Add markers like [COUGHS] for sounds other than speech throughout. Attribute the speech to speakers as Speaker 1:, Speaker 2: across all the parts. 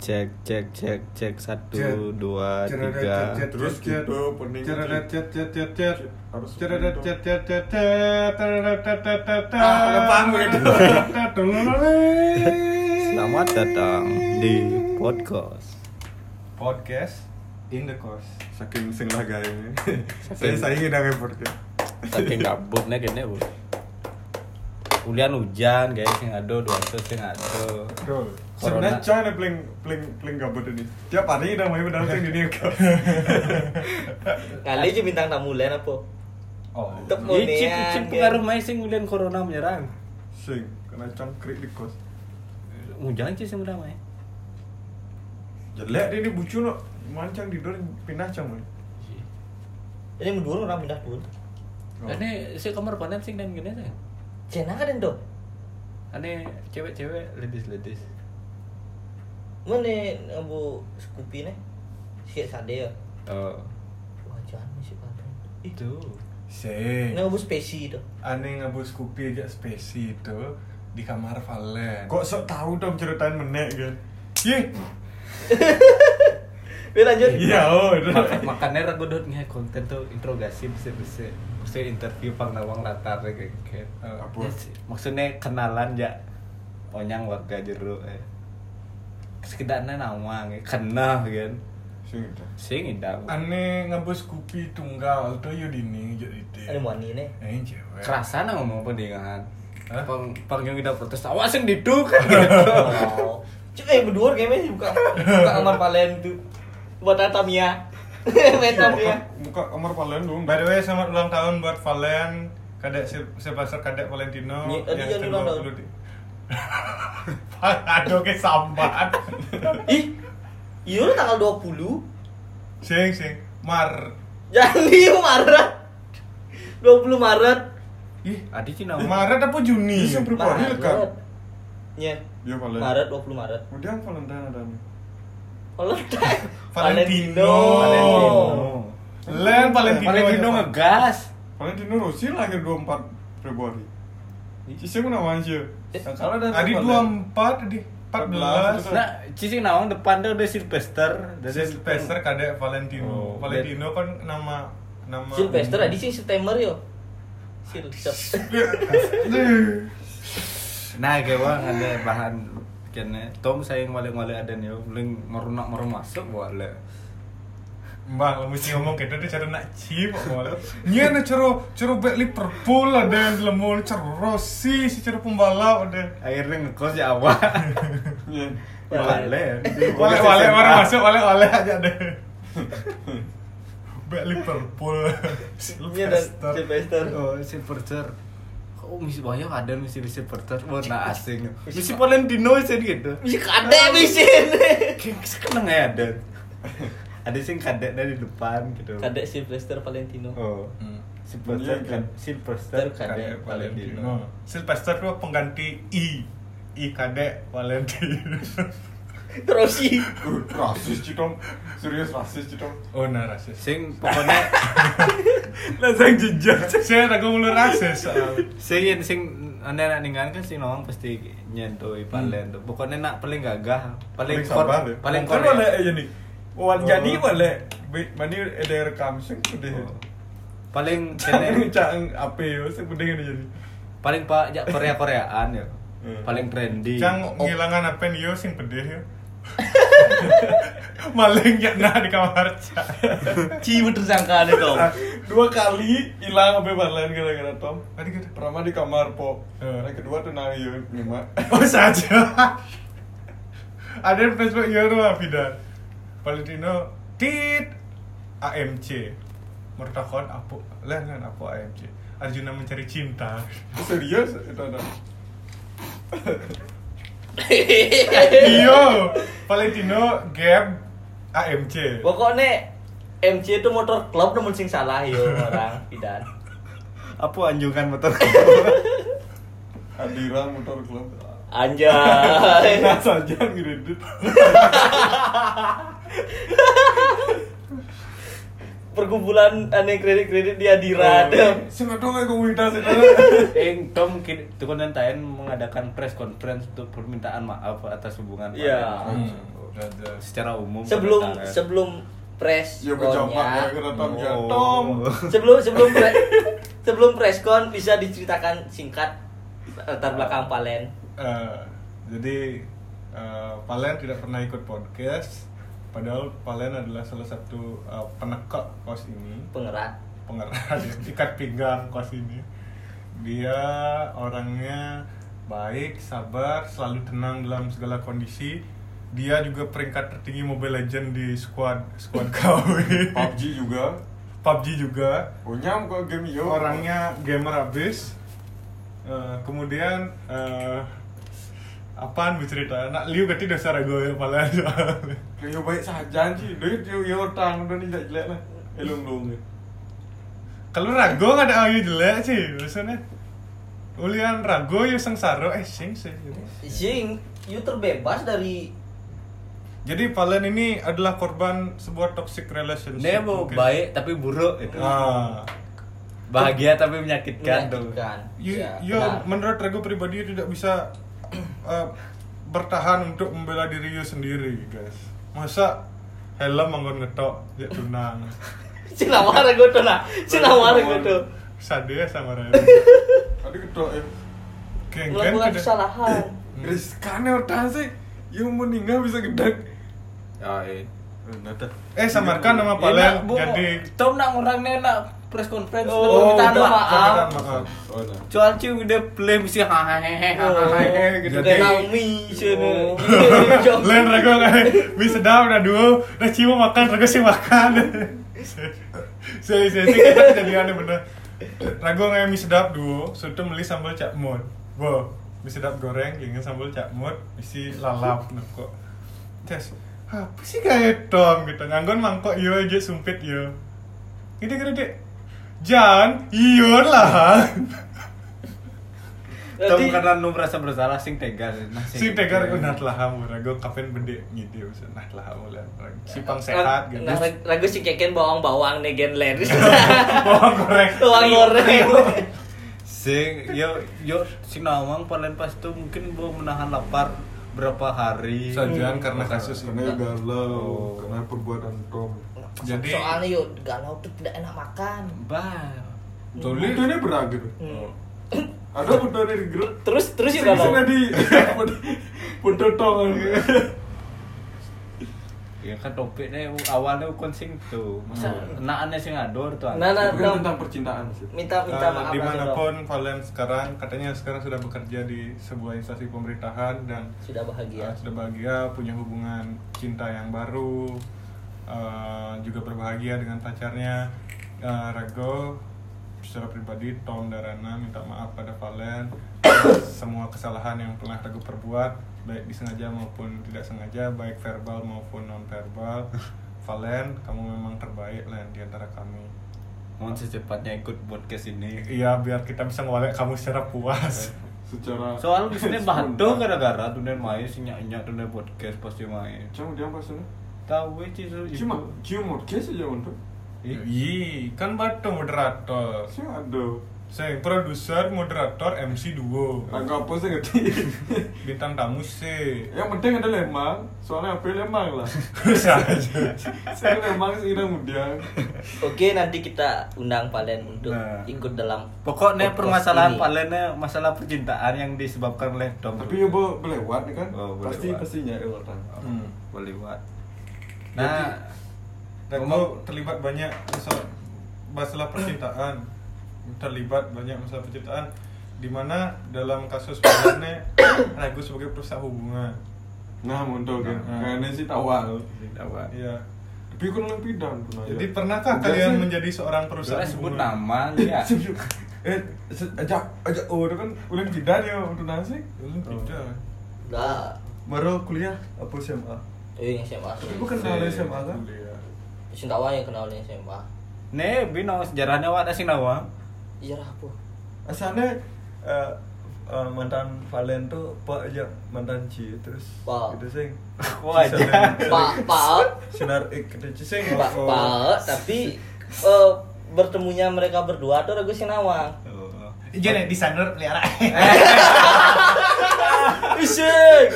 Speaker 1: cek cek cek cek satu
Speaker 2: Cek.
Speaker 1: dua
Speaker 2: Ceret,
Speaker 1: tiga
Speaker 2: ceret,
Speaker 3: Terus
Speaker 2: ceret,
Speaker 3: gitu,
Speaker 2: ceret.
Speaker 3: opening
Speaker 2: Ceret,
Speaker 3: gitu.
Speaker 2: ceret, ceret, ceret, ceret.
Speaker 3: Harus
Speaker 2: Ceret,
Speaker 3: opening dong.
Speaker 2: ceret, ceret, ceret, ceret, ceret, ceret, ceret, ceret,
Speaker 3: Ah, pakai panggung ya gitu.
Speaker 2: ceret, ceret, ya. ceret.
Speaker 1: selamat datang di podcast
Speaker 2: Podcast in the course.
Speaker 3: saking sing lah gaya ini saya saingi dengan podcast
Speaker 1: tapi gabut nih kene bu kuliah hujan guys sing ado dua ratus sing ado
Speaker 3: Bro,
Speaker 1: Corona.
Speaker 3: sebenarnya coy nih paling paling paling gabut ini tiap hari udah main pedang
Speaker 2: [LAUGHS]
Speaker 3: sing di New York
Speaker 4: Kali aja bintang tamu lain apa?
Speaker 2: Oh.
Speaker 4: Untuk
Speaker 1: Icip
Speaker 4: munian,
Speaker 1: icip
Speaker 4: kan?
Speaker 1: pengaruh main sing kuliah corona menyerang
Speaker 3: sing kena cangkrik di kos
Speaker 1: hujan sih sing udah main
Speaker 3: jelek dia ini bucu no mancang di dor pindah cang mulai
Speaker 4: Ini mendurung orang pindah dulu.
Speaker 2: Oh.
Speaker 1: Ane si kamar panen sing dan gini sih
Speaker 4: Cina kan dong.
Speaker 1: Ane cewek-cewek ledis-ledis
Speaker 4: Mana abu Scoopy nih? Siap sade ya.
Speaker 1: Oh
Speaker 4: Wah jangan masih panen.
Speaker 1: itu
Speaker 2: Sih.
Speaker 4: Ini abu spesi tuh.
Speaker 2: Aneh ngabus kupi aja spesi itu di kamar Valen.
Speaker 3: kok sok tahu dong ceritain menek kan Ih,
Speaker 4: Wih lanjut.
Speaker 3: iya oh
Speaker 1: Mak- makanya aku udah nge konten tuh interogasi bisa-bisa Maksudnya interview pang nawang latar kayak gitu, kayak
Speaker 2: Eh,
Speaker 3: apa?
Speaker 1: Ya sih, maksudnya kenalan ya onyang warga jeruk eh. sekedarnya nama eh. kenal kan
Speaker 3: sing itu
Speaker 1: sing indah
Speaker 2: Aneh ngabus kupi tunggal tuh ya yudini jadi teh.
Speaker 4: Ini mani nih.
Speaker 2: Eh cewek.
Speaker 1: kerasa nah ngomong pendingan
Speaker 2: Hah?
Speaker 1: pang pang yang udah protes awas yang diduk
Speaker 2: [LAUGHS]
Speaker 1: gitu
Speaker 4: Wow. Cuk eh berdua kayaknya sih buka buka kamar palen tuh. Buat Tamia. [LAUGHS] Main Tamia.
Speaker 3: muka kamar Valen dong
Speaker 2: By the way, selamat ulang tahun buat Valen, kadek Se- Sebastian kadek Valentino
Speaker 4: Ni- tadi
Speaker 2: ke-20
Speaker 4: yang eh, iya, ulang tahun.
Speaker 2: di- [LAUGHS] Aduh ke sambat.
Speaker 4: Ih. Iya lu tanggal 20
Speaker 2: sing sing Mar.
Speaker 4: Jadi Maret 20 Maret
Speaker 3: ih
Speaker 1: adi cina ngomong
Speaker 2: Maret apa Juni?
Speaker 3: Bisa ber- Berapa hari dekat?
Speaker 4: Ya
Speaker 3: dia Valen
Speaker 4: Maret 20 Maret
Speaker 3: kemudian Valentine ada nih
Speaker 4: Valentine.
Speaker 2: Valentino.
Speaker 1: Valentino.
Speaker 2: Len Valentino.
Speaker 1: Valentino ngegas
Speaker 3: Valentino Rossi lahir 24 Februari Cisnya pun awan sih
Speaker 4: Eh,
Speaker 3: Kalau ada
Speaker 2: Adi 24 di 14.
Speaker 3: Betul.
Speaker 1: nah cicing nawang depan tuh udah Sylvester Udah
Speaker 2: Nah, Sylvester kadek Valentino.
Speaker 1: Oh,
Speaker 2: Valentino kan nama nama
Speaker 4: Sylvester tadi sih September yo. Sylvester.
Speaker 1: nah kawan ada bahan kene Tom saya yang paling paling ada oh, nih paling merunak merum masuk boleh
Speaker 2: Mbak, lo mesti ngomong gitu dia cara nak cip Nya ada cara cara back Liverpool ada yang lemul cara Rossi si cara pembalap ada.
Speaker 1: akhirnya ngekos ya awal
Speaker 3: Iya.
Speaker 1: boleh
Speaker 2: Wale wale orang masuk wale wale aja
Speaker 3: [LAUGHS]
Speaker 2: ada. Back Liverpool.
Speaker 4: Iya dan Sylvester.
Speaker 1: oh Sylvester oh misi banyak ada misi misi Sylvester wah nah asing
Speaker 4: Misi-
Speaker 1: misi paling dino sih
Speaker 4: [LAUGHS]
Speaker 1: gitu
Speaker 4: Bisa kade bisin.
Speaker 1: kayak seneng ya ada ada sih kadeknya di depan gitu
Speaker 4: Kade Sylvester Valentino.
Speaker 1: oh Sylvester
Speaker 3: Iya,
Speaker 1: kan
Speaker 3: kan?
Speaker 1: Sylvester
Speaker 4: Kadek
Speaker 1: kadek Valentino
Speaker 2: Sylvester tuh pengganti I. I kadek
Speaker 1: [LAUGHS]
Speaker 2: Valentino.
Speaker 4: Rossi.
Speaker 3: Rasis Citong Serius rasis Citong
Speaker 2: Oh, nah [LAUGHS] rasis.
Speaker 1: sing pokoknya
Speaker 2: Langsung jejak. Saya ragu mulu rasis. soal.
Speaker 1: Sing sing anda nak ninggalin kan sing nawang pasti nyentoi palen tuh. Pokoknya nak paling gagah, paling
Speaker 3: Hmm. Paling
Speaker 1: kor,
Speaker 3: sabar ya.
Speaker 1: paling
Speaker 3: Kan
Speaker 1: kor.
Speaker 3: boleh aja nih
Speaker 2: eh? Oh.
Speaker 3: Wan jadi boleh Be- Mani ada rekam sing gede
Speaker 1: Oh.
Speaker 3: [LAUGHS]
Speaker 1: Paling
Speaker 3: Cang
Speaker 1: kene,
Speaker 3: cang apa ya Sing gede gini jadi
Speaker 1: paling pak
Speaker 3: [LAUGHS]
Speaker 1: jak Korea Koreaan ya.
Speaker 3: Hmm.
Speaker 1: Paling trendy. Oh.
Speaker 2: Cang ngilangan apa nih yo sing pedih yo. [LAUGHS] Maling ya nah di kamar cang.
Speaker 4: Ci tersangka ada dong.
Speaker 3: Dua kali hilang sampai Valen gara-gara Tom
Speaker 2: Tadi gitu.
Speaker 3: Pertama di kamar po
Speaker 2: Eh.
Speaker 3: Yang kedua tuh nang yun Nyimak
Speaker 2: Oh saja. Ada di Facebook ya, yo tuh Vida. Valentino tit AMC. Mertakon apa? Lah kan apa AMC? Arjuna mencari cinta.
Speaker 3: Serius itu ada
Speaker 2: Iyo, Valentino Gap AMC.
Speaker 4: Pokoknya MC itu motor klub namun sing salah yo orang pidan.
Speaker 1: Apa anjungan
Speaker 2: [LAUGHS]
Speaker 1: motor?
Speaker 3: Adira motor club
Speaker 4: Anjay.
Speaker 3: Enak saja ngeredit
Speaker 4: Perkumpulan aneh kredit-kredit di Adira.
Speaker 3: Oh, iya.
Speaker 4: tuh.
Speaker 3: Siapa dong yang komunitas itu
Speaker 1: [LAUGHS] Ing Tom Tukunan Tain mengadakan press conference untuk permintaan maaf atas hubungan.
Speaker 4: Iya.
Speaker 1: Palen.
Speaker 3: Hmm.
Speaker 2: Gajah.
Speaker 1: secara umum pada
Speaker 4: sebelum
Speaker 1: karet.
Speaker 4: sebelum press
Speaker 3: Yo kecoba ya
Speaker 4: konnya
Speaker 3: kena tam ya
Speaker 1: Oh.
Speaker 3: tom.
Speaker 4: sebelum sebelum pre- sebelum preskon bisa diceritakan singkat eh, latar belakang Palen
Speaker 2: Eh, jadi eh, Palen tidak pernah ikut podcast padahal Palen adalah salah satu eh, penekak kos ini
Speaker 4: pengerat
Speaker 2: pengerat ya, [LAUGHS] ikat pinggang kos ini dia orangnya baik sabar selalu tenang dalam segala kondisi dia juga peringkat tertinggi Mobile Legend di squad squad [LAUGHS] KW
Speaker 3: PUBG juga.
Speaker 2: PUBG juga
Speaker 3: Oh nyam kok game yo.
Speaker 2: orangnya gamer abis Eh, kemudian eh, apaan bu cerita nak liu ganti dasar gue malah [LAUGHS]
Speaker 3: yo baik saja anji. Duit yo yo tang udah nih jelek lah. Eh, Elung dong.
Speaker 2: kalau rago nggak ada ayu jelek sih biasanya ulian rago ya sengsara eh sing sih
Speaker 1: Iya.
Speaker 4: sing you terbebas dari
Speaker 2: jadi Palen ini adalah korban sebuah toxic relationship
Speaker 1: dia mau
Speaker 3: ya.
Speaker 2: mungkin.
Speaker 1: baik tapi buruk itu
Speaker 2: ah
Speaker 1: bahagia tapi menyakitkan tuh
Speaker 4: menyakitkan
Speaker 2: yo,
Speaker 4: Ya,
Speaker 2: yo,
Speaker 3: nah.
Speaker 4: benar.
Speaker 2: Iya, menurut rago pribadi dia tidak bisa [CLEARS THROAT] eh, bertahan untuk membela diri yo sendiri guys masa helm manggon ngetok ya tunang
Speaker 4: Cina marah gue tuh nah, Cina marah gue tuh.
Speaker 2: sadis ya sama Raya
Speaker 3: [LAUGHS] Tadi ketok ya.
Speaker 2: Hmm. Kengken
Speaker 4: Melakukan
Speaker 2: tidak-
Speaker 4: kesalahan.
Speaker 3: Riskan yo tang sih. Yo meninggal bisa gedak.
Speaker 1: oh, iya.
Speaker 2: eh samarkan
Speaker 3: Iya,
Speaker 2: nama
Speaker 1: Enak,
Speaker 2: Palen
Speaker 1: Bu.
Speaker 2: jadi
Speaker 1: Tom nak orangnya nak press conference
Speaker 4: Oh,
Speaker 1: minta
Speaker 4: udah.
Speaker 1: maaf
Speaker 2: permintaan maaf
Speaker 3: Oh nah.
Speaker 1: Cuan cuy udah play mesti
Speaker 2: Eh,
Speaker 1: hahaha
Speaker 2: ah,
Speaker 4: Oh.
Speaker 1: hahaha gitu
Speaker 2: Jadi- Oh.
Speaker 4: Kenami cina.
Speaker 2: [LAUGHS] Len ragu [LAUGHS] lain bisa sedap udah duo udah cimo makan ragu sih makan sih sih sih kita kejadian ya bener ragu nggak mie sedap duo sudah beli sambal cak mod wow mie sedap goreng dengan sambal cak mod isi lalap [LAUGHS] nah kok tes apa sih kayak tom gitu nganggon mangkok yo aja sumpit iya." yo gede gede Jan, iyon lah.
Speaker 1: Tom
Speaker 4: Jadi-
Speaker 1: karena lu merasa bersalah sing tegar nah,
Speaker 2: Si tegar aku nah telah hamu, ragu kafein bende ngide, nah telah hamu lah. Si pang sehat gitu.
Speaker 4: Nah, rag- ragu si keken bawang-bawang negen ler.
Speaker 2: [LAUGHS] bawang goreng Iya.
Speaker 4: Bawang goreng.
Speaker 1: sing yo yo sing nawang paling pas tuh mungkin gua menahan lapar berapa hari
Speaker 2: Sajian karena kasus ini
Speaker 3: Karena yo galau, karena perbuatan tom.
Speaker 2: Jadi-
Speaker 4: soalnya yuk galau tuh tidak enak makan.
Speaker 1: bah
Speaker 3: Tuli itu ini gitu. beragam.
Speaker 4: Hmm.
Speaker 3: Ada foto dari grup.
Speaker 4: Terus terus yuk Eh,
Speaker 3: Sing
Speaker 4: galau.
Speaker 3: sing
Speaker 4: [LAUGHS]
Speaker 3: di foto tong.
Speaker 2: gitu.
Speaker 1: ya kan topiknya awalnya ukon sing tuh masa
Speaker 4: Hmm.
Speaker 1: nah aneh sing ador tuh
Speaker 4: Nah,
Speaker 3: Bukan
Speaker 4: nah, Tom.
Speaker 3: kan tentang percintaan sih.
Speaker 4: Minta
Speaker 2: eh,
Speaker 4: minta maaf. lagi,
Speaker 2: dimanapun Valen sekarang katanya sekarang sudah bekerja di sebuah instansi pemerintahan dan
Speaker 4: Tom. sudah bahagia.
Speaker 2: eh,
Speaker 3: Ah,
Speaker 2: sudah bahagia punya hubungan cinta yang baru eh, juga berbahagia dengan pacarnya Eh, Rago secara pribadi Tom Darana minta maaf pada Valen atas semua kesalahan yang pernah Rago perbuat baik disengaja maupun tidak sengaja baik verbal maupun non verbal Valen kamu memang terbaik Len di antara kami
Speaker 1: mohon secepatnya ikut podcast ini
Speaker 2: Iya, biar kita bisa ngolek kamu secara puas.
Speaker 3: Secara
Speaker 1: soal di
Speaker 3: [LAUGHS]
Speaker 1: sini batuk
Speaker 3: kan.
Speaker 1: gara-gara dunia main sih nyak dunia podcast pasti main
Speaker 3: Cuma dia pas sana.
Speaker 1: tahu sih itu
Speaker 3: Cuma cuma kes aja untuk.
Speaker 2: Iya, kan batu moderator.
Speaker 3: Sih ada.
Speaker 2: Saya produser, moderator, MC duo.
Speaker 3: Agak apa sih ngerti.
Speaker 2: Bintang tamu sih.
Speaker 3: Yang penting ada lemang, soalnya apa lemang lah.
Speaker 2: Bisa
Speaker 3: [LAUGHS]
Speaker 2: aja.
Speaker 3: Saya lemang sih kita mudian.
Speaker 4: Oke, nanti kita undang Palen untuk
Speaker 1: Nah.
Speaker 4: ikut dalam
Speaker 1: Pokoknya
Speaker 4: podcast
Speaker 1: permasalahan
Speaker 4: ini.
Speaker 1: palennya masalah percintaan yang disebabkan oleh Dom.
Speaker 3: Tapi ya bo berlewat nih kan.
Speaker 1: Oh,
Speaker 3: Pasti
Speaker 1: berlewat.
Speaker 3: pastinya ya orang.
Speaker 2: Hmm.
Speaker 1: Beliwat.
Speaker 2: Nah,
Speaker 1: Nah,
Speaker 2: Rego terlibat banyak masalah, masalah percintaan. Terlibat banyak masalah percintaan. Dimana dalam kasus sebenarnya Rego sebagai perusahaan hubungan.
Speaker 3: Nah, muntul kan.
Speaker 2: Nah.
Speaker 3: Kayaknya sih tawal.
Speaker 2: Iya.
Speaker 3: Tapi kan lebih pidan pernah.
Speaker 2: Jadi pernahkah kalian menjadi seorang perusahaan
Speaker 1: sudah sebut
Speaker 2: hubungan?
Speaker 1: nama [LAUGHS] ya.
Speaker 3: eh se- ajak ajak oh itu kan ulang pidan ya untuk nasi. Oh.
Speaker 2: Belum Tidak.
Speaker 4: Nah,
Speaker 3: Baru kuliah apa SMA?
Speaker 4: eh yang SMA.
Speaker 3: Tapi bukan dari SMA kan?
Speaker 2: Kuliah.
Speaker 4: Sintawa yang kenal yang SMA.
Speaker 1: Nih, bino sejarahnya wat sing nawang.
Speaker 4: Sejarah Iya apa?
Speaker 3: Asalnya eh, eh, mantan Valen tuh Pak aja mantan Ci terus
Speaker 4: Pak.
Speaker 3: gitu sing.
Speaker 1: Wah, aja.
Speaker 3: Ci sering-
Speaker 4: Pak Paut,
Speaker 3: Sinar ik gitu Ci sing.
Speaker 4: Pak
Speaker 3: Oh,
Speaker 4: Paut, tapi eh, bertemunya mereka berdua tuh Ragu Sinawang.
Speaker 2: Jadi di sana
Speaker 1: Eh,
Speaker 2: pelihara.
Speaker 4: Iseng.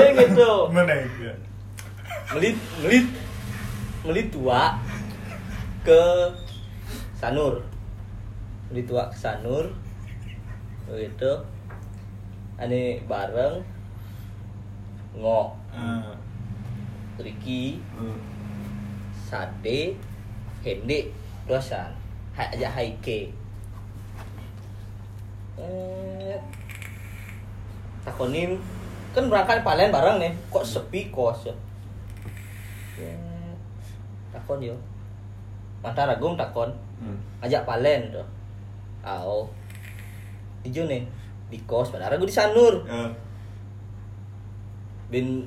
Speaker 4: Eh gitu.
Speaker 2: Mana ya?
Speaker 4: Melit melit melit tua ke Sanur. Melit tua ke Sanur. Oh, Gitu. Ane bareng ngok
Speaker 2: Ah.
Speaker 4: Ricky Sade Hendek Dosan Hai ajak Haike eh, Takonin Kan berangkat Palen bareng nih Kok sepi kos ya Eh, Takon yo Mata Ragung takon
Speaker 3: Hmm.
Speaker 4: Ajak Palen tuh Au Ijo nih Di kos Padahal Ragu di Sanur
Speaker 3: Ya.
Speaker 4: bin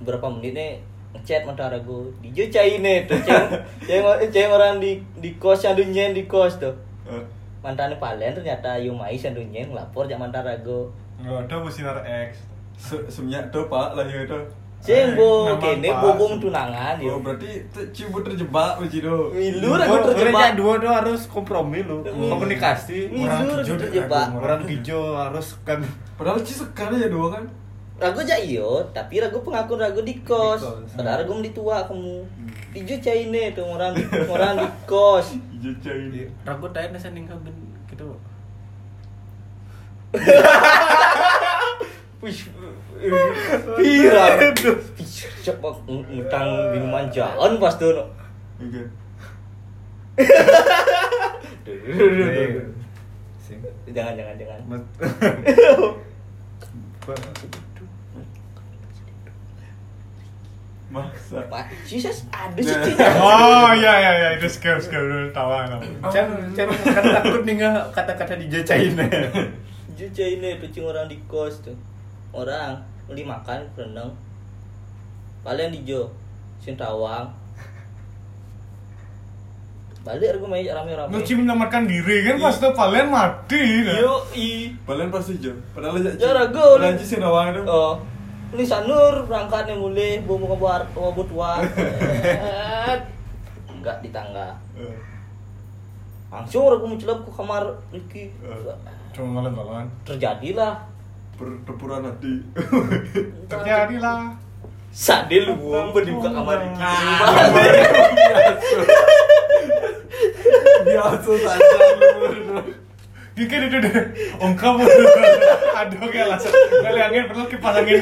Speaker 4: berapa menit nih ngechat mentara gue DJ cai nih tuh ceng
Speaker 1: [LAUGHS]
Speaker 4: ceng ceng orang di di kos yang dunyen di kos tuh
Speaker 3: Eh,
Speaker 4: mantan palen ternyata Yumai yang dunyen lapor jangan mantara gue
Speaker 2: Nggak ada bu sinar X.
Speaker 3: se- Semenyak tuh pak lah ya tuh.
Speaker 1: Eh,
Speaker 4: ceng bo
Speaker 2: Memang
Speaker 4: kene
Speaker 2: pas.
Speaker 4: bobong tunangan
Speaker 3: Oh
Speaker 4: yo
Speaker 3: berarti te- cibu terjebak begitu.
Speaker 4: Ilur aku
Speaker 1: Gua-
Speaker 4: terjebak
Speaker 1: Orangnya dua tuh harus kompromi lu.
Speaker 4: Hmm.
Speaker 1: Komunikasi.
Speaker 2: Orang hijau
Speaker 4: Ilur aku
Speaker 2: deh,
Speaker 4: terjebak
Speaker 2: aku.
Speaker 1: Orang hijau harus kan
Speaker 3: Padahal ci sekali ya dua kan.
Speaker 4: ragu aja iyo tapi ragu pengaku ragu di kos
Speaker 1: Di kos. Hmm.
Speaker 4: padahal ragu di tua kamu DJ cai nih tuh orang orang di
Speaker 1: [LAUGHS]
Speaker 4: kos
Speaker 3: Jejak ini.
Speaker 1: Ragu tanya nasi ninggal ben gitu.
Speaker 4: Wih, viral. Ih, Siapa ng- ngutang minuman jalan pas tuh. no.
Speaker 3: Oke.
Speaker 1: Eh, Sing.
Speaker 4: Jangan jangan jangan.
Speaker 3: [LAUGHS] Masa.
Speaker 4: Pak, Jesus ada sih.
Speaker 3: Nah.
Speaker 4: Cina.
Speaker 2: Oh iya iya iya itu scam scam dulu tawa kamu.
Speaker 1: Cen, cen kan takut nih nggak kata-kata dijacain
Speaker 4: Jujur ini tuh cing orang di kos tuh. Orang beli makan rendang. Kalian di Jo, Sintawang. Balik aku main rame-rame.
Speaker 2: Ngeci menyelamatkan diri kan pas tuh kalian mati. nah.
Speaker 4: Yo i.
Speaker 3: Padahal pasti jauh. Padahal aja.
Speaker 4: Ya, ragu.
Speaker 3: Padahal ci sinawang itu.
Speaker 4: Oh, ini Sanur berangkat nih mulai bawa muka buat bawa butuan. Enggak di tangga.
Speaker 3: Eh,
Speaker 4: Langsung aku mencelup ke kamar Ricky.
Speaker 2: Cuma kalian kalian.
Speaker 4: Terjadilah
Speaker 3: Pertempuran hati.
Speaker 2: Terjadilah.
Speaker 4: Sadil wong berbuka kamar Ricky.
Speaker 3: Biasa saja. Lur.
Speaker 2: Gigi itu deh. Om kamu. Aduh kayak langsung. Kali angin perlu kipas angin.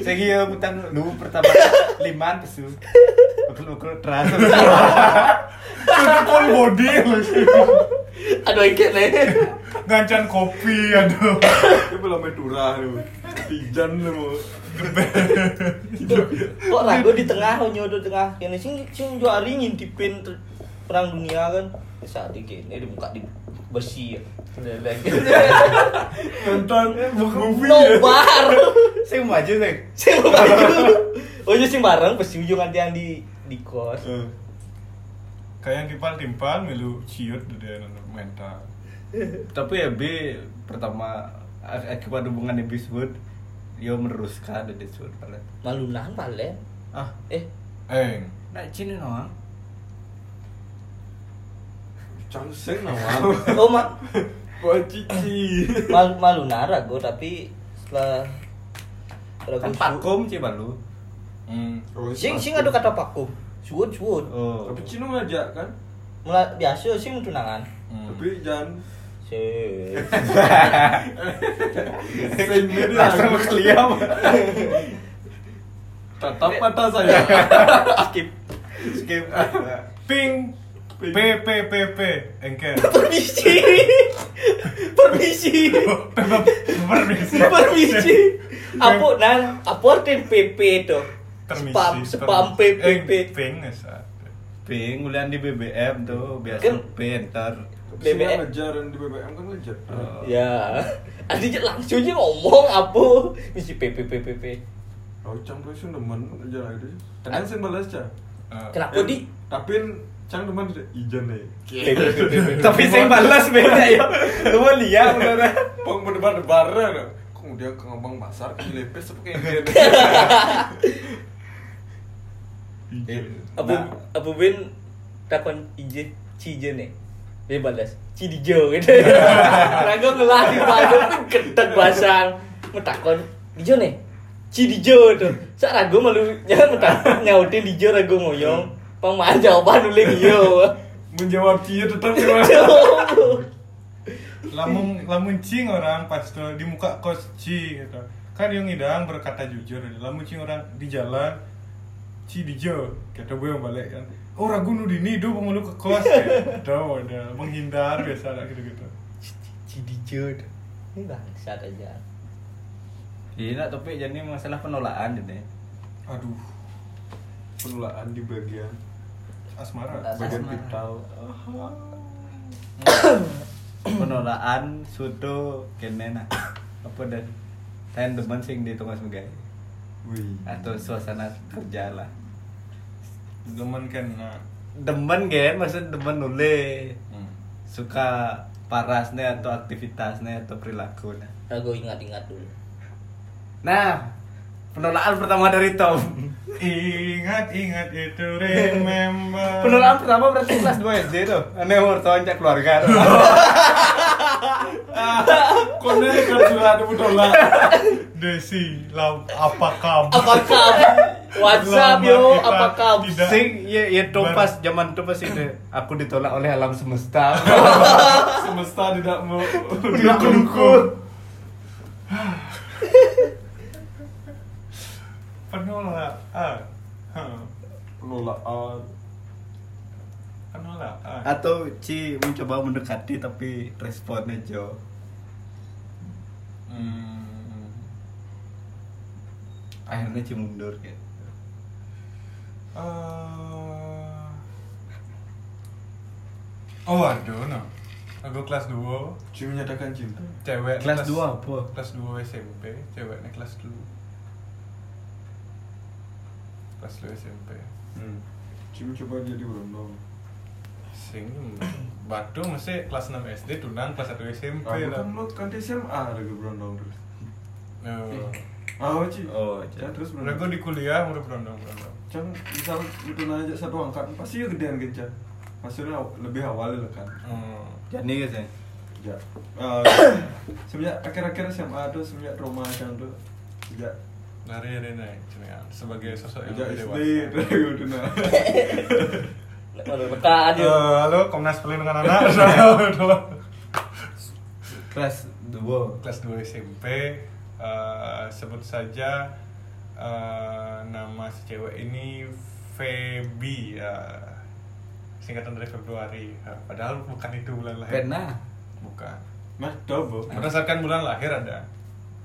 Speaker 1: Saya kira utang lu pertama liman pesu. Aku ukur terasa.
Speaker 2: Tutup pun body.
Speaker 4: [LAUGHS] Aduh ikut nih.
Speaker 2: Gancan kopi. Aduh.
Speaker 3: Itu belum main turah lu. Tijan lu. mau.
Speaker 4: Kok ragu di tengah, nyodo di tengah. Kene sing sing juari ngintipin ter- perang dunia kan. Saat di kene dibuka di besi ya.
Speaker 3: Nonton [LAUGHS] movie ya.
Speaker 4: Nobar.
Speaker 1: Saya maju sih.
Speaker 4: sing bareng oh iya sing bareng pas ujung nanti yang di di kos
Speaker 3: Eh,
Speaker 2: Kayak timpal timpal milu ciut deh mental.
Speaker 1: Tapi ya B pertama
Speaker 4: Eh,
Speaker 1: ak- akibat hubungan yang disebut yo meneruskan ada disebut paling.
Speaker 4: malu nahan palen
Speaker 1: Ah,
Speaker 4: eh
Speaker 2: Eng.
Speaker 1: nak cini noang.
Speaker 3: Cangseng nawang.
Speaker 4: oh ma
Speaker 3: Buat cici.
Speaker 4: mal malu nahan ragu tapi setelah ragu
Speaker 1: Kan pakum coba [LAUGHS] lu.
Speaker 2: Hmm.
Speaker 3: Oh,
Speaker 4: sing sing kan. ada kata pakum suwun suwun
Speaker 1: Oh.
Speaker 3: Tapi Cino ngajak kan?
Speaker 4: mulai biasa sing tunangan
Speaker 3: Tapi jangan
Speaker 4: sih
Speaker 3: sing ini
Speaker 1: Langsung
Speaker 3: aku.
Speaker 1: keliam.
Speaker 3: tatap mata saya.
Speaker 4: skip
Speaker 1: Skip.
Speaker 2: Ping. P P P P. Engkel.
Speaker 4: permisi permisi
Speaker 2: Permisi.
Speaker 4: permisi apa nan apa artin PP tuh
Speaker 2: Permisi. Eh,
Speaker 4: spam spam
Speaker 2: permisi.
Speaker 4: PP
Speaker 2: Eng, Ping. ya, ngesat.
Speaker 1: Ping ulian di BBM tuh biasa
Speaker 4: Kan-
Speaker 1: pinter.
Speaker 3: BBM
Speaker 4: BBM.
Speaker 3: ngejar yang di BBM kan ngejar.
Speaker 1: Oh.
Speaker 4: Ya, [LAUGHS] artinya langsung aja ngomong apa misi PPPPP.
Speaker 3: Oh, cang tuh sih demen ngejar aja. Tenan sih balas cang.
Speaker 2: Ah.
Speaker 4: Kenapa di
Speaker 3: Tapi cang demen tidak ijan nih.
Speaker 4: PPPPP?
Speaker 1: Tapi saya balas beda [LAUGHS] ya. Lu mau lihat beneran.
Speaker 3: Peng berdebar debaran. Kemudian ke ngomong pasar ke lepes apa kayak gitu.
Speaker 4: Abu
Speaker 2: Nah.
Speaker 4: Abu Bin takon ije cije nih. Dia balas [LAUGHS] cidijo gitu. Rago ngelah di badan gedeg basang. Metakon Dijo nih. Ci Dijo tuh. Sak ragu malu ya, jangan [LAUGHS] mentah nyautin Dijo ragu ngoyong. Pang mah jawaban iya. dulu Dijo.
Speaker 3: menjawab dia tetap ya, gimana
Speaker 2: [LAUGHS] lamun lamun cing orang pas tuh di muka kos ci gitu kan yang idang berkata jujur lamun cing orang di jalan ci di jo kata gue yang balik kan oh ragu nu dini do pemalu ke kos gitu udah menghindar biasa lah gitu gitu
Speaker 4: [LAUGHS] Ci Dijo tuh. Ini bangsat aja.
Speaker 1: Iya, nak, tapi jadi masalah penolakan jadi.
Speaker 2: aduh
Speaker 3: penulaan di bagian
Speaker 2: asmara
Speaker 4: Asmara.
Speaker 3: bagian
Speaker 1: Asmara.
Speaker 3: vital
Speaker 1: penolakan suto kene nah. Apa dan saya teman sing di tengah sebagai
Speaker 3: wih
Speaker 1: atau suasana kerja lah.
Speaker 2: demen kan nah
Speaker 1: Demen gen, maksud demen nule
Speaker 2: hmm.
Speaker 1: suka parasnya atau aktivitasnya atau perilakunya.
Speaker 4: Ragu ingat-ingat dulu.
Speaker 1: Nah, penolakan pertama dari Tom.
Speaker 2: ingat ingat itu remember
Speaker 1: Penolakan pertama berarti kelas 2 SD tuh. Aneh umur tahun cek keluarga. tuh.
Speaker 3: kone kerja ada penolak
Speaker 2: desi lam apa kamu
Speaker 4: Apakah WhatsApp
Speaker 2: Lama
Speaker 4: yo?
Speaker 2: kita
Speaker 4: Apakah
Speaker 2: tidak-
Speaker 1: Sing ya ya tuh pas zaman tuh pas itu aku ditolak oleh alam semesta.
Speaker 3: semesta tidak mau
Speaker 2: dukun penolakan Hah.
Speaker 3: penolakan
Speaker 2: penolakan
Speaker 1: [LAUGHS] atau Ci mencoba mendekati tapi responnya Jo.
Speaker 2: hmm.
Speaker 1: Akhirnya Ci mundur gitu.
Speaker 2: Eh. oh aduh no aku kelas 2
Speaker 3: cuy menyatakan cinta
Speaker 2: cewek
Speaker 1: Kelas 2 apa?
Speaker 2: kelas 2 SMP ceweknya kelas 2 kelas 2 SMP
Speaker 3: hmm. cuy mencoba jadi berondong
Speaker 2: sing batu mesti kelas 6 SD tunang kelas 1 SMP
Speaker 3: aku
Speaker 2: lah
Speaker 3: kan lo kan di SMA ada ke berondong terus
Speaker 2: Oh.
Speaker 3: ah cuy
Speaker 1: Oh, Ci.
Speaker 3: ya terus
Speaker 2: Udah gue di kuliah udah berondong-berondong
Speaker 3: Cang, misal itu aja satu angkat pasti ya gedean gencar maksudnya aw- lebih awal lah kan
Speaker 2: Hmm.
Speaker 1: Jadi gitu. ya.
Speaker 3: ya Eh, [COUGHS] semenjak akhir-akhir SMA tuh semenjak trauma Cang tuh sejak
Speaker 2: Dari Rene Cuman sebagai sosok yang
Speaker 3: sejak
Speaker 2: lebih
Speaker 3: SD
Speaker 2: dewasa
Speaker 3: [LAUGHS] tuh gitu nah
Speaker 4: Waduh, rekaan yo.
Speaker 2: Eh, Halo Komnas Perlindungan Anak Udah, udah.
Speaker 1: Kelas 2.
Speaker 2: Kelas 2 SMP eh, Sebut saja eh, Nama si cewek ini Febi ya. Singkatan dari Februari Eh, Padahal bukan itu bulan lahir
Speaker 1: Pena.
Speaker 2: Bukan
Speaker 3: nah double
Speaker 2: Berdasarkan bulan lahir ada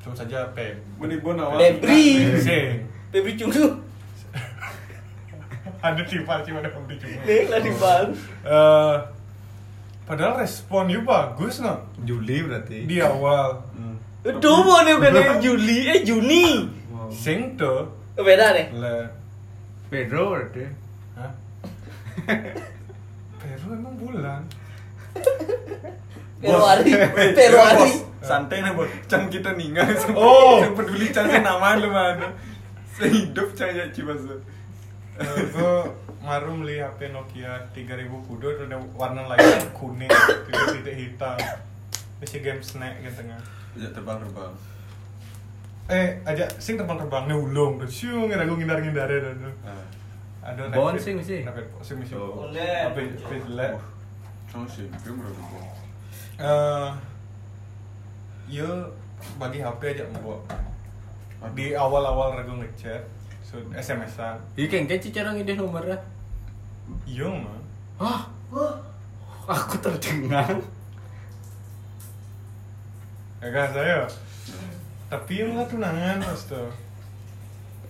Speaker 2: Sebut saja Feb
Speaker 3: Menimbun awal
Speaker 4: Febri.
Speaker 2: Sing.
Speaker 4: Febri Cungsu.
Speaker 2: Ada timpal cuma ada Febri cuma
Speaker 4: Nih lah di bal.
Speaker 2: Eh, Padahal responnya bagus no
Speaker 1: Juli berarti.
Speaker 2: Di awal
Speaker 3: Hmm.
Speaker 4: Aduh, mau Eh, nih bukan nih, Juli eh Juni.
Speaker 3: Wow.
Speaker 2: Sing tuh
Speaker 4: Eh, Beda nih.
Speaker 2: le
Speaker 1: Pedro berarti.
Speaker 2: [LAUGHS] Hah? Peru emang bulan.
Speaker 3: [LAUGHS]
Speaker 4: [LAUGHS] Februari.
Speaker 3: Weh,
Speaker 4: Februari.
Speaker 3: bos, Santai nih bos, cang kita ninggal semua.
Speaker 2: Oh.
Speaker 3: [LAUGHS] Yang peduli cang sih nama lu mana. Sehidup cang ya cibas.
Speaker 2: Eh, Gue maru beli HP Nokia 3000 kudo itu ada warna layar kuning, titik-titik hitam. Masih game snack gitu tengah.
Speaker 3: Ya terbang-terbang.
Speaker 2: Eh, aja sing terbang-terbang nih ulung tuh. Siung ngira gue ngindar-ngindar ya tuh.
Speaker 3: Ah,
Speaker 2: Ada
Speaker 1: Bon
Speaker 2: rapid-
Speaker 1: sing mesti.
Speaker 2: rapid- Sing mesti.
Speaker 1: Oh.
Speaker 4: Boleh.
Speaker 2: Apa apa jelek.
Speaker 3: cang sih, gue berapa?
Speaker 2: Eh, Yo bagi HP aja mbok. Di awal-awal ragu ngechat, so, SMS-an.
Speaker 1: Iya kan kayak cara ngide nomornya.
Speaker 2: Yo mah.
Speaker 1: Hah? Aku tercengang.
Speaker 2: Kagak saya. ya. Tapi yang lah tunangan mas tuh.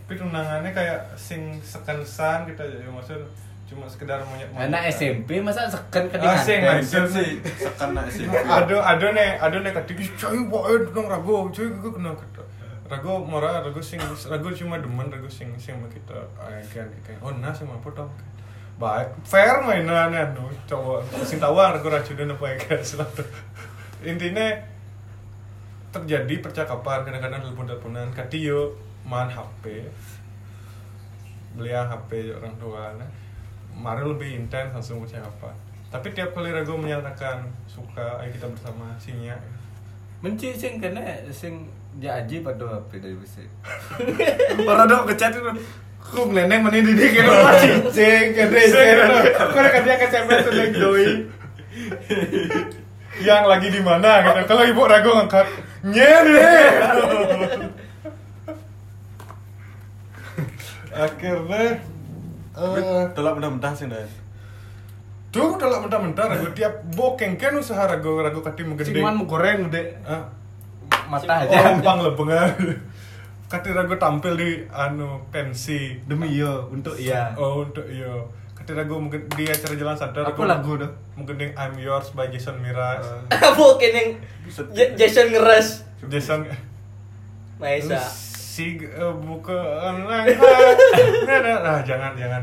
Speaker 2: Tapi tunangannya kayak sing sekensan kita jadi maksud cuma sekedar monyet
Speaker 1: Anak SMP masa seken
Speaker 2: Ah, sing,
Speaker 1: kedingan.
Speaker 2: sing, sing.
Speaker 3: sih, sekan nak sih.
Speaker 2: Ada ada nih ada nih katik cuy boy dong eh, ragu cuy gue kena kata. Ragu mora ragu sing ragu cuma demen ragu sing sing sama kita. Ah, Kayak kayak oh nah sama apa dong. Baik, fair mainannya nu cowok sing tawar ragu racunin apa ya kayak selalu. Intinya terjadi percakapan kadang-kadang telepon teleponan katio main HP beli HP orang tua nah mari lebih intens langsung percakapan tapi tiap kali ragu menyatakan suka ayo kita bersama sinya
Speaker 1: Menci sing kena sing Ya aji pada apa dari [LAUGHS] besi. Orang dok kecat itu. Ku neneng mana di dia kira apa cicing kena
Speaker 2: Aku udah kerja ke CMS tuh lagi doi. Yang lagi di mana gitu. Kalau ibu ragu ngangkat nyere. Akhirnya eh
Speaker 3: Telah mentah-mentah sih dah.
Speaker 2: tuh udah mentah-mentah ragu tiap bokeng kan usaha ragu ragu kati menggede.
Speaker 1: Cuman mau goreng deh.
Speaker 2: Ah,
Speaker 1: Mata
Speaker 2: oh,
Speaker 1: aja.
Speaker 2: empang lebengan. Kati ragu tampil di anu pensi.
Speaker 1: Demi yo untuk iya.
Speaker 2: Oh untuk yo. Kati ragu mungkin di acara jalan sadar.
Speaker 1: Apa lagu dong?
Speaker 2: Mungkin yang I'm Yours by Jason Mraz.
Speaker 4: Mungkin yang J- Jason ngeres
Speaker 2: Jason
Speaker 4: Maesa
Speaker 2: si eh, buka online nah, nah, nah, jangan jangan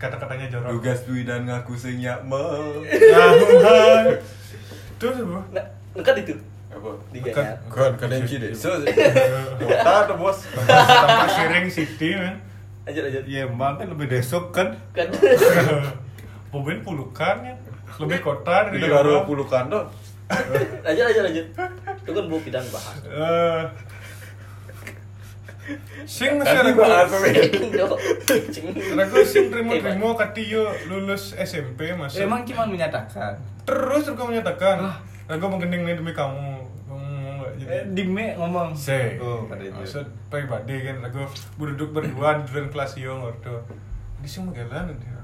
Speaker 2: kata-katanya jorok
Speaker 3: Tugas Dwi dan ngaku senyak me.
Speaker 2: nah, nah. terus bu
Speaker 4: Nah, dekat itu
Speaker 3: Apa?
Speaker 4: Tiga
Speaker 2: Dekat.
Speaker 4: ya
Speaker 3: Kan kadang sih deh. So,
Speaker 2: kota bos tanpa siring city men
Speaker 4: Lanjut lanjut
Speaker 1: Ya emang kan lebih desok kan.
Speaker 4: Kan
Speaker 2: Boben pulukan ya lebih ya, kota dari
Speaker 3: itu baru
Speaker 2: Jawa.
Speaker 3: pulukan doh.
Speaker 4: [LAUGHS] Lanjut lanjut lanjut Itu kan bu kita bahas
Speaker 2: Eh, sing
Speaker 3: Nanti
Speaker 2: masih
Speaker 3: bahas
Speaker 2: ragu
Speaker 3: apa?
Speaker 4: Cing, dok. Cing.
Speaker 2: ragu sing terima-terima katiyo lulus SMP masuk
Speaker 1: Eh, Emang cuma menyatakan.
Speaker 2: terus ragu menyatakan ragu menggending nih demi kamu Hmm, nggak jadi.
Speaker 1: Eh, Dime ngomong.
Speaker 2: Say,
Speaker 1: Oh pada itu.
Speaker 2: maksud pribadi kan aku berduduk berdua di dalam kelas yo ngordo. Di sini magelan dia.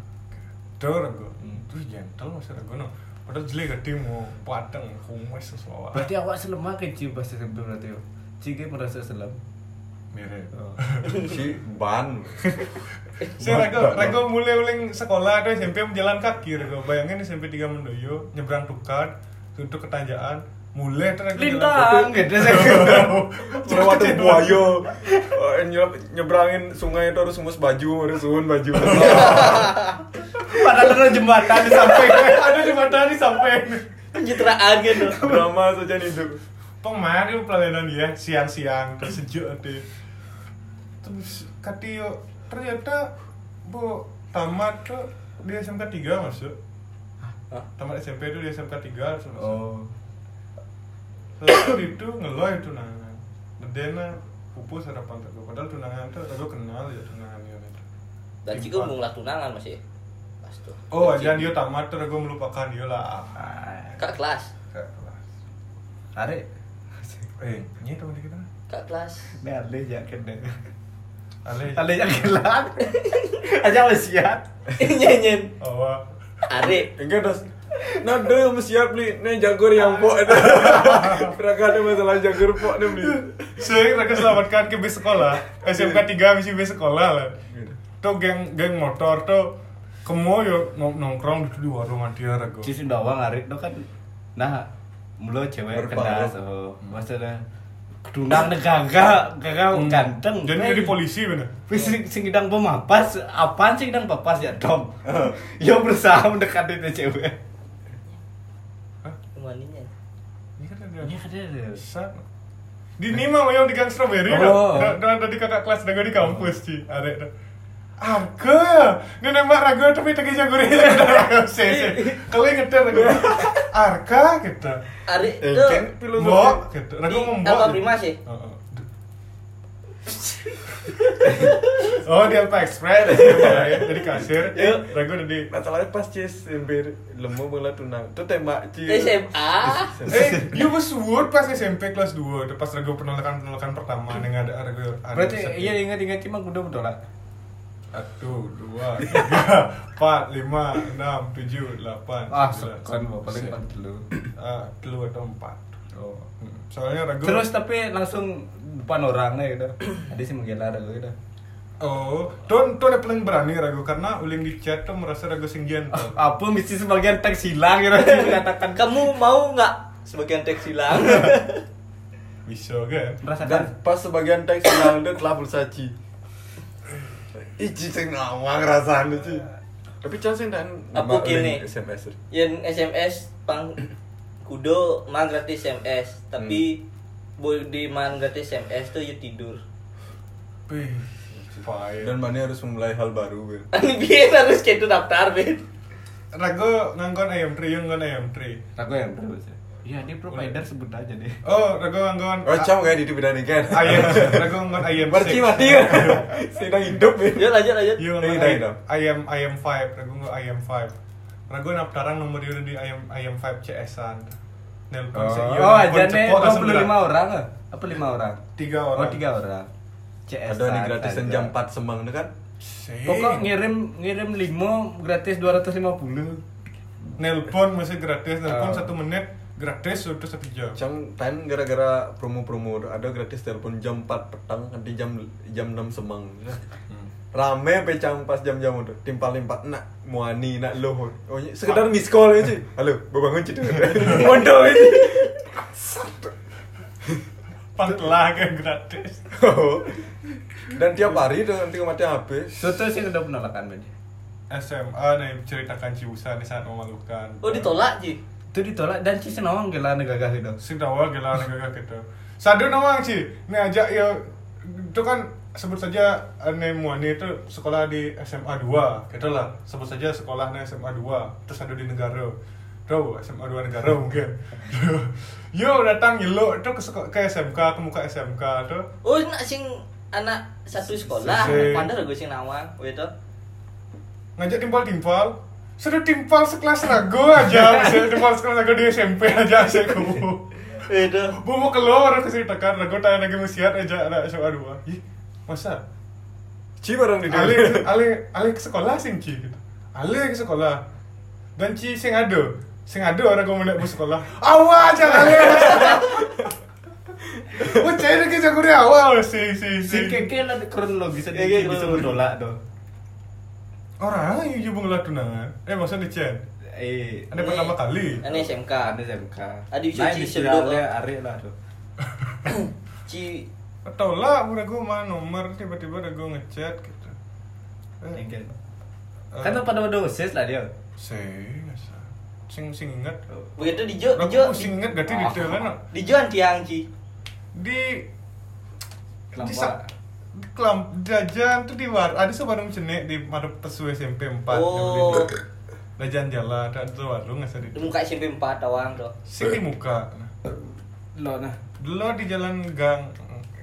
Speaker 2: Dor aku.
Speaker 1: Hmm.
Speaker 2: Terus gentle masa aku no. Padahal jeli ketimu padang humus sesuatu.
Speaker 1: Berarti awak selama kecil bahasa SMP berarti yo. Cike merasa selam.
Speaker 2: Mirip.
Speaker 1: Oh.
Speaker 3: Si ban.
Speaker 2: Saya ragu, ragu mulai uling sekolah tuh SMP jalan kaki ragu. Bayangin SMP 3 Mendoyo nyebrang tukar untuk ketanjaan mulai tuh ragu jalan
Speaker 1: Lintang
Speaker 2: kaki.
Speaker 1: gitu saya.
Speaker 2: [LAUGHS]
Speaker 3: Melewati buaya. Eh, nyelap- Nyebrangin sungai itu harus ngemus baju, harus
Speaker 2: [LAUGHS]
Speaker 3: suun baju.
Speaker 1: Padahal ada jembatan di
Speaker 3: [LAUGHS]
Speaker 1: samping.
Speaker 2: Ada di mata nih sampai.
Speaker 4: Pencitraan gitu
Speaker 3: Drama saja nih itu.
Speaker 2: Pemain itu pelayanan dia siang-siang terus sejuk deh. Terus katio ternyata bu tamat tuh di SMK 3 masuk.
Speaker 4: Hah?
Speaker 2: Tamat SMP itu di SMK 3 terus masuk.
Speaker 1: Oh.
Speaker 2: Terus itu ngeloy tunangan. Medena pupus harapan tuh. Padahal tunangan tuh aku kenal ya tunangan ya.
Speaker 4: Dan Ciko mau ngelah tunangan masih Pas tuh
Speaker 2: Oh, jangan dia tamat tuh aku melupakan dia lah.
Speaker 4: Kak kelas
Speaker 2: Kayak kelas.
Speaker 1: Tarik.
Speaker 2: Eh, ini teman kita.
Speaker 4: Kak kelas [LAUGHS]
Speaker 1: Ini Ale ya kena.
Speaker 2: Ale.
Speaker 1: Ale ya [LAUGHS] kelan. Aja wasiat.
Speaker 4: Nyenyen
Speaker 2: Awak.
Speaker 4: Ari
Speaker 3: Enggak das. Nah, deh mesti siap beli. Nih jagur yang po.
Speaker 2: [LAUGHS]
Speaker 3: Perakannya masalah jagur po nih beli.
Speaker 2: Sering mereka selamatkan ke bis sekolah SMK 3 misi bis sekolah lah Tuh geng geng motor tuh Kemo yo nong- nongkrong di di warung Adia Rego
Speaker 1: Di Sindawang Arit no kan nah mulu cewek kena
Speaker 3: Berpengaruh.
Speaker 1: so. Maksudnya kedunang ne gagah, gagah
Speaker 2: Hmm.
Speaker 1: ganteng. Eh,
Speaker 2: Jadi jadi polisi bener
Speaker 1: Wis sing sing idang pemapas, apaan sing idang papas ya, Dom? Yo berusaha mendekati itu cewek.
Speaker 4: Maninya
Speaker 2: Ini kan ada
Speaker 1: Ini ada.
Speaker 2: Sat. Di Nima mah yang di Gang Strawberry
Speaker 3: Oh.
Speaker 2: dah dah ada di kakak kelas Rego di kampus Ci Arek dah Arke Ini nembak Rego tapi tegi jagurin [LAUGHS] Se se Kalau ngeter Rego Arka gitu
Speaker 4: Ari
Speaker 3: Eh,
Speaker 4: tuh
Speaker 3: kan filosofi.
Speaker 2: Mbok gitu Rego
Speaker 4: Di
Speaker 2: ngembok
Speaker 4: Alfa
Speaker 2: gitu.
Speaker 4: Prima sih
Speaker 2: Heeh. [LAUGHS] oh di Alpha Express jadi kasir
Speaker 3: Yuk.
Speaker 2: ragu udah
Speaker 3: [LAUGHS]
Speaker 2: di
Speaker 3: Masalahnya pas cis hampir lemu mulai tunang. Tuh tembak cis.
Speaker 4: SMA
Speaker 2: eh you was wood pas SMP kelas 2 pas ragu penolakan penolakan pertama dengan ada ragu ada
Speaker 1: Berarti
Speaker 2: satu.
Speaker 1: iya ingat-ingat cuma udah betul lah.
Speaker 2: satu dua tiga empat lima enam tujuh delapan
Speaker 1: Ah,
Speaker 2: sembilan,
Speaker 1: sekan
Speaker 2: sepuluh.
Speaker 1: paling kan dulu.
Speaker 2: Ah, telur atau empat
Speaker 1: Oh.
Speaker 2: Hmm. soalnya ragu
Speaker 1: Terus tapi langsung depan orangnya gitu. Ada sih menggela ada gitu.
Speaker 2: oh tuh tuh yang paling berani ragu karena uling di chat tuh merasa ragu sing gentle
Speaker 1: Apa misi sebagian teks hilang gitu dia [LAUGHS] mengatakan
Speaker 4: Kamu mau nggak sebagian
Speaker 2: [LAUGHS]
Speaker 4: teks hilang?
Speaker 2: bisa kan
Speaker 1: merasakan
Speaker 3: Dan pas sebagian teks bilang dia telah berusaha ci. Iji sing ngawang rasanya ci. Tapi cis sing dan
Speaker 4: Apa gini?
Speaker 3: SMS.
Speaker 4: Yang SMS pang kudo mang gratis SMS, tapi
Speaker 2: Hmm.
Speaker 4: boleh di mang gratis SMS tuh you tidur. [LAUGHS]
Speaker 2: Wih, fire.
Speaker 3: Dan mana harus memulai hal baru gue.
Speaker 4: Ini biar harus kayak itu daftar, Ben.
Speaker 2: Nah, Rago ngangkon ayam tri, yang ngangkon ayam tri.
Speaker 1: aku yang terus. ya. Iya, dia provider sebut aja deh.
Speaker 2: Oh, ragu nggon.
Speaker 3: Rocam kayak di bidang ini kan.
Speaker 2: Ayam, ragu nggon ayam.
Speaker 3: Berci
Speaker 2: six.
Speaker 3: mati [LAUGHS] ya. Sedang hidup
Speaker 4: Yuk
Speaker 3: ya.
Speaker 4: lanjut lanjut.
Speaker 2: Iya,
Speaker 3: Ini
Speaker 2: nggon
Speaker 3: dah, dah.
Speaker 2: ayam- ayam ayam five, ragu nggon ayam five. Ragu nap tarang nomor dia di ayam ayam five CS-an. Nelpon
Speaker 3: Oh.
Speaker 2: sih.
Speaker 3: Iya,
Speaker 1: oh, ajannya 25 orang eh? Apa 5 orang?
Speaker 2: Tiga
Speaker 1: Oh,
Speaker 2: orang.
Speaker 1: 3 orang. CS.
Speaker 3: iya. Ada
Speaker 4: Iya,
Speaker 3: nih gratisan jam 4 semang itu kan.
Speaker 1: Pokok ngirim ngirim 5 gratis [LAUGHS] 250.
Speaker 2: Nelpon masih gratis,
Speaker 1: Oh.
Speaker 2: nelpon satu menit gratis sudah satu jam.
Speaker 3: Macam time gara-gara promo-promo ada gratis telepon jam 4 petang nanti jam jam 6 semang. kan?
Speaker 2: Hmm.
Speaker 3: Rame sampai jam pas jam-jam udah timpal limpat nak muani nak loh.
Speaker 2: Ah.
Speaker 3: Oh, iya, sekedar miss call aja. Halo, babangun
Speaker 2: [LAUGHS]
Speaker 3: cedek. Mondo ini.
Speaker 2: Pantlah kan gratis.
Speaker 3: [LAUGHS] Oh. Dan tiap hari tuh nanti mati habis.
Speaker 1: So, terus yang udah penolakan berarti.
Speaker 2: SMA nih ceritakan ciusan di saat memalukan.
Speaker 4: Oh ditolak Ji.
Speaker 1: Itu ditolak dan sih senawang gila negagah itu.
Speaker 2: gitu. Sing awal gila negara kita. Sadu nama sih. Nih ajak ya itu kan sebut saja Ane Muani itu sekolah di SMA 2 gitu lah sebut saja sekolahnya SMA 2 terus ada di negara Tuh, SMA 2 negara mungkin [LAUGHS] Yo datang yelo itu ke, seko- ke SMK ke muka SMK tuh
Speaker 4: Oh nak sing anak satu sekolah.
Speaker 2: Sing-
Speaker 4: Pandar gue sing nawang. Oh itu.
Speaker 2: ngajak timpal-timpal sudah timpal sekelas rago aja Sudah timpal sekelas rago di SMP aja saya kubu
Speaker 4: Oh itu.
Speaker 2: Bu mau keluar aku ceritakan rago tanya lagi musiat aja anak SMA 2 ih masa
Speaker 3: Ci bareng di
Speaker 2: Ale,
Speaker 3: dalam.
Speaker 2: ale, ale ke sekolah sing Ci gitu. Ale ke sekolah. Dan Ci sing ada. Sing ada orang kau menek bus sekolah. Awal aja ale. Oh, cai lagi jago dia awal si si
Speaker 1: Si
Speaker 2: si.
Speaker 1: keke lah kronologis aja
Speaker 4: Iya, iya,
Speaker 1: bisa
Speaker 4: kronologis.
Speaker 1: menolak tuh.
Speaker 2: Orang ayu je bungelah tunangan. Eh, maksud di Cen.
Speaker 1: Eh,
Speaker 2: Ane pertama kali.
Speaker 4: Ane SMK.
Speaker 1: ada SMK.
Speaker 4: Adi cuci
Speaker 1: Nah, ini
Speaker 4: sedot,
Speaker 1: viralnya
Speaker 4: eh.
Speaker 1: Ari lah tuh.
Speaker 4: Ci.
Speaker 2: Tahu lah, aku ragu mah nomor tiba-tiba ragu ngechat gitu. Eh,
Speaker 1: Engkel.
Speaker 2: eh,
Speaker 1: Kan tuh pada dosis lah dia.
Speaker 2: Sing, asal. sing sing ingat.
Speaker 4: Begitu dijo dijo. Ah.
Speaker 2: Aku sing ingat ganti
Speaker 4: Oh.
Speaker 2: di telan.
Speaker 4: Dijo antiang Ci.
Speaker 2: di
Speaker 1: Kelampak.
Speaker 2: di sa- di kelam jajan tuh di war ada sebarang cenek di madep tesu SMP 4
Speaker 4: Oh.
Speaker 2: jajan jalan ada tuh warung nggak
Speaker 4: Di
Speaker 2: sadar
Speaker 4: muka SMP 4 tawang tuh.
Speaker 2: sing di muka
Speaker 1: Lo nah.
Speaker 2: dulu di jalan gang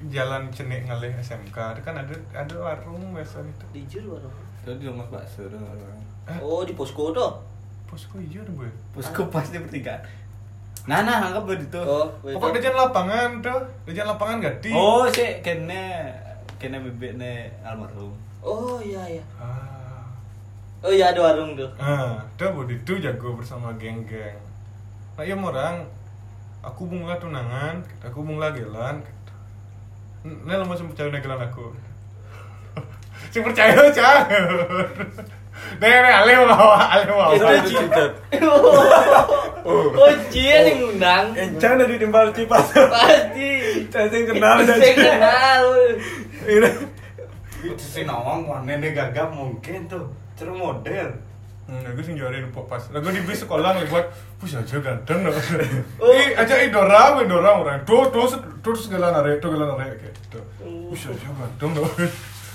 Speaker 2: jalan cenek ngalih SMK ada kan ada ada warung biasa gitu. itu
Speaker 4: Dijo luar.
Speaker 1: Tuh di rumah bakso tuh.
Speaker 4: Oh di posko tuh.
Speaker 2: posko hijau deh boy
Speaker 1: Pusku pas dia bertiga. Nah, nah, anggap begitu.
Speaker 4: Oh, begitu.
Speaker 2: pokok jalan lapangan tuh jalan lapangan gak di
Speaker 1: Oh, sih kena kena bebek nih almarhum.
Speaker 4: Oh iya iya.
Speaker 2: ah
Speaker 4: Oh iya ada warung tuh.
Speaker 2: Ah, dah bodi itu jago bersama geng-geng. Nah, iya orang aku mula tunangan, aku mula gelan. Ini lama sih percaya gelan aku. [LAUGHS] Sih percaya [LAUGHS] cah. Nih, nih, ale bawa, ale bawa.
Speaker 4: Itu
Speaker 3: Itu
Speaker 4: Ci.
Speaker 3: cicat.
Speaker 4: Oh Ci yang ngundang.
Speaker 2: Eh,
Speaker 3: Encang dari timbal cipas.
Speaker 4: Pasti.
Speaker 3: Cacing kenal dan
Speaker 4: Saya kenal.
Speaker 3: Ini
Speaker 1: Itu si nawang warnanya gagap mungkin tuh. Cerun model.
Speaker 2: Hmm, aku sih jualin pop pas. Lagu di bis sekolah nih buat, push aja ganteng loh.
Speaker 4: Oh.
Speaker 2: Ih, aja idora, idora orang. Tuh, tuh, tuh segala nare, tuh segala nare gitu. Push aja ganteng loh.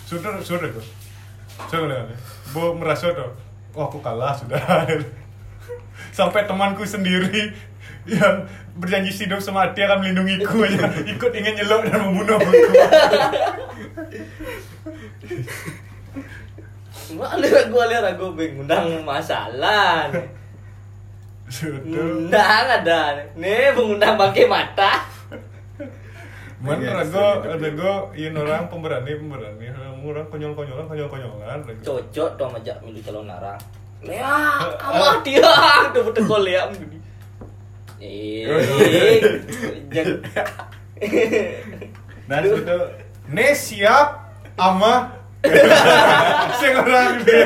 Speaker 2: Sudah, sudah tuh. Sudah nare. Bu merasa tuh, oh aku kalah sudah. Sampai temanku sendiri yang berjanji hidup semati akan melindungiku aja ikut ingin nyelok dan membunuhku.
Speaker 4: Cuma aliran gue aliran gue ngundang masalah. nih.
Speaker 2: Sudah.
Speaker 4: Ngundang ada. Nih mengundang pakai mata.
Speaker 2: Man
Speaker 3: Iya,
Speaker 2: rago,
Speaker 3: sedih, tapi-
Speaker 2: rago, ini orang pemberani, pemberani, orang konyol konyolan, konyol konyolan, rago.
Speaker 4: Cocok dong ajak milih calon narang. Ya, amah dia. Udah betul kau lihat begini. Eh, jangan.
Speaker 1: Nah, itu
Speaker 2: Ne siap, ama, [LAUGHS] sing orang ne,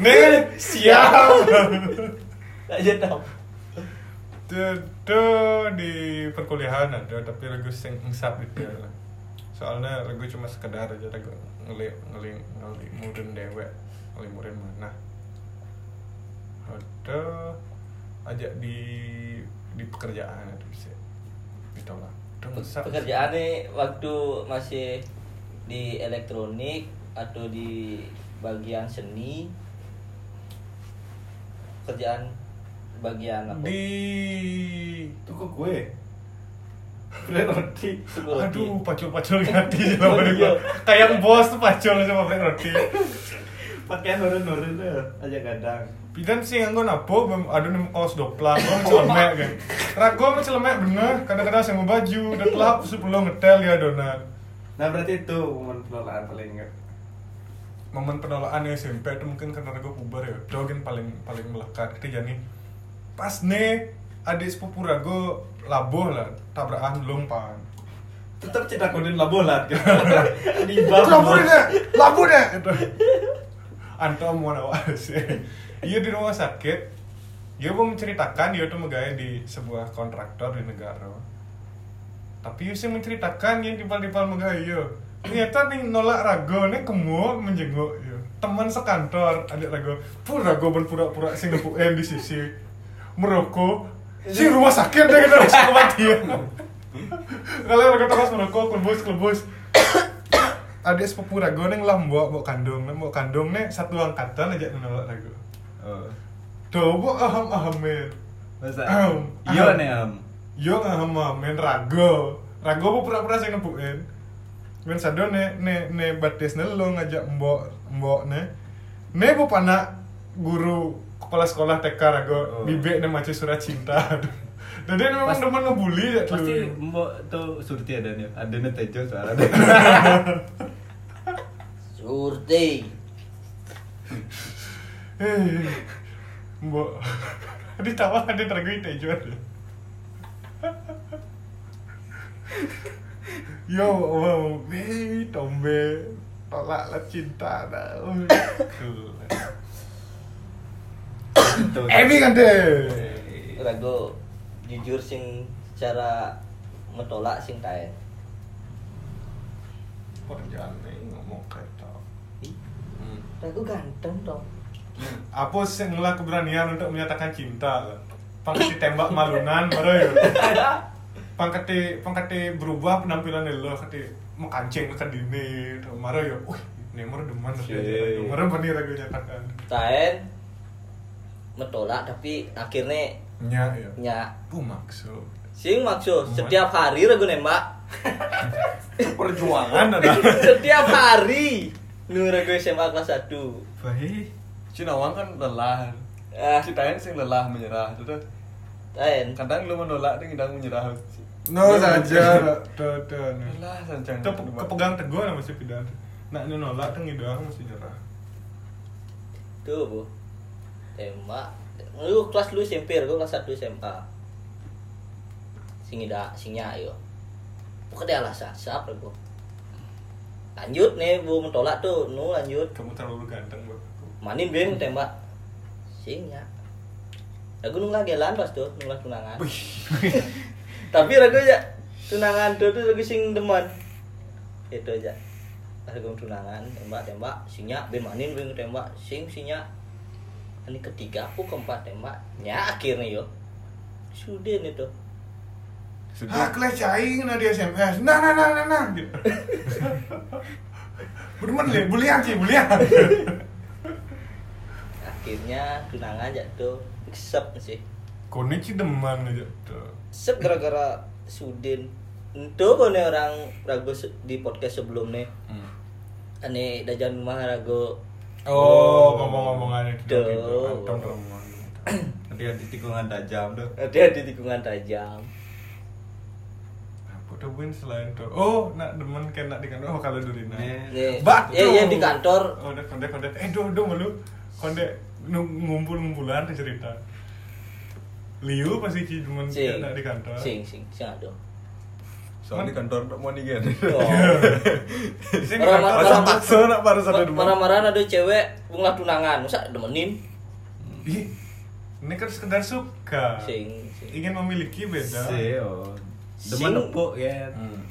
Speaker 2: ne siap.
Speaker 4: Aja tau.
Speaker 2: Itu di perkuliahan ada, tapi rago singngsap gitu lah. Soalnya rago cuma sekedar aja rago ngeli ngeli ngeli murin dewek, ngeli murin mana. Ada ajak di di pekerjaan itu bisa, gitu lah. Itu ngesap.
Speaker 4: Pekerjaannya waktu masih di elektronik atau di bagian seni kerjaan bagian apa?
Speaker 2: di
Speaker 1: Itu kok gue. Bread roti.
Speaker 4: Sebelum roti.
Speaker 2: aduh pacul-pacul ganti sama
Speaker 4: Iya.
Speaker 2: dia kayak bos tuh pacul sama bread roti
Speaker 1: Pakaian nurun-nurun deh. Aja kadang.
Speaker 2: Pidan sih yang gue nabo, bem- aduh nemu kaos doplang, gue celemek kan. Rago mah celemek bener, kadang-kadang saya mau baju, udah telah sebelum ngetel ya donat.
Speaker 1: Nah berarti itu momen penolakan paling enggak.
Speaker 2: Momen penolakan ya SMP itu mungkin karena Rago puber ya, dogen paling paling melekat. Ketika nih, pas nih adik sepupu Rago labuh lah, tabrakan lompan.
Speaker 1: Tetap cinta kodin [LAUGHS] labolat gitu. Di
Speaker 2: Labuh
Speaker 3: ya?
Speaker 1: bawah.
Speaker 2: deh, labuh deh. Gitu. Anto mau nawa sih. Iya di rumah sakit. Dia mau menceritakan dia tuh megaya di sebuah kontraktor di negara. Tapi Yusi menceritakan yang dipal-dipal megaya. yo. Ternyata nih nolak rago nih kemu menjenguk yo. Teman sekantor adik rago. Pur rago berpura-pura sing nepuk eh, di sisi merokok. Si rumah sakit deh kita harus kematian. Kalau rago terus merokok kelebus kelebus adik sepupu rago neng lah mbok mbok kandung neng mbok kandung neng satu angkatan aja neng nolak rago Oh. tuh mbok aham ahamin
Speaker 1: Masa?
Speaker 2: Ahem.
Speaker 1: Iya
Speaker 2: Ahem.
Speaker 1: nih Am.
Speaker 2: yo aham ahamin rago rago mbok pura pura sing nebuin men sado ne ne ne batis ne lo ngajak mbok mbok ne ne mbok pana guru kepala sekolah TK
Speaker 1: Oh.
Speaker 2: rago bibek ne maca surat cinta [LAUGHS] Jadi dia memang
Speaker 1: Pas-
Speaker 2: demen ngebully ya
Speaker 1: Pasti
Speaker 2: tuh.
Speaker 1: mbok tuh surti ada nih. Ada nih tejo suara. [LAUGHS]
Speaker 4: Surti.
Speaker 2: Hei, Mbok. [LAUGHS] Ditawa ada tergui tejo ada. Yo, wow, hei, tombe, tolak lah cinta dah. Emi kan deh.
Speaker 4: Rago jujur sing cara metolak sing tae.
Speaker 2: Perjalanan eh? ngomong kereta.
Speaker 4: Ih, Rago ganteng dong.
Speaker 2: Apa sih ngelah keberanian untuk menyatakan cinta? Pangkat ditembak malunan, baru ya. Pangkat pangkat berubah penampilan lo, kati mekancing ke dini, baru ya. Wih, Neymar demen tapi aja.
Speaker 1: Yeay.
Speaker 2: Neymar bener lagi nyatakan.
Speaker 4: Taen metolak tapi akhirnya
Speaker 2: Nya ya.
Speaker 4: nyak
Speaker 2: Bu maksud.
Speaker 4: sing maksud setiap hari Rago nembak.
Speaker 3: Perjuangan
Speaker 4: [LAUGHS] setiap hari. Nu Rago SMA kelas 1.
Speaker 3: Baik. Cinawang kan lelah.
Speaker 4: Ah.
Speaker 3: Citain sing lelah menyerah. Terus
Speaker 4: Taen.
Speaker 3: kadang lu menolak dia kadang menyerah.
Speaker 2: No
Speaker 3: saja.
Speaker 2: Tuh tuh.
Speaker 3: Lelah saja.
Speaker 2: Itu pe- kepegang teguh lah masih pidan. Nak ini nolak tengi doang masih nyerah.
Speaker 4: Tuh, Bu. Tembak. Lu kelas lu SMP, gua kelas 1 SMA. Sing ida, singnya yo. Pokoknya alasan siapa Bu. Lanjut nih, Bu mentolak tuh. Nu lanjut.
Speaker 2: Kamu terlalu ganteng buat aku.
Speaker 4: Manin bin tembak. Singnya. Lagu nunggu gelan pas tuh, nunggu tunangan. [LAUGHS] Tapi lagu ya tunangan tuh tuh lagu sing demen. Itu aja. Lagu tunangan, tembak tembak, singnya bin manin bin tembak, sing singnya. Ini ketiga aku keempat tembak, ya akhirnya yo. Sudah nih tuh.
Speaker 2: Hah, kelecehin nah di SMS. Nah, nah, nah, nah, nah. Gitu. Bermen leh, bulian sih, bulian.
Speaker 4: Akhirnya tunangan aja tuh. Sep sih.
Speaker 2: Kone sih demen aja tuh.
Speaker 4: Sep gara-gara Sudin. Itu kone orang ragu se- di podcast sebelumnya.
Speaker 3: Hmm.
Speaker 4: Ane dajan rumah ragu.
Speaker 2: Oh, ngomong-ngomongannya
Speaker 4: Duh.
Speaker 2: gitu. gitu. Antong ngomong.
Speaker 1: Nanti ada tikungan tajam tuh.
Speaker 4: Ada di tikungan tajam.
Speaker 2: Apa tuh win selain tuh? Oh, nak demen kan nak di kantor. Oh, kalau Durina.
Speaker 4: Nih,
Speaker 2: Batu.
Speaker 4: iya, iya, di kantor.
Speaker 2: Oh, udah konde konde. Eh, do do malu. Konde ngumpul ngumpulan cerita. Liu pasti sih demen
Speaker 4: Sing.
Speaker 2: nak di kantor.
Speaker 4: Sing sing sing aduh.
Speaker 3: Soalnya di kantor kan? tak mau nih
Speaker 4: Oh.
Speaker 2: [LAUGHS] Sing
Speaker 4: Orang-
Speaker 2: kantor.
Speaker 4: orang-
Speaker 3: paksa nak baru satu demen.
Speaker 4: Marah-marah ada cewek bunga tunangan, masa demenin?
Speaker 2: Ih, ini kan sekedar suka.
Speaker 4: Sing sing.
Speaker 2: Ingin memiliki
Speaker 1: Seo.
Speaker 2: beda.
Speaker 4: Sing.
Speaker 1: oh. Demen nepuk ya.
Speaker 3: Hmm.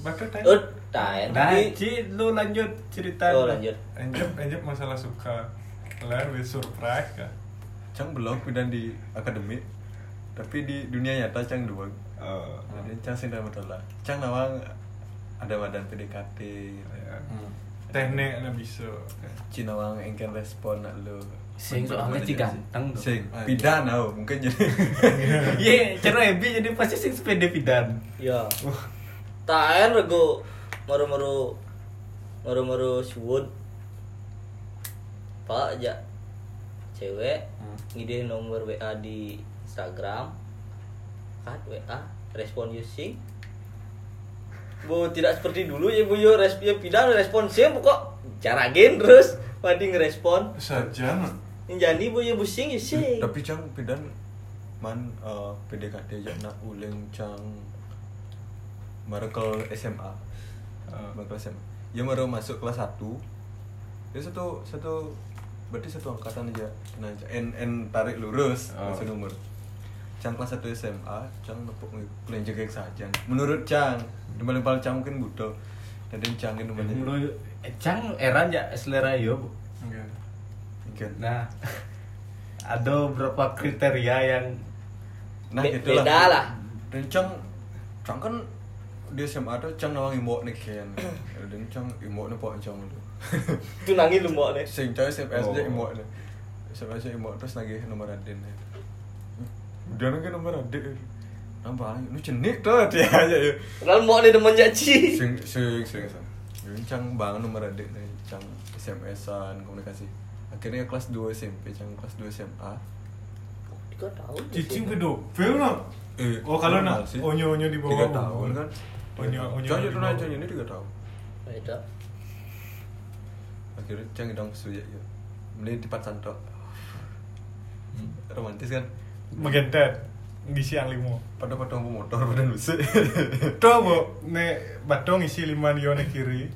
Speaker 2: Bakal
Speaker 4: Eh,
Speaker 2: tanya.
Speaker 4: taen.
Speaker 1: Nah,
Speaker 4: Tapi
Speaker 1: Ci, lu lanjut cerita.
Speaker 4: oh lanjut.
Speaker 2: Anjep, anjep masalah suka. Lah, with surprise kah?
Speaker 3: Cang belum pindah di akademik. Tapi di dunia nyata Cang dua.
Speaker 1: Oh.
Speaker 3: iya, Jadi Cang sih dah Cang nawang ada badan PDKT.
Speaker 2: Ya. teknik ada bisa
Speaker 3: Cina wang engken respon nak lu.
Speaker 1: Sing soalnya si ganteng tuh.
Speaker 3: Sing pidan tau mungkin jadi.
Speaker 1: [LAUGHS] Iya, cara Ebi jadi pasti sing sepeda pidan.
Speaker 4: [LAUGHS] Ya. Taen rego maru-maru maru-maru suwun. Pak ja cewek ngide nomor WA di Instagram. Kat WA respon using. Bu tidak seperti dulu ya Bu yo respon pidang respon sim kok jarakin terus mandi ngerespon.
Speaker 2: saja
Speaker 4: Jadi Bu yo busing using.
Speaker 3: Tapi cang pidan man eh, PDKT aja nak uling cang Marakel SMA.
Speaker 2: Ah.
Speaker 3: Marakel SMA. Ya baru masuk kelas 1. Ya satu satu berarti satu angkatan aja. Nah, en en tarik lurus
Speaker 2: Ah.
Speaker 3: masuk nomor. Cang kelas 1 SMA, Cang nepuk kuliah jegek saja. Menurut Cang, di paling paling Cang mungkin butuh. Dan dia Cangin namanya.
Speaker 1: Menurut Cang era ya selera yo. Bu.
Speaker 2: enggak
Speaker 3: Mungkin.
Speaker 1: Nah, [LAUGHS] ada beberapa kriteria yang
Speaker 3: Nah,
Speaker 4: Be-
Speaker 3: gitu lah.
Speaker 4: beda lah.
Speaker 3: Dan Cang, Cang kan di SMA tuh Cang nawang imbo nih
Speaker 4: [CLEARS THROAT]
Speaker 3: kan. Dan Cang imbo nih pak Cang dulu.
Speaker 4: Itu nangis lu mbok nih.
Speaker 3: Sing Cang SMS
Speaker 1: Oh.
Speaker 3: aja imbo nih. SMS aja imbo terus nagih nomor Adin nih. Udah nagih nomor Adin. Nambah lagi, lu cenik tuh [LAUGHS] dia aja ya.
Speaker 4: Padahal mbok nih demen jaci.
Speaker 3: Sing sing sing sing. Dan Cang bangun nomor Adin nih. Cang SMS-an komunikasi. Akhirnya kelas 2 SMP, Cang kelas 2 SMA.
Speaker 4: Tiga tahun.
Speaker 2: cicing
Speaker 4: sih.
Speaker 2: pedofil no
Speaker 3: Eh,
Speaker 2: oh kalau nak
Speaker 3: normal sih.
Speaker 2: onyo onyo di bawah
Speaker 3: Tiga tahun kan.
Speaker 2: onyo onyo
Speaker 3: Cang
Speaker 2: di
Speaker 3: itu
Speaker 2: bawah.
Speaker 3: naik Cang ini tiga tahun.
Speaker 4: Beda.
Speaker 3: akhirnya cang dong suya ya beli di pat santok
Speaker 2: Hmm.
Speaker 3: romantis kan
Speaker 2: Megentet di siang limo
Speaker 3: pada pada mau motor pada [LAUGHS] nusik
Speaker 2: itu bu ne batong isi lima dia ne kiri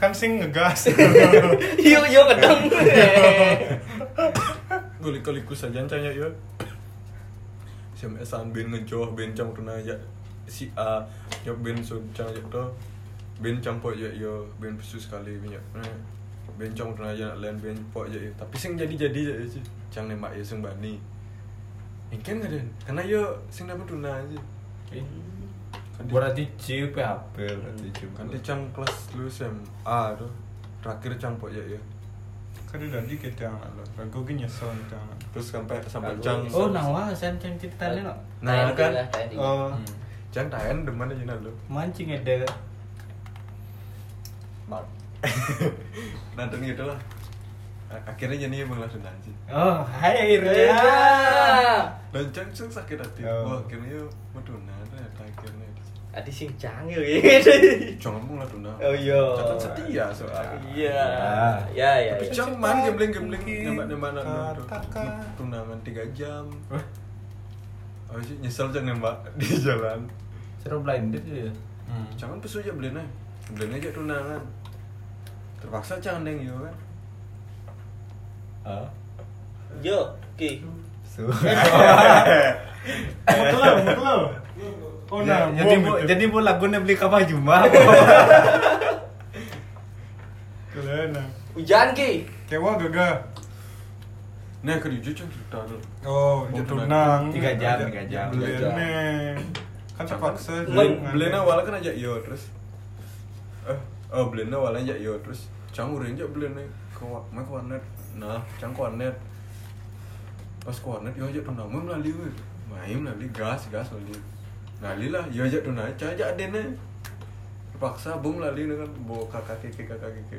Speaker 2: kan sing
Speaker 4: [LAUGHS]
Speaker 2: ngegas
Speaker 4: Yo yo kedeng.
Speaker 3: gulik gulikus saja cang ya ya SMS an ben ngejoh ben cang pernah ya si A ya ben so cang ya to ben cang po ya ya ben pesu sekali ben ya Eh, ben cang pernah ya lain ben po ya ya. tapi sing jadi jadi ya ya, sih cang nembak ya sing bani Ingin nggak Den? Karena yo sing dapat tuna aja.
Speaker 1: berarti C PHP berarti C
Speaker 3: kan dia cang kelas lu SMA tuh terakhir cang pok ya ya
Speaker 2: kan udah di kita anak lo ragu gini nyesel kita anak
Speaker 3: terus sampai sampai
Speaker 4: Lalu-
Speaker 3: cang
Speaker 1: Oh, nawa sen Cang cerita nih no.
Speaker 3: Nah,
Speaker 4: Tadi
Speaker 3: kan.
Speaker 4: lah, Eh, tadi.
Speaker 2: oh
Speaker 3: cang tayan demen aja nah [LAUGHS] lu
Speaker 1: Mancing ada
Speaker 3: mal nanti gitu lah A- akhirnya jadi emang langsung nanti
Speaker 1: Oh, hai
Speaker 4: Ya.
Speaker 3: dan cang sing sakit hati
Speaker 2: Oh.
Speaker 3: gua akhirnya meduna ternyata akhirnya
Speaker 4: Adi sing cangil gitu.
Speaker 3: cang emang lah duna
Speaker 4: Oh iya.
Speaker 3: Catat setia soalnya
Speaker 4: Iya. Ya ya.
Speaker 3: tapi
Speaker 4: ya.
Speaker 3: cang man gambling gambling nembak nembak nembak
Speaker 2: Katakan.
Speaker 3: nembak tunangan tiga jam oh sih nyesel cang nembak [LAUGHS] di
Speaker 4: Hmm.
Speaker 3: jalan
Speaker 1: Seru blinded ya.
Speaker 3: jangan pesu aja beliin aja beliin aja tunangan terpaksa jangan deng yo kan Ah,
Speaker 1: Oh.
Speaker 4: Yo,
Speaker 1: [LAUGHS]
Speaker 4: ki.
Speaker 1: Su.
Speaker 2: mutlak mutlak oh nah
Speaker 1: Ya, jadi bu, jadi bu lagunya beli kapal [LAUGHS] Jumat.
Speaker 2: kelena
Speaker 4: Hujan ki.
Speaker 2: kewa gagah
Speaker 3: nah aku jujur cang cerita dulu
Speaker 2: oh
Speaker 3: Oh,
Speaker 2: jatuh
Speaker 3: tunang.
Speaker 2: nang
Speaker 1: Tiga jam, tiga jam.
Speaker 2: beli
Speaker 3: Tiga jam.
Speaker 2: ne kan terpaksa
Speaker 3: beliin
Speaker 2: jadi
Speaker 3: beliin
Speaker 2: ngantuk.
Speaker 3: awalnya kan aja yo terus eh oh beliin awalnya aja yo terus cang urin aja beliin aja ke wa- main ke warnet nah cang ke warnet pas ke warnet yo aja tunang main lali we main lali gas gas lali lali lah yo aja tunang cang aja adene terpaksa bom lali dengan kan. bawa kakak keke kakak keke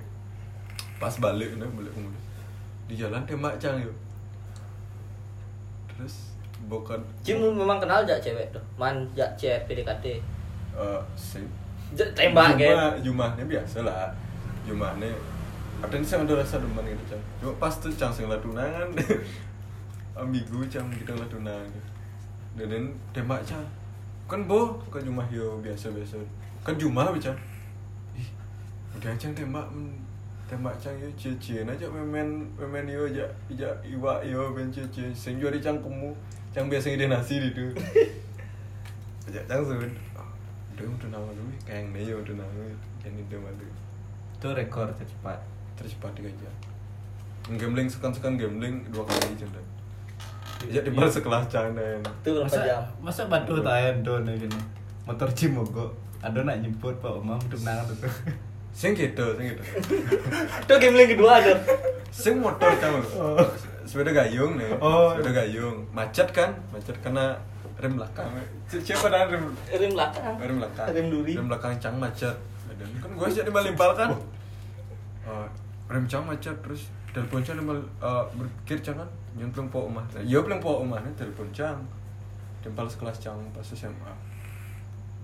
Speaker 3: pas balik nih balik umur di jalan tembak cang yo terus bukan
Speaker 4: Jim memang kenal jak cewek tuh. Man jak cewek PDKT.
Speaker 3: eh sih
Speaker 4: Jak tembak
Speaker 3: Jumah-
Speaker 4: kan.
Speaker 3: Jumahnya biasa lah. Jumahnya ada nih yang udah rasa demen gitu cang. Cuma pas tuh cang sing tunangan. Ambigu cang kita lah tunangan. Dan dan tembak cang. Kan bo, kan jumah yo biasa biasa. Kan jumah bi cang. Ih, udah cang tembak men- tembak cang yo cie aja memen memen yo aja aja iwa yo ben cie cie sing juari cang kemu cang biasa ide nasi gitu aja cang sun udah udah nama dulu kayak nih ya udah nama jadi udah malu
Speaker 1: Itu rekor tercepat.
Speaker 3: tercepat tiga jam gambling sekan sekan gambling dua kali aja udah ya di bar sekelas canen
Speaker 4: Itu berapa jam?
Speaker 1: masa batu tayan don gini. Motor cimogo. Ada nak jemput Pak Omam untuk nangan itu.
Speaker 3: sing gitu sing gitu
Speaker 4: Itu gambling kedua tuh.
Speaker 3: sing motor tau sepeda gayung nih
Speaker 2: Oh.
Speaker 3: sepeda gayung macet kan macet karena rem belakang Si- siapa dah rem
Speaker 4: Rim belakang.
Speaker 3: rem belakang
Speaker 4: Rem duri.
Speaker 3: rem belakang cang macet Dan kan gue jadi melimpal kan Eh, rem cang macet terus telepon cang limpal eh, berpikir cang kan yang belum po omah ya belum po omah nih telepon cang limpal sekelas cang pas SMA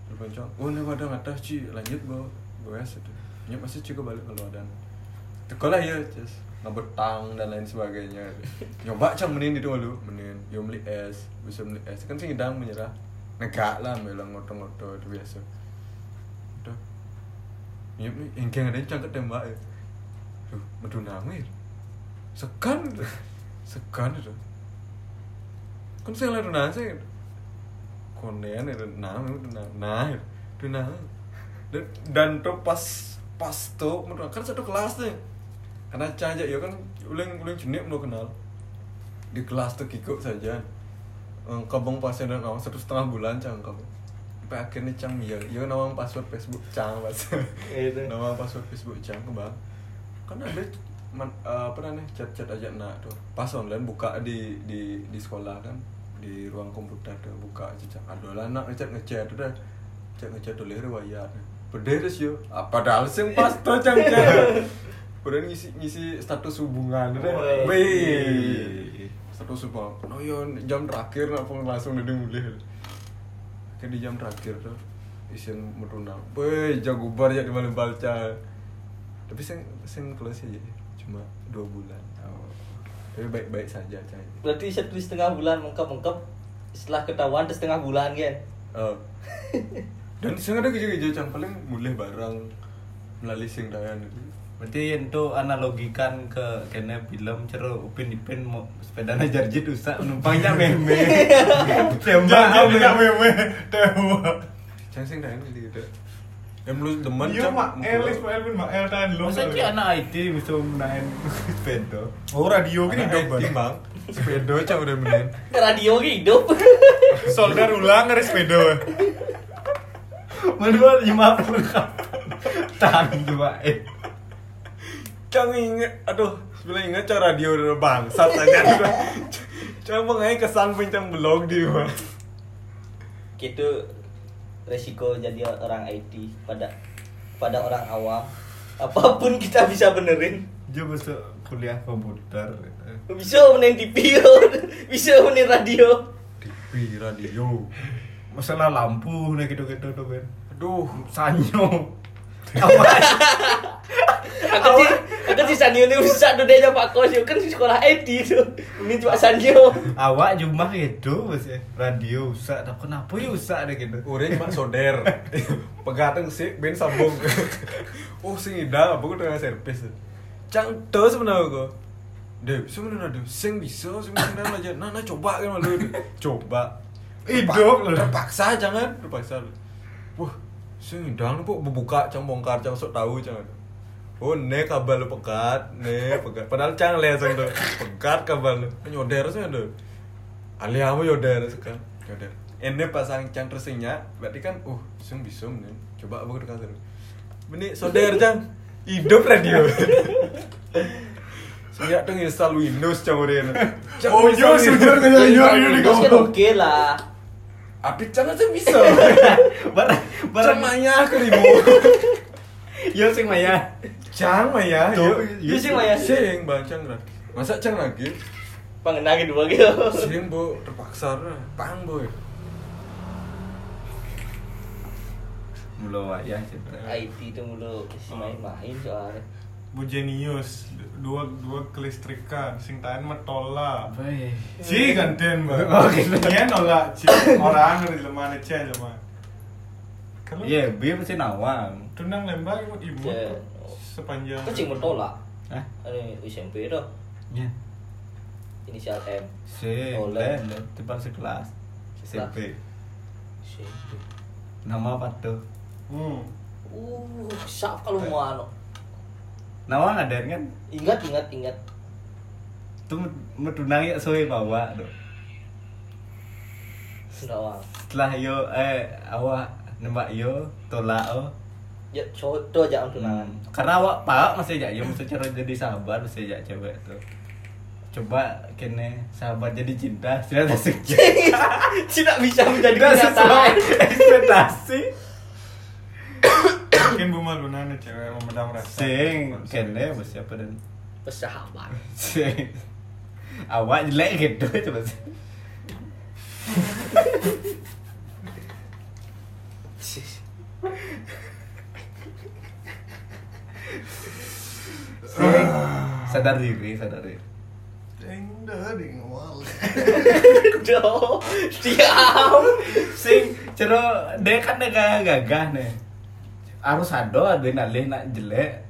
Speaker 3: telepon cang oh nih wadah ngatas ci lanjut bawa bawa itu nyok masih juga balik ke wadah sekolah ya cis ngebetang dan lain sebagainya nyoba cang menin di dulu menin yo beli es bisa beli es kan sih ngedang menyerah negak lah bilang ngotong-ngotong itu biasa udah Iya, nih, yang kayak ada cangket ya mbak ya. Duh, medu nangir. Sekan, gitu. sekan itu. Kan saya lihat nang saya. Konen itu nang, itu nang, nah, itu nang. Dan, dan tuh pas pas tuh, medu nang. kan satu kelas nih. Karena cajak ya kan, uling uling jenis belum kenal. Di kelas tuh kikuk saja. Eh, Kabung pasien dan awang satu setengah bulan cangkep. Sampai akhirnya cang ya, ya nawang password Facebook cang pas.
Speaker 4: Itu.
Speaker 3: nama password Facebook jam ke bang kan ada man, eh, apa namanya chat chat aja nak tuh pas online buka di di di sekolah kan di ruang komputer tuh buka aja chat ada lah nak ngechat ngechat tuh dah chat ngechat tuh leher wayar berderes yo Ah, apa dah sing pas tuh chat chat Udah ngisi ngisi status hubungan tuh dah
Speaker 4: Wih.
Speaker 3: Wih. status hubungan no yo jam terakhir nak pun langsung udah mulai kan di jam terakhir tuh isian meruna weh jago bar ya di malam balca tapi sen sen kelas aja ya, cuma dua bulan
Speaker 2: Oh.
Speaker 3: tapi baik baik saja cah
Speaker 4: Berarti satu setengah bulan mengkep-mengkep. Setelah ketahuan terus setengah bulan kan.
Speaker 3: Eh, dan sen ada kerja kerja cang paling mulai barang melalui sing dayan itu
Speaker 1: Berarti itu analogikan ke kene film ceru upin ipin mau sepeda jarjit rusak numpangnya meme.
Speaker 2: Jangan
Speaker 1: Tembak
Speaker 2: tidak wewe tembak.
Speaker 3: cang sing dayan gitu gitu yang lu demen
Speaker 2: Iya mak Elis mak Elvin mak El tahan lu.
Speaker 1: Masa ki anak IT bisa main sepeda.
Speaker 2: Oh radio gini dong
Speaker 3: Ini bang, sepeda cang udah menen.
Speaker 4: Ke radio ke hidup.
Speaker 2: Solder ulang dari sepeda.
Speaker 1: [LAUGHS] Menurut lima puluh Tahan dua eh.
Speaker 3: Cang inget, aduh, sebelah inget cang radio udah bangsat aja. Cang pengen kesan pencang blog di mana.
Speaker 4: [LAUGHS] gitu resiko jadi orang IT pada pada orang awam apapun kita bisa benerin
Speaker 1: Dia bisa kuliah komputer.
Speaker 4: bisa menin TV [LAUGHS] bisa menin radio
Speaker 3: TV, radio.
Speaker 1: Masalah lampu nih gitu-gitu tuh Ben.
Speaker 3: Aduh, [LAUGHS]
Speaker 1: Sanyo. Apa?
Speaker 4: aku sih aku sih Sanio ini usah tuh dia Pak Kos yo. kan di sekolah IT tuh ini cuma Sanio
Speaker 1: awak cuma gitu mas ya radio usah tak kenapa ya usah ada gitu
Speaker 3: urin mak soder. Pegateng sih, ben sambung. oh, sing ida, aku udah nggak servis. Cang terus sebenarnya gua. Deh, sebenarnya aduh, sing bisa, sing bisa dalam aja. Nah, nah coba kan malu. Coba.
Speaker 2: Hidup lu.
Speaker 3: Terpaksa jangan, terpaksa. lu. Wah, sing ida lu kok buka cang bongkar cang sok tahu cang. Oh, ne kabel lu pegat, ne pegat. Padahal cang leseng tuh. Pegat kabel lu. Nyoder sih tuh. Ali kamu yaudah suka yaudah ini pasang cang tersinya berarti kan uh sing bisa men coba aku ke kantor Bini saudara cang hidup radio Saya tuh install Windows cang udah Cang
Speaker 2: Oh
Speaker 3: install
Speaker 2: yo
Speaker 3: Windows.
Speaker 2: sebentar kayak yo yo di
Speaker 4: Terus kan
Speaker 2: kampung.
Speaker 4: oke lah
Speaker 3: Tapi cang aja bisa [LAUGHS]
Speaker 1: barang
Speaker 3: Cang
Speaker 1: barang
Speaker 3: maya aku ribu
Speaker 1: ya sing maya
Speaker 3: Cang maya
Speaker 1: Tuh,
Speaker 4: iya sing maya.
Speaker 3: Sing bang cang lagi Masa cang lagi?
Speaker 4: pengenangin dua gitu
Speaker 3: Sering bu terpaksa Pang ya. boy
Speaker 1: belum ya cerita
Speaker 4: IT itu mulu si main-main soalnya
Speaker 2: Bujenius dua dua kelistrikan sing tahan metola.
Speaker 3: Hmm.
Speaker 1: apa ya
Speaker 2: Ci gantian
Speaker 3: [LAUGHS]
Speaker 2: mbak.
Speaker 3: Oh,
Speaker 1: Oke.
Speaker 3: gitu.
Speaker 2: Iya nolak ci orang dari lemah nih cia lemah. Kalau
Speaker 3: Iya,
Speaker 1: ya bi mesti nawang
Speaker 2: tunang lembang imut imut
Speaker 4: Ya.
Speaker 2: sepanjang.
Speaker 4: kecil bertolak
Speaker 1: Hah?
Speaker 4: ini SMP tuh
Speaker 1: ya
Speaker 4: inisial M
Speaker 1: si
Speaker 4: Oleh.
Speaker 1: oleh depan sekelas SMP
Speaker 4: SMP
Speaker 1: nama apa tuh
Speaker 2: Hmm.
Speaker 4: Uh, siap kalau mau ano.
Speaker 1: nawang ada kan
Speaker 4: Ingat, ingat, ingat.
Speaker 1: tuh medunang ya soe bawa tuh
Speaker 4: Senawang.
Speaker 1: setelah yo eh awak nembak yo tolak oh
Speaker 4: ya contoh aja untuk tunangan
Speaker 1: Hmm. karena awak pak masih aja ya secara jadi sahabat masih aja cewek tuh coba kene sahabat jadi cinta tidak sesuai
Speaker 4: [LAUGHS] tidak bisa menjadi
Speaker 1: tidak [LAUGHS] sesuai
Speaker 4: kenyataan
Speaker 1: ekspektasi
Speaker 2: mungkin bumal benar nih cewek memendam rasa
Speaker 1: sing kene bos siapa dan
Speaker 4: [LAUGHS] persahabat
Speaker 1: sing awak jelek gitu coba sih Sing, sadar diri sadar diri
Speaker 2: indah di ngawal
Speaker 4: do diam
Speaker 1: sing cero dek kan dek gagah gagah nih harus ada ada nalih nak jelek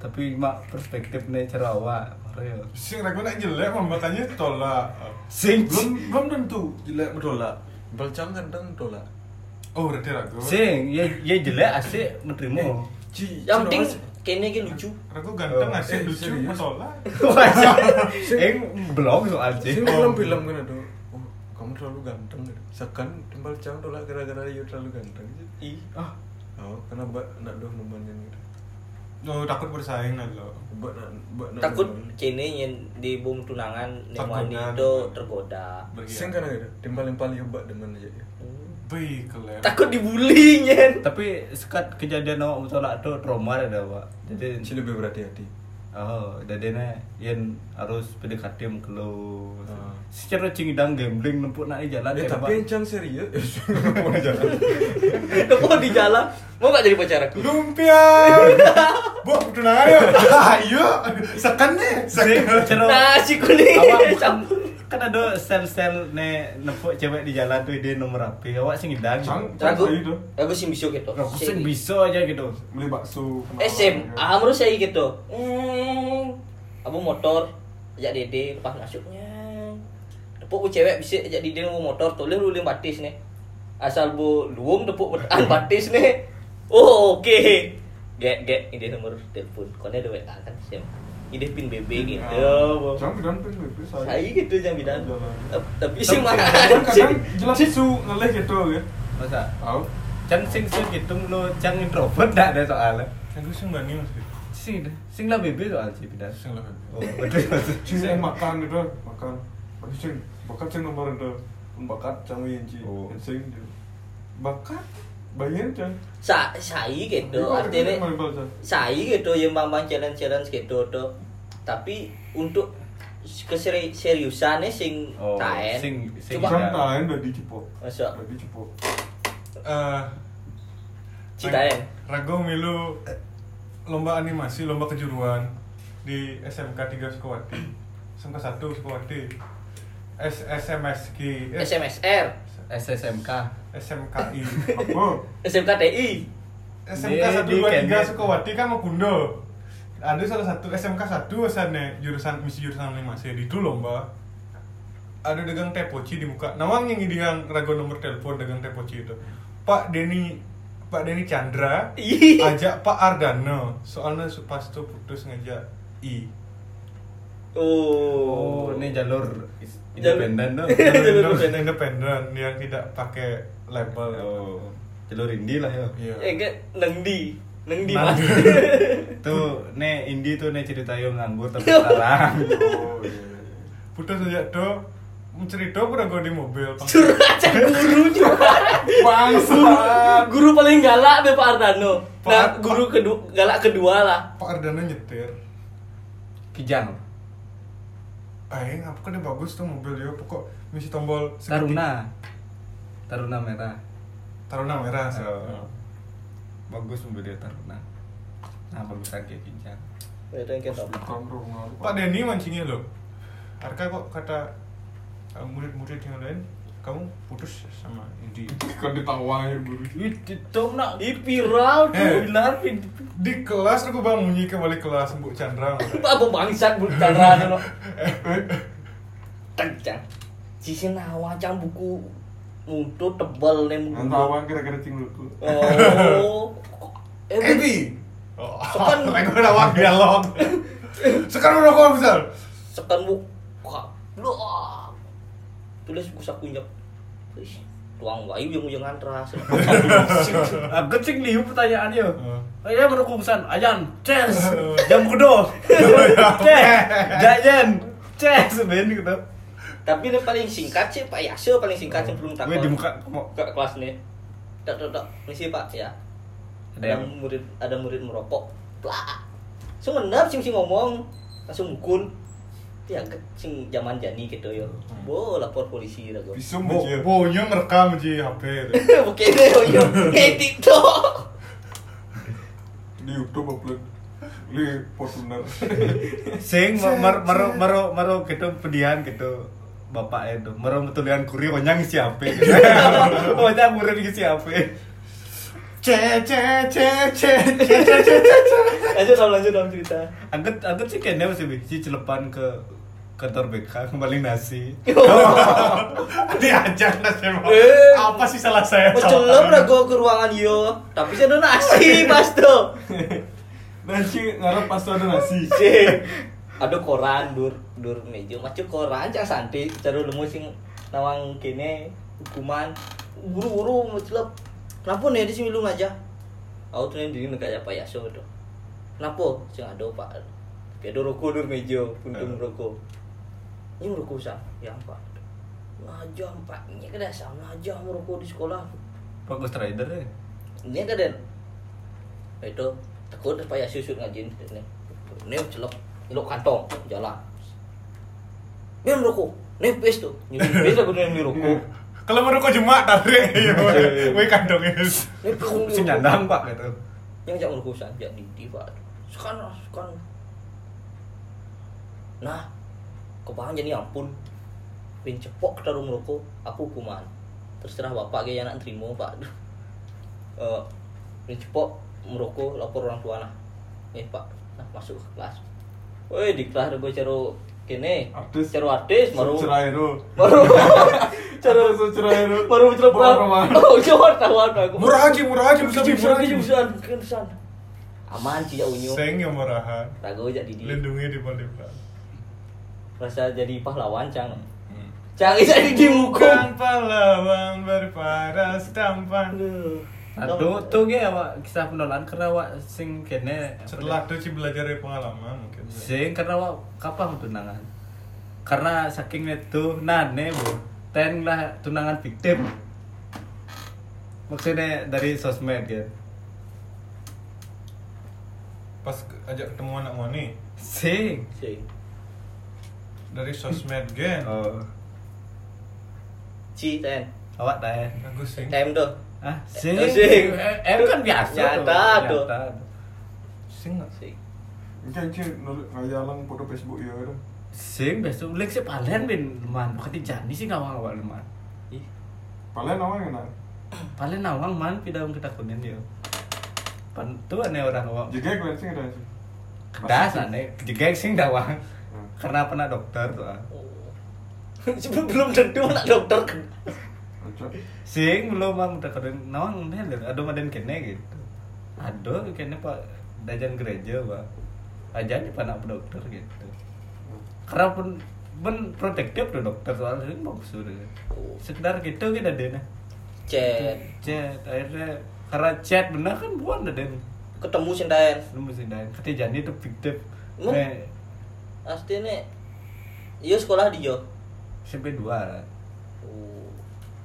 Speaker 1: tapi mak perspektif nih cero awak Oreo.
Speaker 2: sing ragu nak jelek mah makanya tolak
Speaker 1: sing
Speaker 4: [LAUGHS]
Speaker 3: belum belum tentu jelek menolak belcang kadang tolak
Speaker 2: oh berarti
Speaker 3: lah
Speaker 2: ragu
Speaker 1: sing ya ya jelek asik
Speaker 3: Oh.
Speaker 1: [LAUGHS] menerima
Speaker 3: Eh, Ci,
Speaker 4: Oh.
Speaker 3: cina
Speaker 4: yang penting [LAUGHS]
Speaker 3: mas-
Speaker 4: kene ki lucu
Speaker 2: ragu ganteng
Speaker 1: Oh,
Speaker 2: asik
Speaker 3: eh,
Speaker 2: lucu
Speaker 3: serius?
Speaker 2: menolak
Speaker 4: Eh,
Speaker 1: Eng belum soal
Speaker 3: Sing
Speaker 1: sih.
Speaker 3: film film kan ada. Oh, kamu terlalu ganteng. gitu. Sekan timbal cang tolak gara-gara you terlalu ganteng. gitu.
Speaker 4: Ih,
Speaker 1: Ah,
Speaker 3: Oh, karena mbak nak doh nemenin gitu.
Speaker 2: oh takut bersaing lah lo
Speaker 3: Mbak nak mbak nak.
Speaker 4: takut
Speaker 3: nemen.
Speaker 4: kene yang dibom tunangan
Speaker 2: Tergoda.
Speaker 4: nemani do tergoda
Speaker 3: Sing kan gitu. Timbal timbal you mbak demen aja ya.
Speaker 2: Bih, kelem.
Speaker 4: takut
Speaker 1: [LAUGHS]
Speaker 4: dibully nyen
Speaker 1: tapi sekat kejadian awak bertolak tu trauma ada awak. Jadi
Speaker 3: Ci lebih berhati-hati.
Speaker 1: Oh, jadi nih yang harus PDKT yang kelu.
Speaker 3: Ah.
Speaker 1: Secara cingidang gambling nempuk nak di jalan
Speaker 3: Eh,
Speaker 1: ya, Pak.
Speaker 3: tapi yang cang serius. [LAUGHS] Mau jalan.
Speaker 4: mau di jalan mau gak jadi pacar aku
Speaker 2: lumpia
Speaker 4: [LAUGHS]
Speaker 2: bu tunangan yuk [LAUGHS] ayo sekan nih
Speaker 3: [LAUGHS]
Speaker 1: Sing, cara
Speaker 4: nasi kuning
Speaker 1: awak
Speaker 4: [LAUGHS] campur
Speaker 1: kan ada sel-sel nih nempuk cewek di jalan tuh dia nomor HP. Awak singidang.
Speaker 2: Cang.
Speaker 4: aku
Speaker 2: Cang, itu.
Speaker 4: aku sih bisa gitu
Speaker 1: Aku sing bisa aja gitu.
Speaker 2: beli bakso
Speaker 4: SMA menurut saya gitu hmm, abu motor ajak dede lepas masuknya tepuk bu cewek bisa ajak dede nunggu motor tuh lu lulim batis nih asal bu luwung tepuk an batis nih oh oke get get ini nomor telepon kone ada WA kan sem ini pin BB gitu Bu.
Speaker 2: Jangan bidan pin bebe
Speaker 4: saya gitu jam bidan
Speaker 2: Jalan.
Speaker 4: Tep- tapi sih mah
Speaker 2: Kadang kadang jelas su ngeleh gitu ya.
Speaker 1: Masa?
Speaker 2: Tahu?
Speaker 1: Cang sing sing gitu lo cang introvert dah ada soalnya.
Speaker 2: Aku sih mbak Nimas gitu.
Speaker 1: Sing sing lah bebe soal sih pindah.
Speaker 2: Sing lah.
Speaker 1: Oh, betul.
Speaker 2: Sing saya makan itu makan. Tapi sing bakat sing nomor gitu. itu bakat cang winci.
Speaker 1: Oh.
Speaker 2: Sing gitu. bakat Iya, bayar cang.
Speaker 4: sa saya gitu artinya saya gitu yang mamang challenge challenge gitu tuh tapi untuk keseri seriusannya sing
Speaker 1: Oh,
Speaker 4: taen
Speaker 1: sing- sing
Speaker 4: cuma
Speaker 1: taen.
Speaker 2: Kan tahan udah dicepok.
Speaker 4: Masuk.
Speaker 2: Udah dicepok. Eh
Speaker 4: Citaen.
Speaker 2: Rago milu lomba animasi, lomba kejuruan di SMK 3 Sukawati. SMK 1 Sukawati. S SMSK, eh,
Speaker 4: SMSR
Speaker 1: SSMK.
Speaker 2: SMKI.
Speaker 4: Iya.
Speaker 2: Apa? Oh,
Speaker 4: SMKTI
Speaker 2: SMK
Speaker 1: Di- di
Speaker 2: 1 2
Speaker 1: Kenya.
Speaker 2: 3 Sukawati kan mau kundo. Ada salah satu SMK 1 sana jurusan misi jurusan animasi di itu lomba. Ada dagang tepoci di muka. Nawang yang dia rago nomor telepon dagang tepoci itu. Pak Denny Pak Denny Chandra
Speaker 1: [LAUGHS]
Speaker 4: Ih.
Speaker 2: ajak Pak Ardano soalnya su- pas itu putus ngajak
Speaker 1: [LAUGHS]
Speaker 2: I
Speaker 1: Oh,
Speaker 4: oh
Speaker 1: ini jalur is-
Speaker 4: Jalur-
Speaker 1: independen tuh.
Speaker 4: Jalur
Speaker 2: Independen.
Speaker 4: independen.
Speaker 2: independen yang tidak pakai label
Speaker 1: Oh, jalur indie lah ya.
Speaker 2: Iya.
Speaker 4: eh enggak neng di neng di
Speaker 1: Nah.
Speaker 4: mas [LAUGHS]
Speaker 1: Tuh, nih indie tuh nih cerita yang nganggur [LAUGHS] tapi sekarang.
Speaker 3: Oh iya. iya.
Speaker 2: putus ngajak do mencerita pura gue di mobil
Speaker 4: curhat cek guru curhat guru,
Speaker 2: bangsa
Speaker 4: guru paling galak be Pak Ardano
Speaker 2: Pak-
Speaker 4: nah guru kedua galak kedua lah
Speaker 2: Pak Ardano nyetir
Speaker 1: Kijang.
Speaker 2: Aing, apa kan dia bagus tuh mobil dia pokok misi tombol segitiga-
Speaker 1: Taruna. Taruna merah.
Speaker 2: Taruna merah sih.
Speaker 1: Oh. Bagus mobilnya Taruna. Nah, bagusan kayak Kijang.
Speaker 2: Pak Denny mancingnya loh Arka kok kata eh, murid-murid yang lain kamu putus sama Indi kan ditawa ya guru
Speaker 4: Iya.
Speaker 1: Itu dong nak
Speaker 4: di viral tuh
Speaker 2: Eh.
Speaker 1: benar pin.
Speaker 2: di kelas aku bang bunyi kembali kelas Mbok Chandra
Speaker 4: Pak apa bangsat bukan rano kencang cisin nawa cang buku mutu tebal nih mutu
Speaker 2: kira-kira cing dulu
Speaker 1: [LAUGHS]
Speaker 4: oh eh
Speaker 2: Ebi oh,
Speaker 4: Sepan.
Speaker 2: [LAUGHS] aku udah awak dialog sekarang udah kau misal
Speaker 4: sekan buka lu tulis buku saku nyep Wih, tuang wae ujung-ujungan
Speaker 1: [LAUGHS]
Speaker 4: teras
Speaker 1: Aku cing liu pertanyaannya.
Speaker 2: Hmm.
Speaker 1: Ayah berkungsan, iya, ajan, chess, jam kudo, [LAUGHS] chess, jajan, chess, ben gitu.
Speaker 4: tapi ini paling singkat sih pak Yasyo paling singkat sih belum takut
Speaker 1: Gue di muka, mau-
Speaker 4: ke kelas nih tak tak tak misi pak ya
Speaker 1: Ada
Speaker 4: ada
Speaker 1: yang-
Speaker 4: murid ada murid merokok plak sing bener sing sing ngomong langsung mukul ya ke- sing zaman jani gitu yo bo lapor polisi lah gue [LAUGHS]
Speaker 2: Visum
Speaker 3: Bo-
Speaker 2: aja. Bonya merekam aja HP. [LAUGHS] itu.
Speaker 4: bukan yo yo ngedit tuh
Speaker 3: di YouTube upload di Fortuner
Speaker 2: [LAUGHS]
Speaker 1: sing mer mer mer mer mer gitu pedian gitu bapak itu mer metulian kuri onyang isi HP [LAUGHS] gitu. onyang murid gitu ya, isi HP
Speaker 2: Ce ce ce ce ce.
Speaker 4: lanjut Ram, lanjut Ram cerita
Speaker 1: angkat angkat sih kayaknya masih biji celepan ke kantor BK kembali nasi
Speaker 2: [LAUGHS] Diajak lah saya mau.
Speaker 4: Eh.
Speaker 2: Apa sih salah saya?
Speaker 4: mau celem lah gue ke ruangan yo tapi saya ada [LAUGHS] nasi pas tuh
Speaker 3: nasi ngarep pas tuh ada nasi
Speaker 1: [LAUGHS]
Speaker 4: [LAUGHS] Cing. ada koran dur dur meja macam koran cak santai cara lemu sing nawang kene hukuman buru-buru mencelap kenapa nih di sini lu aja aku tuh nih di sini kayak apa ya so tuh kenapa cing ada pak tapi ada rokok dur meja puntung rokok ini merokok sam ya pak ngajam pak ini kada sam ngajam merokok di sekolah
Speaker 1: Pak Ghost Rider ya
Speaker 4: ini ada den itu takut supaya susut ngajin ini ini celok celok kantong jalan ini merokok ini pes tuh nyusun pes aku nih merokok
Speaker 2: Kalau merokok cuma tarik. Iya, Woi kandongnya.
Speaker 4: ini pes aku
Speaker 1: sing
Speaker 4: merokok.
Speaker 1: nyandang pak gitu
Speaker 4: yang jangan merokok saja di di pak sekarang sekarang nah kebangan jadi ampun pin cepok taruh merokok aku hukuman terserah bapak kayak anak terima pak [LAUGHS] Eh, pin cepok merokok lapor orang tua nah nih pak nah masuk ke kelas woi di kelas gue caro kene
Speaker 3: Artis.
Speaker 4: caro artis baru
Speaker 3: cerai
Speaker 4: [LAUGHS]
Speaker 3: lo
Speaker 4: baru caro
Speaker 3: Artis cerai lo [LAUGHS]
Speaker 4: baru celup
Speaker 3: Murah, murah.
Speaker 4: [LAUGHS] oh cuma wartawan aku
Speaker 2: Murah aja, murah aja bisa bisa.
Speaker 4: Kejusan, kejusan, kejusan. Aman sih ya unyu.
Speaker 2: Seng yang murahan.
Speaker 4: Ragu jadi di
Speaker 2: Lindungi di balik. Pak.
Speaker 4: rasa jadi pahlawan cang. Cang jadi di muka.
Speaker 2: Bukan pahlawan berparas tampan.
Speaker 1: Aduh, tuh ge awak kisah penolakan karena awak sing kene apa
Speaker 2: Setelah
Speaker 1: dia?
Speaker 2: itu sih belajar dari pengalaman mungkin.
Speaker 1: sing karena awak kapang tunangan. Karena saking itu nane bu, ten lah tunangan fiktif. Maksudnya dari sosmed gitu.
Speaker 2: Pas ke- ajak ketemu anak wani
Speaker 1: Sing.
Speaker 4: Sing.
Speaker 2: dari sosmed gen.
Speaker 1: Oh,
Speaker 4: Ci ten.
Speaker 1: awak tanya.
Speaker 2: Aku seng.
Speaker 4: Time tuh.
Speaker 1: Ah, sing.
Speaker 4: Eh, sing.
Speaker 1: Eh, Em kan biasa. tuh,
Speaker 4: Nyata tuh.
Speaker 1: nyata.
Speaker 2: Sing nggak?
Speaker 4: Sing.
Speaker 3: Jangan sih, ngayalang foto Facebook ya udah.
Speaker 1: Sing biasa. Lek si palen bin man, bukan jani sih ngawang awak man.
Speaker 4: Ih,
Speaker 3: Paling nama enak.
Speaker 1: Palen nawang man, pidang kita kunin dia. Pan tuh aneh orang awak.
Speaker 3: Juga kalian sih ada sih.
Speaker 1: Kedas aneh, jegek sing dawang. Karena pernah dokter tuh. ah.
Speaker 4: Oh. [LAUGHS] Sebelum belum tentu anak dokter.
Speaker 3: Cocok.
Speaker 1: Sing belum mang udah keren nawang nih aduh maden kene gitu. Aduh kene Pak dajan gereja, Pak. Ajan di panak dokter gitu. Karena pun ben protektif tuh dokter soalnya sing bagus udah. Sekedar gitu kita deh
Speaker 4: Chat.
Speaker 1: Chat akhirnya karena chat bener kan buan ada deh.
Speaker 4: Ketemu sih ten.
Speaker 1: Lu mesti dah kerja itu fiktif.
Speaker 4: Emang?
Speaker 1: Nih
Speaker 4: Pasti nih. Iya sekolah di yo.
Speaker 1: SMP 2 lah.
Speaker 4: Oh.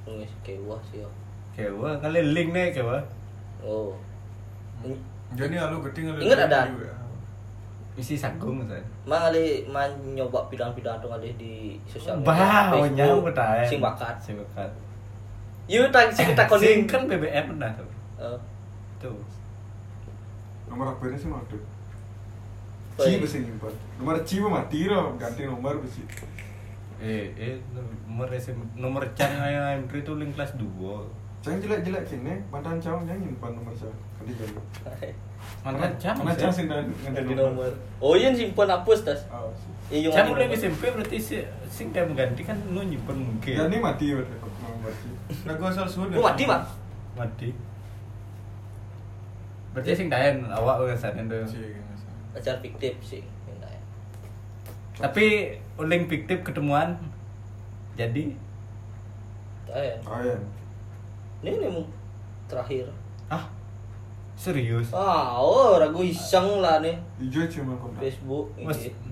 Speaker 4: Nunggu kewah sih yo.
Speaker 1: Kewa kali link nih kewa.
Speaker 4: Oh.
Speaker 2: Jadi lalu keting lalu.
Speaker 4: Ingat ada?
Speaker 1: Isi sagung misalnya.
Speaker 4: Mang kali man nyoba bidang-bidang tuh kali di sosial
Speaker 1: Bah,
Speaker 4: Facebook,
Speaker 1: onyang betah.
Speaker 4: Sing bakat.
Speaker 1: eh. Sing bakat.
Speaker 4: Yuk tak
Speaker 1: [LAUGHS]
Speaker 4: sing tak
Speaker 1: Sing
Speaker 4: koning.
Speaker 1: kan BBM nah tuh.
Speaker 4: Eh,
Speaker 1: Tuh.
Speaker 3: Nomor HP-nya sih mati.
Speaker 4: Baik.
Speaker 3: Ci bisa nyimpan. Nomor Ci mah mati loh, ganti nomor bisa.
Speaker 1: Eh, eh nomor SM, nomor cang ayah entry tuh link kelas 2.
Speaker 3: Jangan jelek-jelek kene, mantan cowok jangan nyimpan nomor saya. Ganti jadi.
Speaker 1: Mana cang?
Speaker 3: Mana cang sih
Speaker 1: Cang
Speaker 3: dan
Speaker 4: Ganti nomor. Oh, yen simpen hapus tas.
Speaker 3: Oh, sih.
Speaker 4: Iya, yang
Speaker 1: mulai
Speaker 4: ganti nomor.
Speaker 1: SMP berarti si, sing dia mengganti kan lu nyimpen mungkin.
Speaker 3: Jadi mati udah nomor Ci.
Speaker 2: Lagu asal sudah.
Speaker 4: Lu Oh, mati, Pak.
Speaker 1: Mati. Berarti
Speaker 4: Iya.
Speaker 1: sing dayan awak udah sanen
Speaker 2: Ci,
Speaker 1: tuh.
Speaker 2: nggak salah.
Speaker 4: Ajar fiktif sih. minta ya.
Speaker 1: Tapi link fiktif ketemuan jadi
Speaker 4: Tak ya.
Speaker 3: Oh ya.
Speaker 4: Ini nih mu- terakhir.
Speaker 1: ah serius
Speaker 4: Ah, oh, ragu iseng lah nih
Speaker 5: Ijo cuma kau tak.
Speaker 4: Facebook
Speaker 1: Mas,
Speaker 4: ini.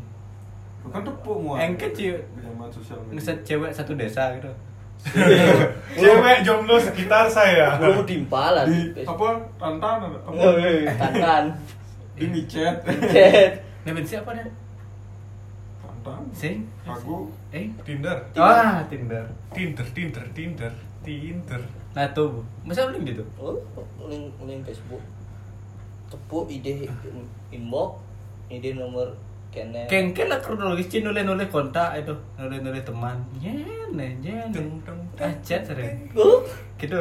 Speaker 5: Bukan tepuk mu.
Speaker 1: Engke, Ci.
Speaker 5: Zaman sosial media.
Speaker 1: ngeset cewek satu desa gitu
Speaker 2: Cewek jomblo sekitar saya.
Speaker 4: Belum timpa lah
Speaker 5: Di
Speaker 4: di Facebook.
Speaker 5: apa tantan ada apa?
Speaker 4: Eh, Tantan.
Speaker 5: Di micet.
Speaker 4: Chat.
Speaker 1: Ini bensin apa nih?
Speaker 5: Tantan.
Speaker 1: Sing?
Speaker 5: Aku
Speaker 1: Eh?
Speaker 2: Tinder,
Speaker 1: Ah, Tinder.
Speaker 2: Tinder, Tinder, Tinder, Tinder.
Speaker 1: Nah tuh, Bu. masa link gitu?
Speaker 4: Oh, link link Facebook. Tepuk ide inbox, ide nomor kene.
Speaker 1: Kengken lah kronologis Cin nulis nulis kontak itu, nulis nulis teman. Yen, yen. Ah, chat sering.
Speaker 4: Oh,
Speaker 1: Gitu.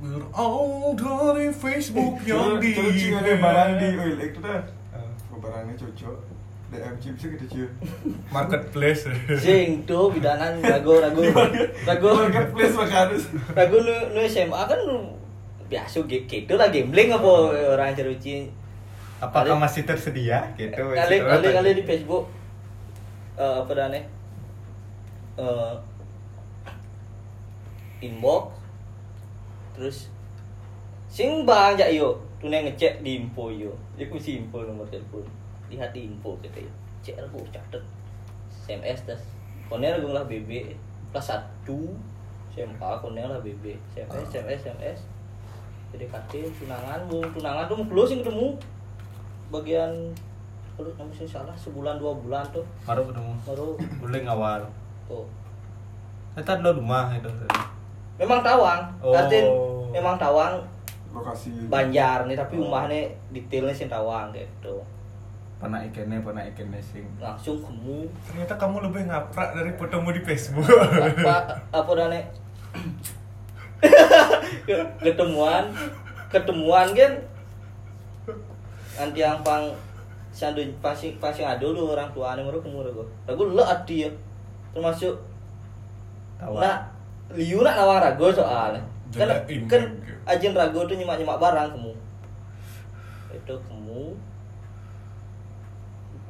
Speaker 2: Berawal dari Facebook yang di.
Speaker 5: Terus cing ada barang di oil iya, itu dah. Kau barangnya cocok. DM cing bisa kita cium.
Speaker 2: Marketplace.
Speaker 4: Sing tuh bidanan ragu ragu Oh, iya.
Speaker 3: [LAUGHS]
Speaker 4: ragu
Speaker 5: Marketplace
Speaker 3: kan.
Speaker 5: makanan.
Speaker 4: ragu nu nu SMA kan nu biasa ge- gitu lah gambling apa orang ceruci
Speaker 1: Apakah
Speaker 4: Kali-
Speaker 1: masih tersedia? Gitu.
Speaker 4: kali kali kali di Facebook eh, apa dah nih Eh, inbox terus sing bang jak yo tunai ngecek di info yo dia kunci info nomor telepon lihat di info kata yo cek aku catet sms tas koner gue lah bb plus satu SMA koner lah bb sms sms sms PDKT tunangan bu tunangan tuh belum sih ketemu bagian perut kamu sih salah sebulan dua bulan tuh
Speaker 1: Baru ketemu.
Speaker 4: baru
Speaker 1: Boleh ngawal.
Speaker 4: tuh
Speaker 1: Kita lo rumah gitu. itu.
Speaker 4: memang tawang
Speaker 1: Oh.
Speaker 4: artin memang tawang
Speaker 5: Lokasi.
Speaker 4: banjar nih tapi rumahnya detailnya sih tawang gitu
Speaker 1: Pernah ikannya, pernah ikannya sing.
Speaker 4: langsung kamu
Speaker 2: Ternyata kamu lebih ngaprak dari fotomu di Facebook.
Speaker 4: apa apa dah nek ketemuan ketemuan kan nanti yang pang sandu pasti pasti ada dulu orang tua ane baru kemur aku aku lo adi ya termasuk
Speaker 1: Tawang.
Speaker 4: nak liu nak nawang rago soalnya kan
Speaker 2: Jelain,
Speaker 4: kan
Speaker 2: gitu.
Speaker 4: ajin rago tuh nyimak nyimak barang kamu itu kamu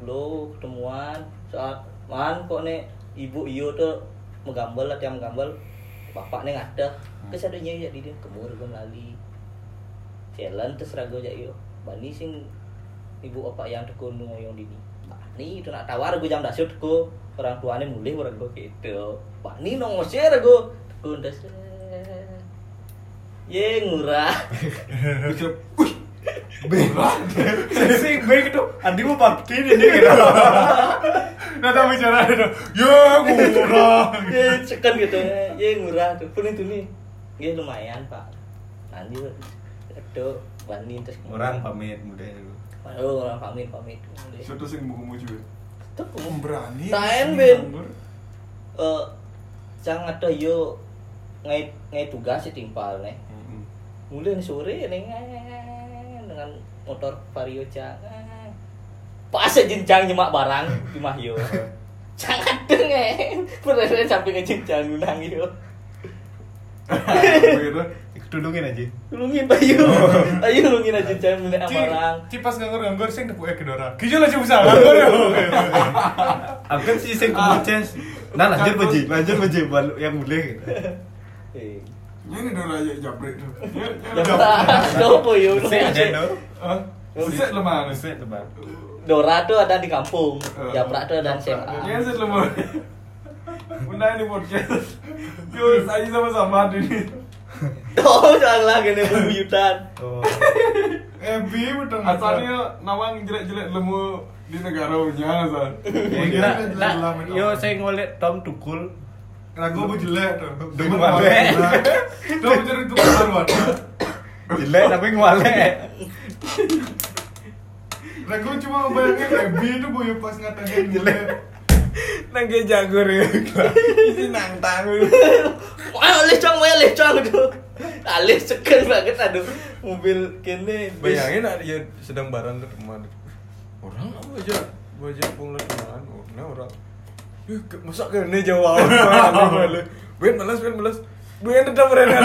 Speaker 4: lo ketemuan saat man kok nih ibu iyo tuh menggambel lah tiap menggambel bapak nih ngada kesadunya ya di dia kemur gue melali jalan terus ragu aja iyo bani sing ibu bapak yang tekono yang dini bani itu nak tawar gue jam dasar teko orang tuanya mulih orang gue gitu bani nong ya ngosir gue teko dasar ye ngurah
Speaker 5: Bisa. Wih. Berat.
Speaker 1: Sing, baik itu. Andi mau bakti ini gitu.
Speaker 2: [LAUGHS] Nah, tak bicara itu. Ya, murah.
Speaker 4: ya cekan gitu ya murah tuh pun itu nih ya lumayan pak nanti itu banding terus
Speaker 1: Orang pamit mudah dulu.
Speaker 4: oh orang pamit pamit
Speaker 5: Suatu sing mau juga.
Speaker 4: tuh
Speaker 5: Kamu berani.
Speaker 4: Taen,
Speaker 5: sing
Speaker 4: Ben.
Speaker 5: nganggur.
Speaker 4: eh jangan ada yo ngai ngai tugas sih timpal nih
Speaker 5: Mm-mm.
Speaker 4: mulai nih sore nih dengan motor vario jangan pas aja jenjang nyemak barang di mahyo
Speaker 5: [LAUGHS]
Speaker 4: jangan dengen berada sampai ke jenjang nunang yo
Speaker 5: Begitu.
Speaker 1: Tudungin aja.
Speaker 4: lungin
Speaker 5: [LAUGHS]
Speaker 4: bayu ayo lungin aja jangan nunang barang
Speaker 2: Cipas nganggur-nganggur sing tepuk kedora. Kijo lah bisa nganggur ya.
Speaker 1: Aku kan sih sing kemudian. Nah lanjut Beji, lanjut Beji Bal- yang boleh.
Speaker 5: Ya
Speaker 4: Eh.
Speaker 5: Ini udah raja jabrik tuh. Ya, ya.
Speaker 4: [LAUGHS] Dopo yo.
Speaker 1: Saya ada no.
Speaker 5: Hah?
Speaker 4: Ya,
Speaker 5: Buset lemah.
Speaker 1: Buset lemah.
Speaker 4: Dora tuh ada di kampung,
Speaker 5: Eh,
Speaker 4: Japrak tuh ada di
Speaker 5: Ya
Speaker 4: SMA.
Speaker 5: sih lemah. Bunda ini podcast. Yo, saya sama-sama di sini.
Speaker 4: [LAUGHS] Oh, jangan lah gini bubuyutan.
Speaker 1: Oh.
Speaker 2: Ebi udah
Speaker 5: Asalnya nawang jelek-jelek lemu di negara punya asal.
Speaker 1: Nah,
Speaker 3: kan
Speaker 1: nah, yo saya ngolek Tom Tukul.
Speaker 2: Ragu bu jelek tuh.
Speaker 1: Demen banget.
Speaker 2: Tuh mencari tukang baruan.
Speaker 1: Jelek tapi ngolek.
Speaker 2: Ragu cuma ngebayangin Ebi itu bu yang pas ngatain jelek.
Speaker 1: Nang ge jago ya.
Speaker 5: Isi nang tangan.
Speaker 4: Wah, lecong, wah, lecong aduh. Alih seger banget aduh. Mobil kene. bis.
Speaker 3: Bayangin ada dia sedang barang ke rumah ada. Orang apa aja Gua aja pun lah teman Orang Oh, orang Eh, ke- masa ke ini jawab Duit malas, duit malas Duit tetap berenang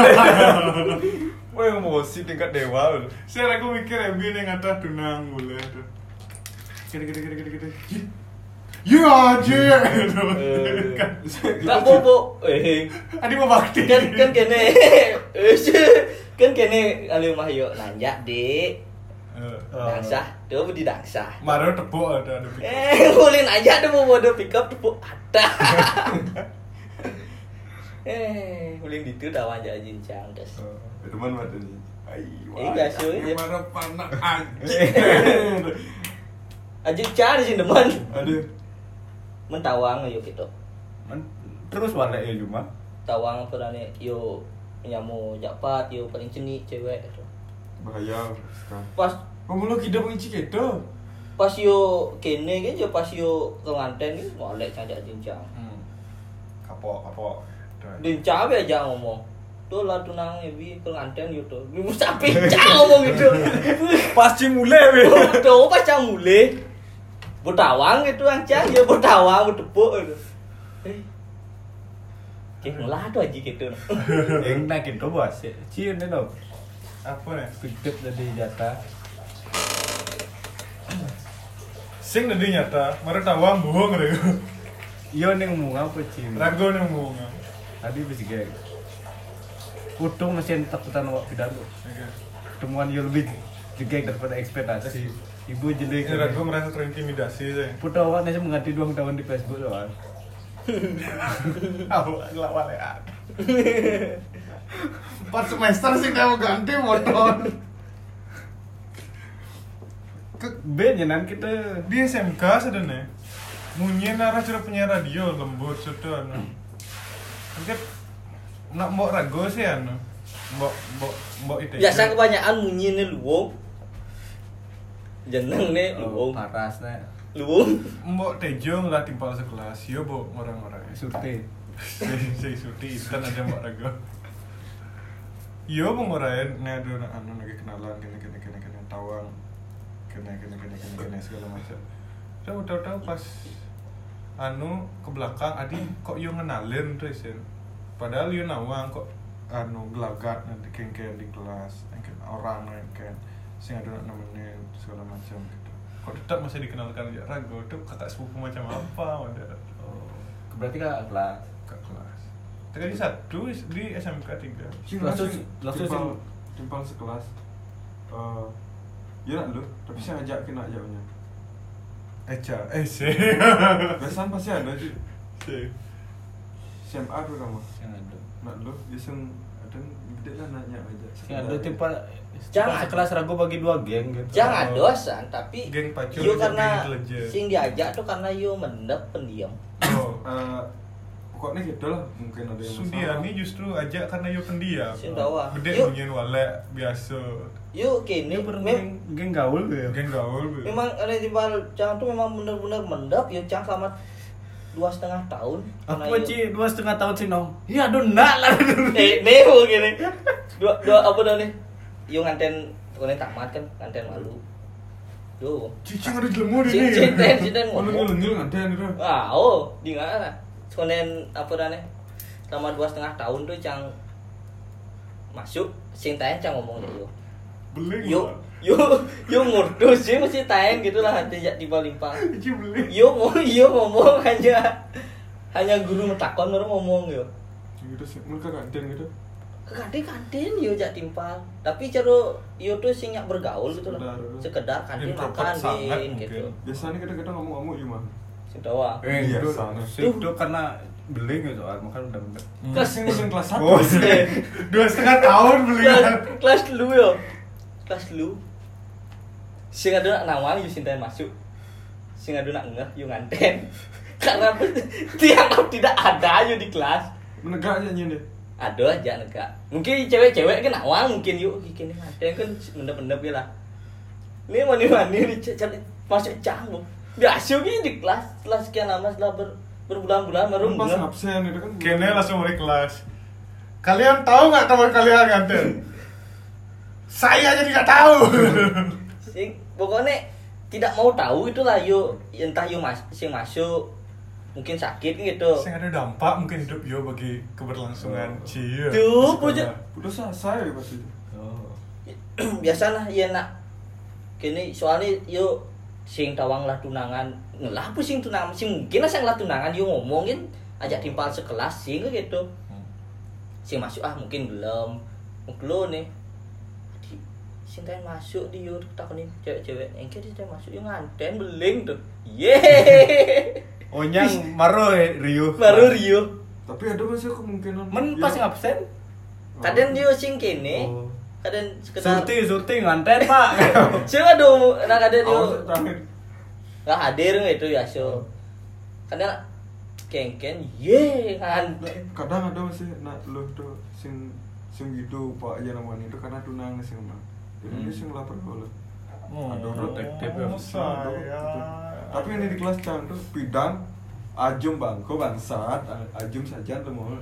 Speaker 2: [LAUGHS]
Speaker 3: Wah emosi tingkat dewa lu.
Speaker 2: Saya ragu mikir Ebi ini ngata tunang boleh tuh. Gede gede gede gede gede. you aja gitu.
Speaker 4: Kak bobo. Eh.
Speaker 2: Adi mau bakti.
Speaker 4: Kan kan kene. [LAUGHS] Eh, Kan kene ali mah yo nanya, Dik.
Speaker 2: Eh,
Speaker 1: Oh.
Speaker 4: Dangsah, dia budi dangsah.
Speaker 2: Baru tepuk ada ada pikir.
Speaker 4: Eh, [LAUGHS] ulin aja tuh mau bodoh pick up tuh ada. [LAUGHS] eh, ulin itu dah aja jincang guys.
Speaker 3: Oh.
Speaker 5: Teman mata ni. Ai.
Speaker 4: Eh, guys, yo.
Speaker 5: Ini mana panak anjing.
Speaker 4: Aja cari sih teman.
Speaker 5: Aduh.
Speaker 4: Mentawang yo gitu.
Speaker 1: Men- terus balik ya cuma
Speaker 4: Tawang perane yo nyamu japat yo paling ceni cewek.
Speaker 5: Bahaya sekarang.
Speaker 4: Pas
Speaker 5: Pemuluh kita pun cik itu.
Speaker 4: pas yo kene kan yo pas yo kelanten ni mau lek cajak jincang.
Speaker 2: Kapok kapok.
Speaker 4: Dincang aja aja ngomong. Tuh lah tunang ibi kelanten yo tuh. Lu sampai cang ngomong gitu.
Speaker 3: Pasti mulai weh.
Speaker 4: Bodoh pacar mulai Bertawang gitu anjang ya bertawang berdebuk gitu. Eh. Kayak ngulah tuh aja gitu.
Speaker 1: yang naik itu bos ya cium deh dong
Speaker 2: Apa nih?
Speaker 1: kejut dari jatah
Speaker 2: Sing tadi nyata, baru tawang bohong deh.
Speaker 1: iya nih ngomong apa cium
Speaker 2: Ragu nih ngomong.
Speaker 1: tadi bisa kayak kutung mesin takutan wak pidato
Speaker 2: Oke.
Speaker 1: temuan yang lebih jelek daripada ekspektasi ibu jelek
Speaker 2: Ini Ragu merasa terintimidasi sih.
Speaker 1: Putra awak nasi mengganti dua tahun di Facebook doang.
Speaker 2: Awak lawan ya. Empat semester sih kamu ganti modon.
Speaker 1: B nyenan ya, kita.
Speaker 2: Di SMK sedene. Munyi nara sudah punya radio lembut sudah. anu. Mungkin nak mbok ragu sih anu. Mbok mbok mbok itu.
Speaker 4: Biasa kebanyakan munyi nih luwung. Jeneng nih
Speaker 1: Oh,
Speaker 4: luwung.
Speaker 1: parasnya.
Speaker 4: Luwung.
Speaker 2: Mbok tejo lah timpal sekelas yo mbok orang-orang.
Speaker 1: Survei.
Speaker 2: Saya- Saya suti kan ada Iya, mbok ragu. Yo pengorain nih ada anak anu lagi kenalan kena kena kena kena tawang kena kena kena kena kena segala macam. Tahu tahu tahu pas anu ke belakang adi kok yo ngenalin terus ya. Padahal yo nawang kok anu gelagat nanti kengkeng di kelas kengkeng orang kengkeng sing ada nak nemenin segala macam gitu. Kok tetap masih dikenalkan ya ragu tuh kakak sepupu macam apa ada.
Speaker 1: Oh. Berarti kak kelas.
Speaker 2: Ke kelas. Terjadi satu di SMK tiga.
Speaker 1: Langsung- langsung
Speaker 5: timpal,
Speaker 1: sing-
Speaker 5: timpal sekelas. Eh, ya nak lu, tapi saya ajak kena jauhnya.
Speaker 2: [LAUGHS] Eca, eh si.
Speaker 5: Biasaan pasti ada sih.
Speaker 2: Si.
Speaker 5: SMA tu kamu.
Speaker 1: Yang ada.
Speaker 5: Nak lu, iseng ada gede lah nanya aja.
Speaker 1: Yang ada tipe.
Speaker 4: Jangan.
Speaker 1: Jangan sekelas ragu bagi dua geng gitu.
Speaker 4: Jangan dosan tapi
Speaker 2: Geng pacul
Speaker 4: yo
Speaker 2: juga
Speaker 4: karena
Speaker 2: geng intelijen.
Speaker 4: sing diajak tuh karena yo mendep pendiam.
Speaker 2: Oh.
Speaker 5: Eh, pokoknya gitu lah mungkin ada yang
Speaker 2: Sudiani Oh, justru ajak karena yo pendiam.
Speaker 4: Sing bawah.
Speaker 2: Bedek
Speaker 4: Yuk.
Speaker 2: mungkin walek biasa.
Speaker 4: Yo kene
Speaker 1: Ini pernah
Speaker 4: mem-
Speaker 1: geng, geng gaul tuh ya.
Speaker 2: Geng gaul. be.
Speaker 4: memang ada di bal cang tuh memang bener-bener mendep yo cang selama dua setengah tahun karena
Speaker 1: Apa
Speaker 4: yo-
Speaker 1: Ci? Dua setengah tahun sih nong. Nah, Iya aduh nak lah.
Speaker 4: [LAUGHS] eh neo gini dua dua apa dah nih yo nganten pokoknya tamat kan nganten malu yo
Speaker 2: Cicing ada jelemu di
Speaker 4: Cicing, Cicing, Cicing
Speaker 5: Ngulung
Speaker 4: ngomong
Speaker 5: ngulung ada yang itu.
Speaker 4: ah oh di mana konen apa dah nih selama dua setengah tahun tuh cang masuk sing tanya cang ngomong yo
Speaker 2: Beling.
Speaker 4: yo yo yo ngurdu sih mesti tanya gitulah hati jak tiba limpah
Speaker 2: Cicing beling.
Speaker 5: Iya,
Speaker 4: yo mau yo ngomong hanya hanya guru metakon baru ngomong yo
Speaker 5: Gitu sih, mereka ada yang gitu.
Speaker 4: kadang kantin yo jak timpal tapi cero yo tuh sing nyak bergaul gitu lah
Speaker 5: Sekedar.
Speaker 4: sekedar kantin
Speaker 2: Introvert
Speaker 4: makan
Speaker 2: sangat
Speaker 4: Din,
Speaker 2: mungkin.
Speaker 4: gitu
Speaker 5: Biasanya kadang-kadang ngomong-ngomong ya mah.
Speaker 4: sing tawa
Speaker 1: Eh
Speaker 5: Iya,
Speaker 1: itu
Speaker 5: sana.
Speaker 1: itu karena beling ya soal makan udah bener.
Speaker 4: Hmm.
Speaker 1: iya.
Speaker 5: Kelas ini yang kelas satu.
Speaker 2: Oh, si. Dua setengah tahun belingan.
Speaker 4: kelas kelas lu yo kelas lu sing ada nak nawang yo sintai masuk sing ada nak ngeh yo nganten [LAUGHS] karena dianggap tidak ada yo di kelas
Speaker 5: Menegak aja nyanyi deh.
Speaker 4: ada aja negak mungkin cewek-cewek kan awal mungkin yuk kini ada yang kan mendep-mendep ya lah ini mani-mani ini c- cari masuk canggung biasa gini di kelas kelas sekian lama setelah ber, berbulan-bulan baru
Speaker 5: Pas
Speaker 4: ngeh.
Speaker 5: absen itu kan.
Speaker 2: Kene langsung dari kelas. Kalian tahu nggak teman kalian nganten? Saya jadi nggak tahu.
Speaker 4: sing pokoknya tidak mau tahu itulah yuk entah yuk mas sing masuk mungkin sakit gitu [CLEARS THROAT]
Speaker 2: Sing ada dampak mungkin hidup yo bagi keberlangsungan cie.
Speaker 4: tuh puja
Speaker 5: Udah selesai ya pasti.
Speaker 1: Oh.
Speaker 4: iya, biasa lah ya nak kini soalnya yuk sing tawang lah tunangan ngelah apa sing tunangan sing mungkin lah sing lah tunangan yo ngomongin ajak timpal sekelas sing gitu sing masuk ah mungkin belum muklo nih di sing tadi masuk di yo takonin cewek-cewek engke di tadi masuk yo nganten beling tuh ye
Speaker 1: Onyang maro eh, Rio.
Speaker 4: baru Rio
Speaker 3: Tapi ada masih kemungkinan.
Speaker 1: Men pas
Speaker 3: Iya. Oh.
Speaker 1: absen.
Speaker 4: Oh. kadang yo sing kene
Speaker 1: Oh.
Speaker 4: kadang sekedar
Speaker 1: Surti, surti nganten, [LAUGHS] Pak.
Speaker 4: siapa dong nak ada
Speaker 2: Oh,
Speaker 4: yo
Speaker 3: Awas, Oh, terakhir.
Speaker 4: nggak hadir gitu ya so kadang kengken ye
Speaker 3: Nah,
Speaker 4: nganten
Speaker 3: kadang ada masih nak lo tuh sing sing gitu pak ya namanya itu karena tunang nih sing mah
Speaker 1: Hmm.
Speaker 3: jadi dia sing lapar boleh
Speaker 1: Oh.
Speaker 3: ada protektif ya ada gitu. tapi ini di kelas candu bidan ajum bangko bangsat ajum saja tuh mau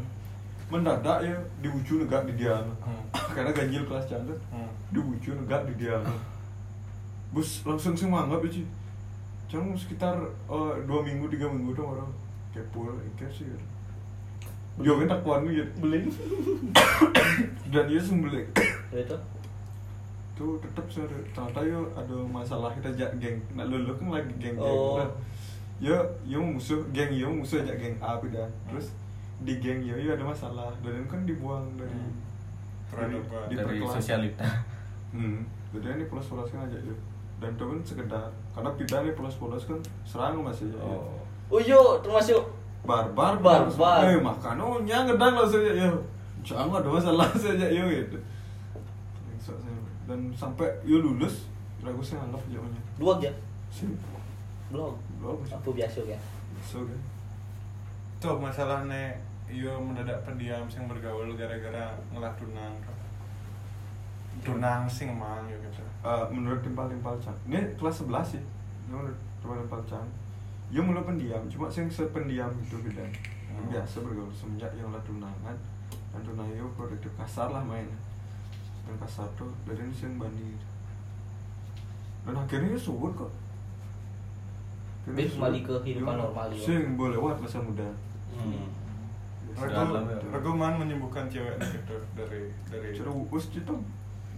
Speaker 3: mendadak ya di ujung negak di dia [LAUGHS] karena ganjil kelas candu
Speaker 2: Hmm.
Speaker 3: di ujung negak di dia bus langsung sing manggap ya Ci. Cuman sekitar eh, dua minggu tiga minggu dong orang kepo kayak sih ya. Yo kan takuan ya beli dan dia sembelih
Speaker 4: itu
Speaker 3: tuh tetap sih ada- ternyata yo ada masalah kita ajak geng nak lulu kan lagi geng geng
Speaker 4: Oh.
Speaker 3: kan yo yo musuh geng yo musuh ajak geng A beda terus di geng yo yo ada masalah dan kan dibuang dari
Speaker 2: Produk
Speaker 3: dari-
Speaker 2: Pak.
Speaker 3: di
Speaker 1: Dari
Speaker 3: perkelas.
Speaker 1: sosialita.
Speaker 3: hmm jadi ini polos polosnya aja yo dan itu kan sekedar karena pindah nih polos polos kan serang masih ya
Speaker 1: Oh.
Speaker 4: uyo termasuk
Speaker 3: barbar
Speaker 4: Barbar.
Speaker 3: eh makan oh nyang gedang langsung aja yo jangan ada masalah saja yo gitu Bangsat saya. dan sampai yo lulus ragu saya anggap jauhnya
Speaker 4: blog ya
Speaker 3: sih
Speaker 4: blog
Speaker 3: Blog.
Speaker 4: apa biasa ya
Speaker 3: so kan
Speaker 2: Tuh masalahnya yo mendadak pendiam sing bergaul gara-gara ngelah tunang. Tunang sing mang yo gitu.
Speaker 3: Eh, menurut timpal timpal cang ini kelas 11 sih Ini menurut timpal timpal cang yo mulu pendiam cuma sing sependiam itu beda
Speaker 4: Oh.
Speaker 2: Hmm.
Speaker 3: biasa bergaul semenjak yang lah tunangan dan tunang yo produktif kasar lah main yang kasar tuh dari ini sing bandi dan akhirnya yo subur kok Akhirnya
Speaker 4: Bih,
Speaker 3: subur.
Speaker 4: kembali ke kehidupan
Speaker 3: Yo,
Speaker 4: normal, yo.
Speaker 3: sing boleh lewat masa muda
Speaker 1: Hmm.
Speaker 2: Rego,
Speaker 1: Dalam ya.
Speaker 2: Rego man menyembuhkan cewek gitu dari dari
Speaker 3: cara uus gitu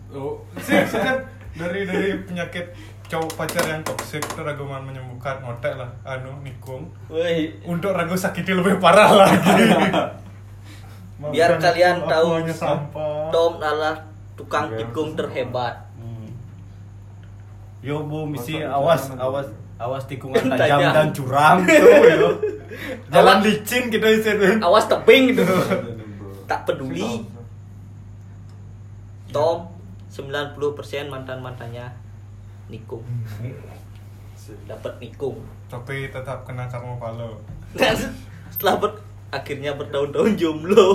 Speaker 2: Oh, sih, sih kan dari dari penyakit cowok pacar yang toksik itu raguman menyembuhkan ngotek lah anu nikung
Speaker 4: woi
Speaker 2: untuk ragu sakitnya lebih parah lagi Maafkan
Speaker 4: biar kalian
Speaker 2: aku,
Speaker 4: tahu
Speaker 2: aku hanya sampah Iya,
Speaker 4: Tom adalah tukang
Speaker 3: Biar
Speaker 4: tikung
Speaker 3: sampah.
Speaker 4: terhebat
Speaker 1: Hmm. Yo bu, misi
Speaker 3: Masa
Speaker 1: awas
Speaker 3: bicara
Speaker 1: awas awas [LAUGHS] tikungan
Speaker 4: Tajam.
Speaker 1: tajam dan curam tuh [LAUGHS] yo. Jalan licin gitu isinya.
Speaker 4: awas tebing
Speaker 2: [LAUGHS]
Speaker 4: gitu
Speaker 3: [LAUGHS]
Speaker 4: tak peduli Tom 90% mantan-mantannya nikung dapat nikung
Speaker 2: tapi tetap kena karma palo
Speaker 4: dan setelah ber- akhirnya bertahun-tahun jomblo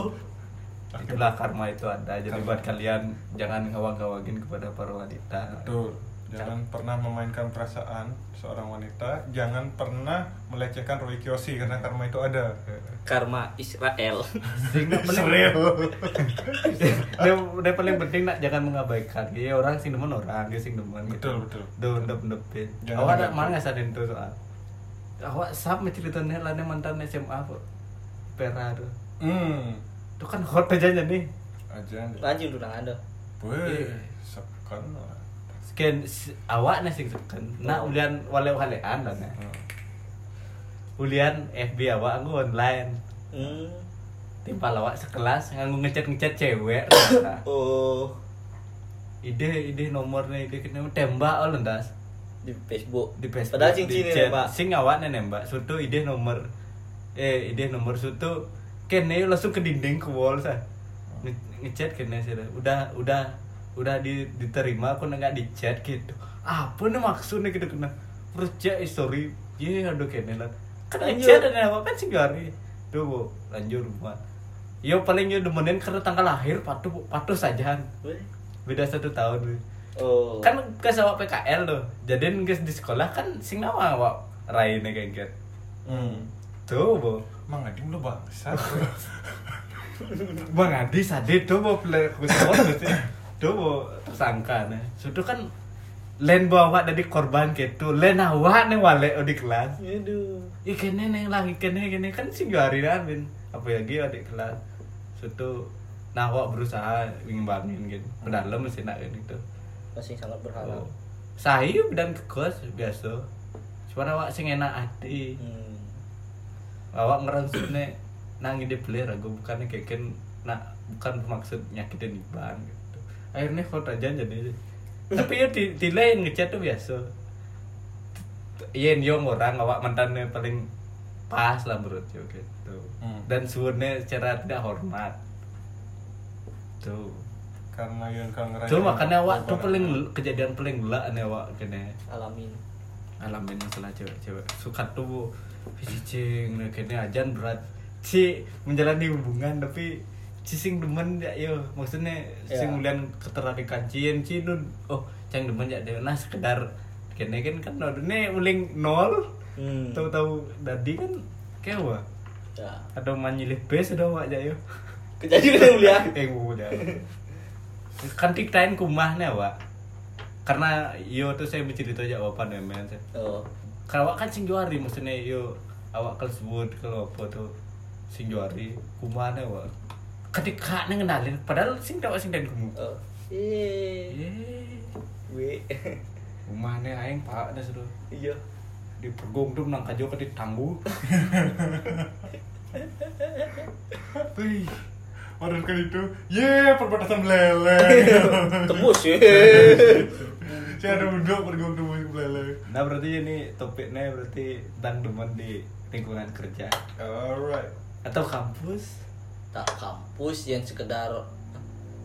Speaker 1: Itulah karma itu ada. Jadi buat kalian jangan ngawang-ngawangin kepada para wanita.
Speaker 2: betul jangan pernah memainkan perasaan seorang wanita jangan pernah melecehkan Roy Kiyoshi karena karma itu ada
Speaker 4: karma Israel
Speaker 1: Sing
Speaker 2: [LAUGHS]
Speaker 1: nak paling- dia, dia paling penting nak jangan mengabaikan. Ya orang sing demen orang, dia sing demen.
Speaker 2: Betul, betul.
Speaker 1: Duh, ndep ndepin.
Speaker 2: Jangan
Speaker 1: Awak nak
Speaker 2: mengabaikan.
Speaker 1: mana sadin tuh soal. Awak sab menceritanya lane mantan SMA kok. Pera tuh.
Speaker 2: hmm
Speaker 1: Itu kan hot aja nih.
Speaker 2: aja
Speaker 4: lanjut tunangan tuh
Speaker 2: Wih, sekan lah.
Speaker 1: Sekian s- awak nih sing sekan. Nah, ulian wale walean lah nah.
Speaker 2: Hmm.
Speaker 1: Ulian FB awak aku online.
Speaker 4: hmm.
Speaker 1: Timpal awak sekelas nganggo ngechat-ngechat cewek.
Speaker 2: [COUGHS]
Speaker 1: ternyata.
Speaker 4: oh
Speaker 1: ide ide nomornya ide kena tembak oleh ndas.
Speaker 4: di Facebook
Speaker 1: di Facebook
Speaker 4: padahal
Speaker 1: di
Speaker 4: cincin
Speaker 1: chat.
Speaker 4: ya pak
Speaker 1: sing awak nenek mbak sutu ide nomor eh ide nomor sutu kene langsung ke dinding ke wall sah Nge- ngechat kene sih dah. udah udah udah di- diterima aku nggak di chat gitu apa nih maksudnya gitu kena terus cek eh, sorry ye aduh kene lah kan
Speaker 4: Lanjut.
Speaker 1: ngechat dan apa kan sih hari tuh bu lanjut buat yo paling yo demenin karena tanggal lahir patuh patuh saja
Speaker 4: Weh.
Speaker 1: beda satu tahun weh
Speaker 4: oh
Speaker 1: kan ke sama PKL tuh jadi guys di sekolah kan sing nawa wak rai nih kayak gitu.
Speaker 2: Hmm.
Speaker 1: tuh bu
Speaker 2: Mang Ading lu bangsa.
Speaker 1: bang Adi sade tuh bu play kusawat gitu tuh bu tersangka nih sudah kan lain bawa dari korban gitu lain awak nih wale di kelas
Speaker 4: aduh
Speaker 1: ikan neng lagi kene kene kan sing hari kan bin apa lagi adik kelas sudah nah wak berusaha ingin bangun gitu pedalem mesin nak gitu
Speaker 4: Oh. masih sangat berharap
Speaker 1: Saya dan ke kos biasa. Suara awak sing enak hati.
Speaker 4: Hmm.
Speaker 1: Awak ngerensutne nang ide beler aku bukannya keken nak bukan bermaksud nyakitin Iban gitu. Akhirnya kau tajan
Speaker 2: [LAUGHS]
Speaker 1: jadi. Tapi ya di, di lain ngechat tuh biasa. Yen yo orang awak mantannya paling pas lah menurut yo gitu.
Speaker 2: Hmm.
Speaker 1: Dan suwene secara tidak hormat. Tuh.
Speaker 2: karena yang kangen
Speaker 1: Tuh makanya awak tuh paling kejadian paling gelak nih awak kene.
Speaker 4: alamin
Speaker 1: ngalamin masalah cewek-cewek suka tuh cicing kayaknya ajan berat si menjalani hubungan tapi cicing demen ya yo maksudnya
Speaker 4: Ya.
Speaker 1: sing kemudian ketertarikan cien ci nun oh cang demen ya deh nah sekedar kene kan kan no ini uling nol
Speaker 4: Hmm.
Speaker 1: tahu-tahu tadi kan kewa
Speaker 4: ya
Speaker 1: atau manyilih base udah wak ya yo
Speaker 4: kejadian yang mulia
Speaker 1: [LAUGHS] eh udah kan tiktain kumahnya wak karena yo tuh saya bercerita aja apa nih ya, men saya
Speaker 4: oh
Speaker 1: kalau awak kan sing juari maksudnya yo awak kalau sebut kalau apa tuh sing juari kumane awak ketika neng kenalin padahal sing tak awak sing dan kumu
Speaker 4: oh eh
Speaker 1: eh
Speaker 4: we
Speaker 1: kumane aing pak dah suruh
Speaker 4: [LAUGHS] iya
Speaker 1: di pergong tuh nang kajo ke
Speaker 4: [LAUGHS]
Speaker 1: tangguh
Speaker 2: Wih, Orang kali kan itu, ye perbatasan belele.
Speaker 4: tembus ya [LAUGHS]
Speaker 2: Saya ada duduk pergi waktu mau belele.
Speaker 1: nah berarti ini topiknya berarti tentang teman di lingkungan kerja
Speaker 2: Alright.
Speaker 1: atau kampus
Speaker 4: tak kampus yang sekedar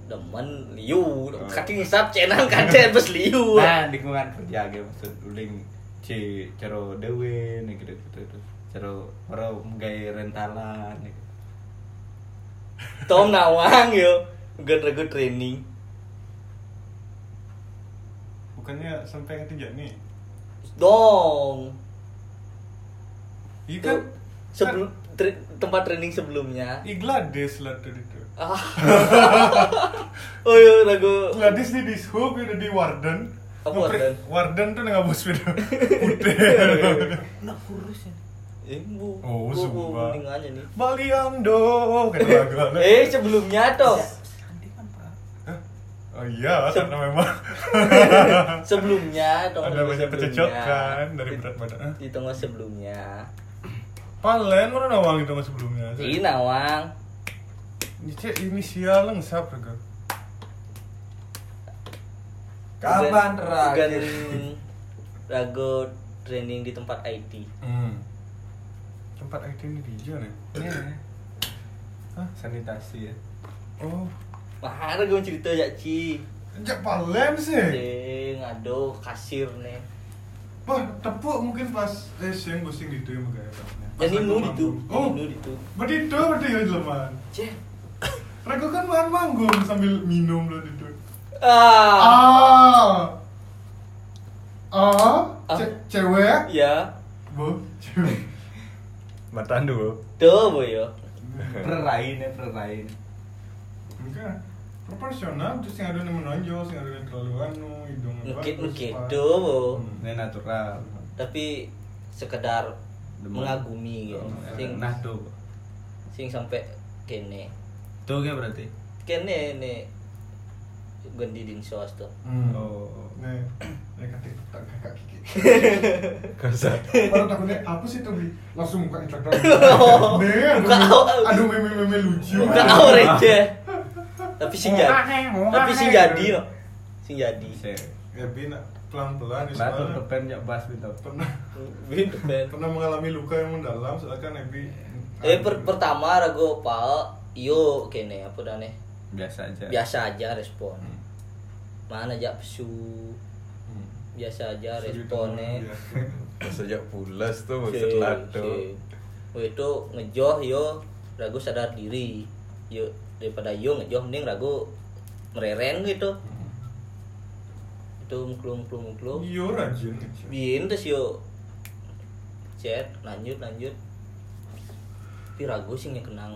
Speaker 4: demen liu
Speaker 2: Ah.
Speaker 4: kaki ngisap cenan
Speaker 2: [LAUGHS]
Speaker 4: kacen bes liu
Speaker 1: nah lingkungan kerja gitu maksud uling c caro dewe nih gitu gitu gitu caro orang gay rentalan nih gitu.
Speaker 4: tom nawang yo gede-gede training
Speaker 2: Bukannya sampai yang ketiga nih?
Speaker 4: dong
Speaker 2: Iya kan?
Speaker 4: Tuh, sebelum tri- tempat training sebelumnya
Speaker 2: Ih Gladys lah tuh itu.
Speaker 4: ah oh iya lagu
Speaker 2: Gladys di dishub udah di warden. Ngeprik-
Speaker 4: Apa Oh, warden?
Speaker 2: Warden tuh nggak bos
Speaker 4: [LAUGHS]
Speaker 2: video. Putih.
Speaker 4: nak kurus ya eh bu
Speaker 2: Oh,
Speaker 4: bu, bu
Speaker 2: Zumba.
Speaker 4: mending aja nih
Speaker 2: Baliang do,
Speaker 4: [LAUGHS]
Speaker 2: kayak lagu
Speaker 4: eh sebelumnya toh
Speaker 2: Oh iya,
Speaker 4: Sep-
Speaker 2: karena
Speaker 4: [LAUGHS]
Speaker 2: memang
Speaker 4: sebelumnya toh
Speaker 2: Iya. ada banyak kecocokan dari berat badan. Hah?
Speaker 4: di tengah sebelumnya
Speaker 2: Palen mana nawang itu mas sebelumnya?
Speaker 4: ini nawang
Speaker 2: Ini cek inisial lang siapa ke?
Speaker 5: Kapan
Speaker 4: Bukan
Speaker 5: terakhir?
Speaker 4: [LAUGHS] lagu training di tempat IT
Speaker 2: Hmm. Tempat IT ini di hijau nih.
Speaker 4: Iya.
Speaker 2: Hah?
Speaker 1: sanitasi ya
Speaker 2: Oh,
Speaker 4: Mahar gue cerita ya Ci
Speaker 2: jak palen sih.
Speaker 4: Cing, aduh kasir nih
Speaker 2: Wah, tepuk mungkin pas eh siang gue sing gitu ya makanya pasnya. Pas
Speaker 4: Jadi
Speaker 2: aku
Speaker 4: nu
Speaker 2: manggung.
Speaker 4: itu,
Speaker 2: Oh,
Speaker 4: nu itu
Speaker 2: berarti itu berarti ya jelmaan.
Speaker 4: Cek
Speaker 2: Rego kan makan manggung sambil minum lo itu.
Speaker 4: Ah,
Speaker 2: Ah, ah,
Speaker 4: Ah.
Speaker 2: ce- cewek,
Speaker 4: ya,
Speaker 2: bu, cewek.
Speaker 3: Matan dulu.
Speaker 4: tuh boyo.
Speaker 1: prerain ya prerain
Speaker 2: Enggak, proporsional terus yang ada yang menonjol, yang ada yang terlalu anu, hidung
Speaker 4: Ngekit
Speaker 2: bagus,
Speaker 4: ngekit
Speaker 2: Pak.
Speaker 4: tuh, bo.
Speaker 2: Hmm.
Speaker 1: ini natural
Speaker 4: tapi sekedar
Speaker 1: Demen.
Speaker 4: mengagumi gitu.
Speaker 1: Oh,
Speaker 4: Sing,
Speaker 1: nah tuh
Speaker 4: sing sampai kene,
Speaker 1: tuh kayak berarti
Speaker 4: kene nih gendi dinsos tuh.
Speaker 2: Hmm.
Speaker 1: oh
Speaker 2: Nih, ini kaki tak kakak
Speaker 4: [LAUGHS]
Speaker 2: kiki.
Speaker 3: Kasar.
Speaker 2: Baru takutnya apa sih tuh Bi? langsung buka Instagram.
Speaker 4: [LAUGHS] Oh.
Speaker 2: Nih,
Speaker 4: Buka oh. au-
Speaker 2: aduh meme-meme lucu.
Speaker 4: Bukan au receh. tapi sing jadi, tapi sing jadi no. Sing jadi.
Speaker 1: bisa
Speaker 2: Ya Bi, nak pelan-pelan ya,
Speaker 1: nah tuh
Speaker 2: soalnya
Speaker 1: kepen ya bas bintang
Speaker 2: pernah
Speaker 4: Win ben.
Speaker 2: pernah mengalami luka yang mendalam soalnya kan Ebi
Speaker 4: Tapi Eh, per- pertama rago pal iyo kene apa dah nih
Speaker 1: biasa aja
Speaker 4: biasa aja respon
Speaker 2: Hmm.
Speaker 4: mana aja pesu
Speaker 2: Hmm. iya.
Speaker 4: biasa aja Oh,
Speaker 2: Sujud
Speaker 4: responnya [LAUGHS]
Speaker 2: dulu,
Speaker 3: Sejak pulas tuh
Speaker 4: Si-
Speaker 3: setelah
Speaker 4: si-
Speaker 3: tuh.
Speaker 4: Weh, Oh, itu ngejoh yo ragu sadar diri yo daripada yo ngejoh mending ragu mereren gitu itu mengklung mengklung
Speaker 2: ya.
Speaker 4: mengklung
Speaker 2: Iya rajin kecil.
Speaker 4: biin terus yo chat lanjut lanjut tapi ragu sih yang kenang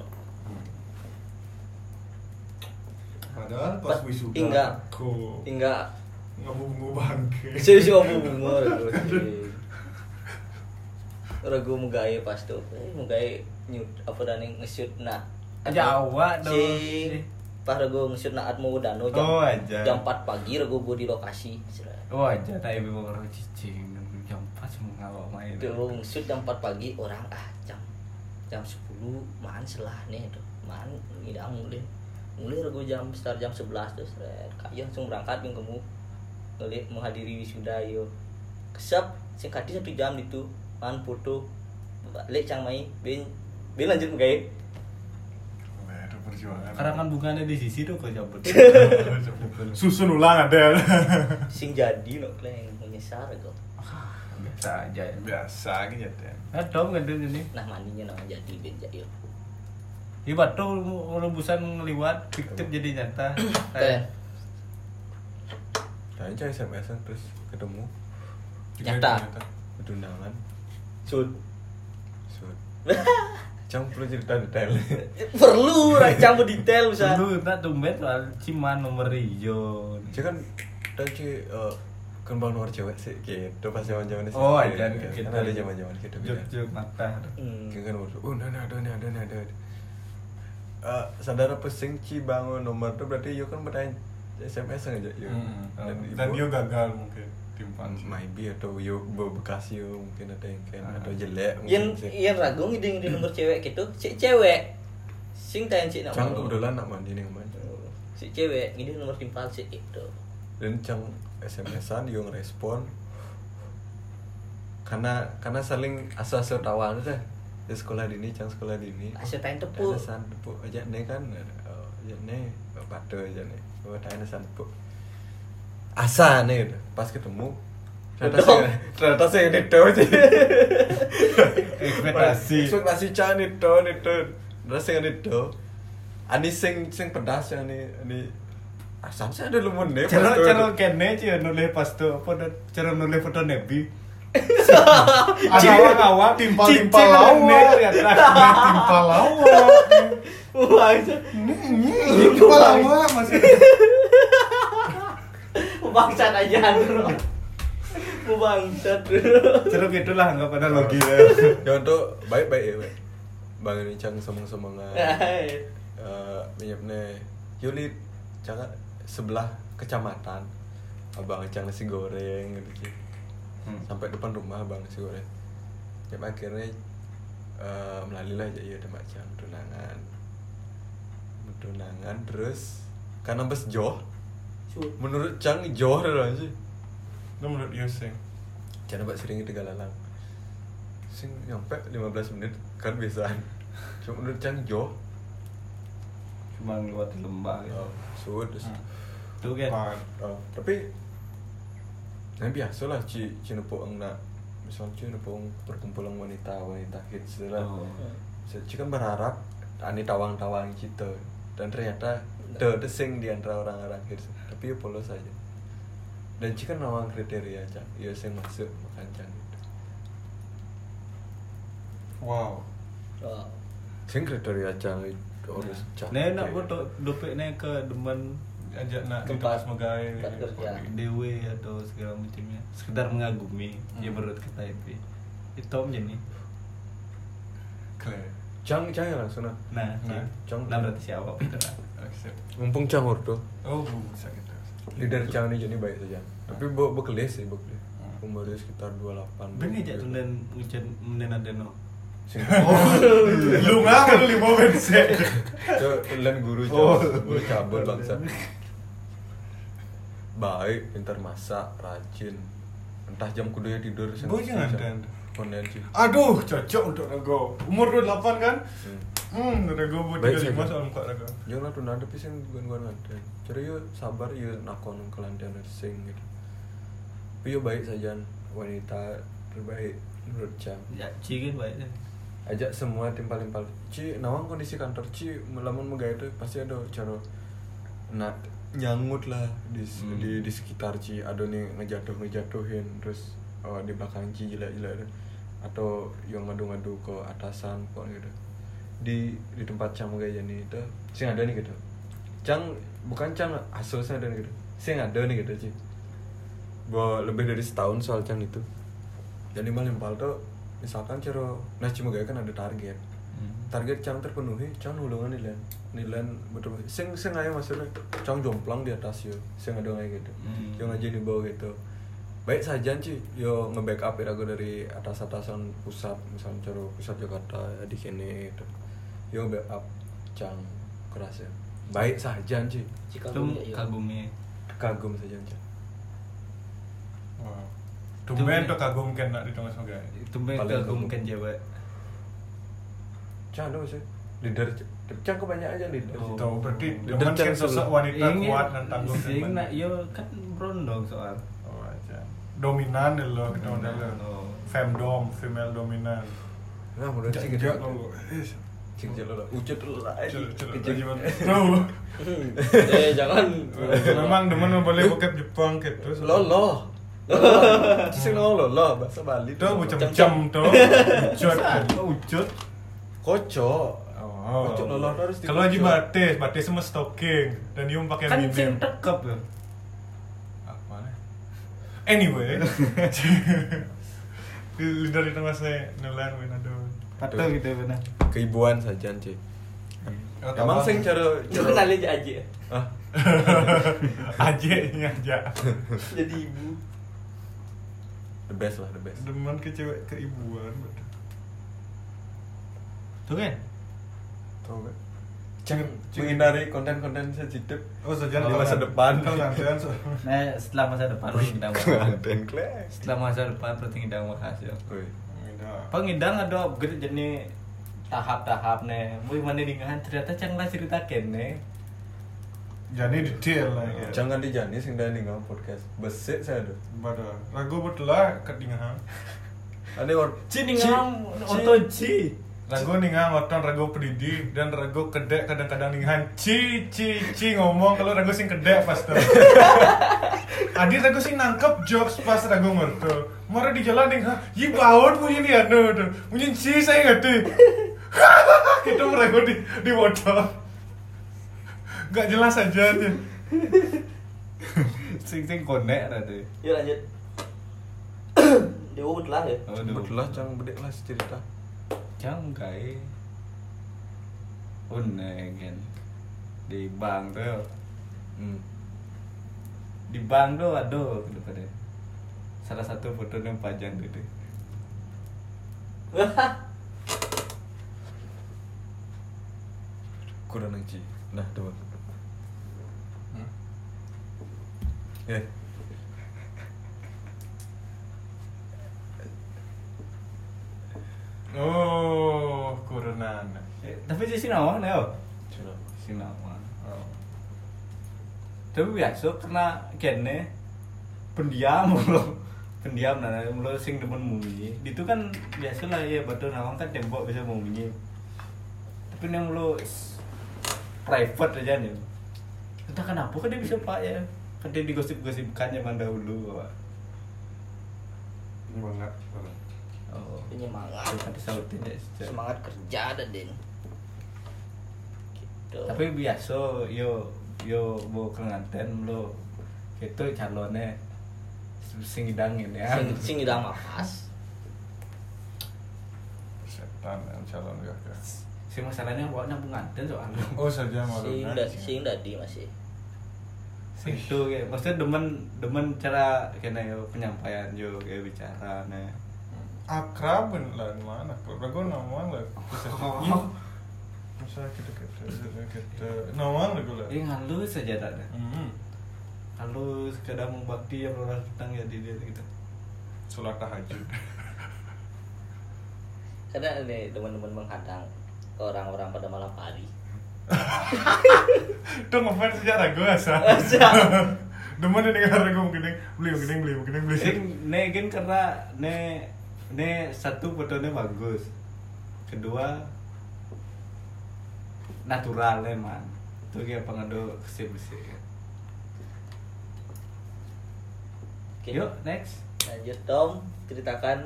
Speaker 2: Padahal pas
Speaker 4: Pas-
Speaker 2: wisuda
Speaker 4: enggak.
Speaker 2: aku
Speaker 4: hingga
Speaker 2: ngebungu
Speaker 4: [LAUGHS]
Speaker 2: bangke.
Speaker 4: sih sih omu bunga ragu sih. ragu mugai pas tuh eh, mugai nyut apa dani ngeshoot nah
Speaker 1: Jawa dong.
Speaker 4: si pas ragu ngeshoot nah atmu dano jam
Speaker 1: Oh, aja.
Speaker 4: jam 4 pagi ragu gue di lokasi
Speaker 1: oh aja tak ibu orang cicing jam cuma ngalok main
Speaker 4: itu wungsut Gitu. jam 4 pagi orang ah jam jam 10 mahan selah nih itu mahan tidak mulai mulai regu jam start jam 11 terus red kayu iya, langsung berangkat yang kamu ngelihat menghadiri wisuda yo kesep singkat satu jam itu mahan foto balik cang mai bin bin lanjut gaya
Speaker 2: Waduh, Nah, perjuangan.
Speaker 1: karangan bunganya kan di sisi tuh kok cabut
Speaker 2: [LAUGHS] Susun ulang
Speaker 4: [LAUGHS]
Speaker 2: ada.
Speaker 4: sing jadi no kleng menyesal kok
Speaker 1: biasa aja ya
Speaker 2: Biasa gitu ya.
Speaker 1: nah dong kan dia ini
Speaker 4: nah mandinya nama jadi bin jadi
Speaker 1: ibat tuh rebusan ngeliwat fiktif jadi nyata
Speaker 4: [COUGHS]
Speaker 1: Eh,
Speaker 4: Keren.
Speaker 5: Nah,
Speaker 6: Tanya aja SMS-an terus ketemu
Speaker 4: Nyata.
Speaker 6: undangan.
Speaker 4: sud [LAUGHS]
Speaker 6: Sud. [LAUGHS] Cang perlu cerita detail.
Speaker 4: perlu rancang detail bisa
Speaker 1: dulu tak tumben soal ciman nomor hijau
Speaker 6: Dia kan dan ci eh, kan bang nomor cewek sih gitu pas zaman zaman
Speaker 1: Oh, ajan
Speaker 6: kan
Speaker 1: gitu.
Speaker 6: ada zaman zaman gitu
Speaker 1: juk juk mata
Speaker 4: Hmm.
Speaker 6: Kan kan waktu, oh nah nah ada nih ada nih ada. Eh, saudara pesing ci bangun nomor tuh berarti yo kan bertanya SMS aja yo.
Speaker 2: Hmm. Dan dia gagal mungkin timpan.
Speaker 6: maybe atau yo be- bekas yo mungkin ada yang kayak atau jelek
Speaker 4: Yen
Speaker 6: mungkin sih.
Speaker 4: yen ragu ngide ngide nomor cewek gitu, si cewek. Sing tayen si nak.
Speaker 6: Cang
Speaker 4: mau.
Speaker 6: kebetulan nak mandi nih mana.
Speaker 4: Si cewek ngide nomor gitu. timpal si itu. [LAUGHS]
Speaker 6: dan cang SMS-an yo ngerespon karena karena saling asuh-asuh tawanan teh di sekolah dini cang sekolah dini
Speaker 4: Asuh tain tepuk.
Speaker 6: Tain san tepuk aja nih kan Oh, aja nih padu aja nih oh tain san tepuk asa nih gitu. pas ketemu ternyata sih
Speaker 4: Dodong.
Speaker 6: ternyata sih ini tuh aja
Speaker 1: [LAUGHS] Ekspektasi.
Speaker 6: ekspektasi cang ini tuh ini tuh terus sih ini tuh ani sing sing pedas yang ini ini asam sih ada lumun deh
Speaker 1: cara
Speaker 6: Eh, pas tuh.
Speaker 1: cara kene cie nulis pas tuh apa dah- cara nulis foto
Speaker 4: [LAUGHS]
Speaker 1: nebi
Speaker 2: Ada awak-awak timpal-timpal
Speaker 1: Cincin
Speaker 2: lawa.
Speaker 1: ada nih, ternyata.
Speaker 2: Ada Timpal lawa.
Speaker 4: [LAUGHS] Wah, itu
Speaker 2: Ini timpal lawa masih.
Speaker 4: bangsat aja bro. Mau [LAUGHS] bangsat bro.
Speaker 1: cara gitulah nggak pada
Speaker 6: [LAUGHS]
Speaker 1: logi
Speaker 6: ya untuk baik-baik ya baik. Bang ini cang
Speaker 4: [LAUGHS]
Speaker 6: semang-semangan
Speaker 4: Hai.
Speaker 6: Eh, minyapnya Yuli cang sebelah kecamatan abang cang nasi goreng gitu
Speaker 1: Hmm.
Speaker 6: sampai depan rumah abang nasi goreng ya akhirnya eh melalui lah aja ya ada macam tunangan tunangan terus karena bes joh
Speaker 4: Su-
Speaker 6: menurut cang joh dah sih
Speaker 2: Itu menurut Yoseng.
Speaker 6: Jangan nampak sering itu galalang Sing nyampe 15 menit kan biasaan Cuma menurut Cang Jo
Speaker 1: cuma lewat di lembah gitu
Speaker 6: oh, Suut terus
Speaker 1: tuh kan
Speaker 6: oh, Tapi Nah biasa lah Ci Ci nepuk ang nak Misal Ci nepuk ang perkumpulan wanita-wanita hits tu lah
Speaker 1: Oh.
Speaker 6: So, Ci kan berharap Ani tawang-tawang kita Dan ternyata Ada ada sing di antara orang-orang hits Tapi ya polos aja Dan Ci kan nawang kriteria Cang Ya sing masuk makan Cang gitu
Speaker 2: Wow.
Speaker 4: Wah.
Speaker 6: Sing kriteria Cang harus Cang
Speaker 1: Nih Iya. Nah. nak foto dopek nih ke demen
Speaker 2: Ajak nak di tempat
Speaker 4: Tempat-
Speaker 2: sebagai.
Speaker 4: tempat kerja.
Speaker 1: dewe atau segala macamnya sekedar mengagumi ya menurut kita itu itu om jadi
Speaker 2: Keren.
Speaker 6: Cang Cang ya langsung nah.
Speaker 1: nah
Speaker 2: Nah,
Speaker 1: cong
Speaker 6: cong.
Speaker 1: nah berarti siapa itu lah
Speaker 2: Accept.
Speaker 6: Mumpung Cang Ordo
Speaker 2: Oh, bu, sakit terus.
Speaker 6: Leader Cang ini jadi baik saja Tapi bu bekelis sih bekelis
Speaker 2: Hmm.
Speaker 6: Umurnya sekitar 28
Speaker 1: bener aja tuh dan hujan menen ada no
Speaker 6: Sing-
Speaker 2: [LAUGHS] Oh. Lu ngapa lu lima bensin?
Speaker 6: Cok, tulen guru Cang
Speaker 2: Oh.
Speaker 6: Guru cabul
Speaker 2: [LAUGHS]
Speaker 6: bangsa Baik, pintar masak, rajin Entah jam kudunya tidur sing-
Speaker 2: Bu, jangan,
Speaker 6: sing-
Speaker 2: Dan.
Speaker 6: Konen sih
Speaker 2: Aduh, cocok untuk Rego. Umur 28 kan?
Speaker 6: Hmm.
Speaker 2: Hmm, Rego bu
Speaker 6: Baik
Speaker 2: 35
Speaker 6: saja.
Speaker 2: soal muka Rego.
Speaker 6: Jangan tuh nanda tapi sing guan-guan ada. Cari yo sabar yo nakon kelantian sing gitu. Tapi yo baik saja wanita terbaik menurut jam.
Speaker 1: ya cikin baiknya
Speaker 6: Ajak semua timpal-timpal. Ci, nawang kondisi kantor Ci, melamun megah itu pasti ada cara nak nyangut lah di
Speaker 1: Hmm.
Speaker 6: di, di sekitar Ci. Ada nih ngejatuh ngejatuhin terus eh, di belakang Ci gila-gila itu. Atau yang ngadu-ngadu ke atasan kok gitu. Di di tempat Cang kayak ini itu sing ada nih gitu. Cang bukan Cang asalnya ada nih gitu. Sing ada nih gitu Ci. Bo, lebih dari setahun soal Cang itu. Jadi malimpal tuh misalkan cara nah cuma gaya kan ada target target cang terpenuhi cang nulungan nilai nilai betul betul sing sing aja maksudnya cang jomplang di atas yo sing ada kayak gitu
Speaker 1: Hmm.
Speaker 6: cang aja di bawah gitu
Speaker 3: baik saja cuy yo nge-backup ya aku dari atas-atasan pusat misalnya caro pusat Jakarta ya, di sini gitu yo backup cang keras ya baik saja cuy
Speaker 4: Jika
Speaker 1: Itu
Speaker 4: gue ya,
Speaker 1: Hmm. kagumnya
Speaker 3: kagum saja cuy
Speaker 2: Wow. Tumben tuh kagum kan nak ditunggu sebagai.
Speaker 1: Itu mah
Speaker 3: Paling
Speaker 1: kagumkan
Speaker 3: kagum.
Speaker 1: Jawa
Speaker 3: cang dong sih leader Cuk. cang kebanyakan aja leader
Speaker 1: Oh.
Speaker 3: sih.
Speaker 2: Tahu Gitu, berarti
Speaker 3: The
Speaker 2: dengan kan
Speaker 3: Chancellor.
Speaker 2: sosok wanita kuat dan tangguh dan
Speaker 1: Iya, Sing nak
Speaker 2: mandiri.
Speaker 1: yo kan berondong soal
Speaker 2: Oh, aja. Dominan deh lo, kita udah lo.
Speaker 1: Oh.
Speaker 2: Femdom, female dominan.
Speaker 3: nah menurut cing gitu
Speaker 2: Jaga lo. Eh,
Speaker 3: cing jelo lah ucut lah eh,
Speaker 2: Celuk, celuk,
Speaker 3: Kecil. [LAUGHS]
Speaker 2: gimana? Tuh.
Speaker 4: [LAUGHS] eh jangan
Speaker 2: Memang demen memboleh bokep Jepang gitu.
Speaker 3: lolo sing lolo lo bahasa Bali
Speaker 2: Itu
Speaker 4: Cem-cem.
Speaker 2: bucem-cem tuh. Ucut. Ucut.
Speaker 3: kocok
Speaker 2: Oh.
Speaker 3: kocok lolo harus
Speaker 2: Kalau aja
Speaker 3: dikocok.
Speaker 2: batis, batis sama stocking dan Yum pakai
Speaker 1: Kan
Speaker 2: mimin.
Speaker 1: sing tekep yo.
Speaker 2: Apa? Anyway, leader itu masih nular Winado.
Speaker 1: Padahal gitu benar.
Speaker 2: Oh.
Speaker 3: keibuan saja cuy emang sing cara
Speaker 4: Lu kenal aja aja
Speaker 3: ah
Speaker 2: aja ini aja.
Speaker 4: jadi ibu
Speaker 3: the best lah the best
Speaker 2: Demen ke cewek keibuan.
Speaker 1: Tuh kan.
Speaker 3: tau gak jangan menghindari konten-konten sensitif
Speaker 2: Oh sejalan
Speaker 3: Di masa depan. [LAUGHS]
Speaker 2: Kalian so.
Speaker 1: Nah, setelah masa depan pengidang bahas.
Speaker 3: konten klek
Speaker 1: Setelah masa depan pengidang bahas yo.
Speaker 3: Woi. Nah.
Speaker 1: Pengidang ada upgrade jadi tahap-tahap nih. Mau mana dengan ternyata cang lah cerita kene.
Speaker 2: Jadi detail lah. ya.
Speaker 3: jangan kan dijani sing dari nggak podcast besik saya tuh
Speaker 2: Bada. Ragu betulah kedingahan.
Speaker 3: ada orang
Speaker 1: Cini
Speaker 3: Ci-
Speaker 1: ngam
Speaker 3: Ci-
Speaker 1: oto ci.
Speaker 2: Ragu ningang oton ragu pedidi dan ragu kedek kadang-kadang ningahan ci ci ci ngomong kalau ragu sing kedek pas tuh. Adi ragu sing nangkep jokes pas ragu ngerti. Mara di jalan ningahan, yi baut punya ni anu tuh, punya ci saya ngerti. [LAUGHS] Itu ragu di di motor. Gak jelas aja aja.
Speaker 1: Sing sing konek tadi.
Speaker 4: yuk lanjut [COUGHS] dia lah ya
Speaker 6: Oh.
Speaker 4: [LAUGHS]
Speaker 3: betulah jangan bedek lah cerita
Speaker 1: Chẳng cái Ôn này kan Di bank tu
Speaker 3: hmm.
Speaker 1: Di bank tu ada daripada Salah satu foto yang pajang tu dia
Speaker 3: kurang nang ci nah tuh ya
Speaker 2: Eh. Oh, kurunan.
Speaker 1: eh, Tapi dia sinawan ya
Speaker 3: curang
Speaker 1: Sinawan
Speaker 2: Oh.
Speaker 1: Tapi biasa kena kene [LAUGHS] Pendiam loh Pendiam nah mulu sing demen munyi Itu kan biasalah ya batu nawang kan tembok bisa munyi Tapi yang mulu s- private aja nih Entah kenapa kan dia bisa pak ya Kan dia digosip-gosipkan zaman dahulu Pak.
Speaker 5: Banget.
Speaker 1: Oh.
Speaker 4: penyemangat
Speaker 1: Itu kan disautin ya sejak.
Speaker 4: semangat kerja ada den gitu
Speaker 1: Tapi biasa yo yo mau kelanten lo itu calonnya sing idangin ya.
Speaker 4: sing sing udah mapas
Speaker 2: Setan yang calon gak ya.
Speaker 1: Si masalahnya awak nang pengantin soalnya.
Speaker 2: Oh saja malu.
Speaker 4: sing udah sing udah di ya. masih
Speaker 1: Sing itu kayak maksudnya demen demen cara kena yo penyampaian yo kayak bicara nah.
Speaker 2: Akrab lah mana? Ragu nama lah. [LAUGHS] Masa kita kita kita nama lah gue lah.
Speaker 1: Ini halus saja tak ada.
Speaker 2: Hmm.
Speaker 1: Halus kadang membakti yang luar tentang ya di dia gitu.
Speaker 2: Sholat tahajud. [LAUGHS]
Speaker 4: karena ini teman-teman menghadang orang-orang pada malam hari
Speaker 2: Itu ngefans sejak ragu asa. [LAUGHS] Demen ini dengar ragu mungkin beli mungkin beli mungkin beli.
Speaker 1: Sing ne gen karena ne ne satu fotonya bagus. Kedua naturalnya man. Itu kayak pengadu kesih-kesih.
Speaker 4: oke
Speaker 1: Yuk next.
Speaker 4: lanjut Tom ceritakan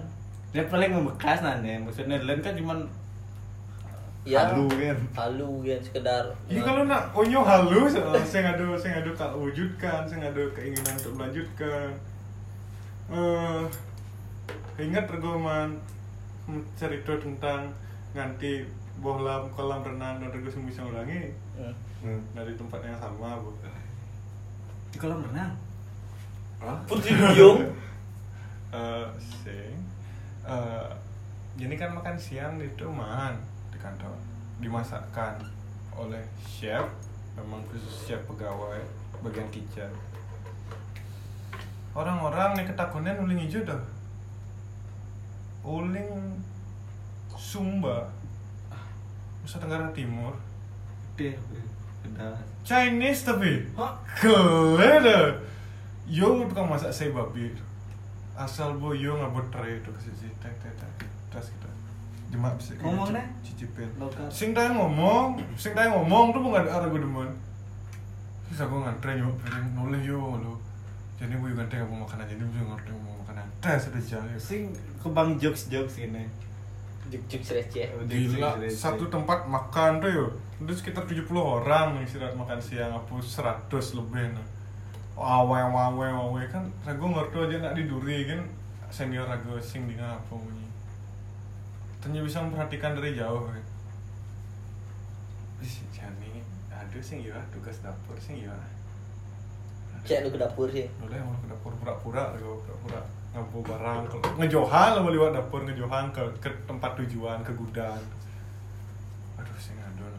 Speaker 1: Dia paling membekas nanti. Maksudnya lain kan cuman
Speaker 4: ya
Speaker 1: halu kan.
Speaker 4: halu kan sekedar
Speaker 2: Ini Iya, kalau nak oh, onyo halus, eh, saya ngadu saya ngadu tak wujudkan, saya ngadu keinginan untuk melanjutkan. Eh, ingat regoman cerita tentang nganti bohlam kolam renang dan rego sembisa ulangi
Speaker 4: Hmm.
Speaker 2: dari tempat yang sama bu.
Speaker 1: Di kolam renang.
Speaker 4: [LAUGHS] Putri Duyung
Speaker 2: eh sing eh jadi kan makan siang di rumah di kantor dimasakkan oleh chef memang khusus chef pegawai bagian kitchen orang-orang yang ketakunan uling hijau dah uling Sumba Nusa Tenggara Timur
Speaker 1: Deh, udah.
Speaker 2: Chinese tapi kelede yo tukang masak saya babi asal bo yo ngabot tray itu ke sisi tek tek tek tas kita jemak bisa kita
Speaker 1: Ngomong
Speaker 2: ci-
Speaker 1: deh.
Speaker 2: cicipin
Speaker 1: Lokal.
Speaker 2: sing tanya ngomong sing tanya ngomong tuh bukan arah gue demen terus aku ngantre yo pengen noleh yo lo jadi gue ngantre mau makanan jadi gue ngantre mau makanan tes sudah jauh
Speaker 1: Sing kebang jokes jokes ini.
Speaker 4: Juk-juk receh.
Speaker 2: Gila, satu tempat makan tuh yo. Itu sekitar 70 orang yang istirahat makan siang apa 100 lebih nah. Awe awe awe kan ragu ngerti aja nak diduri kan senior ragu sing di ngapa bunyi. Ternyata bisa memperhatikan dari jauh. Kan. Ih, jani, aduh sing ya tugas dapur sing ya.
Speaker 4: Cek lu ke dapur ya. sih.
Speaker 2: Udah yang ke dapur pura-pura ke pura-pura ngambil barang ke ngejohan lo lewat dapur ngejohan ke, ke tempat tujuan ke gudang aduh sing ngadon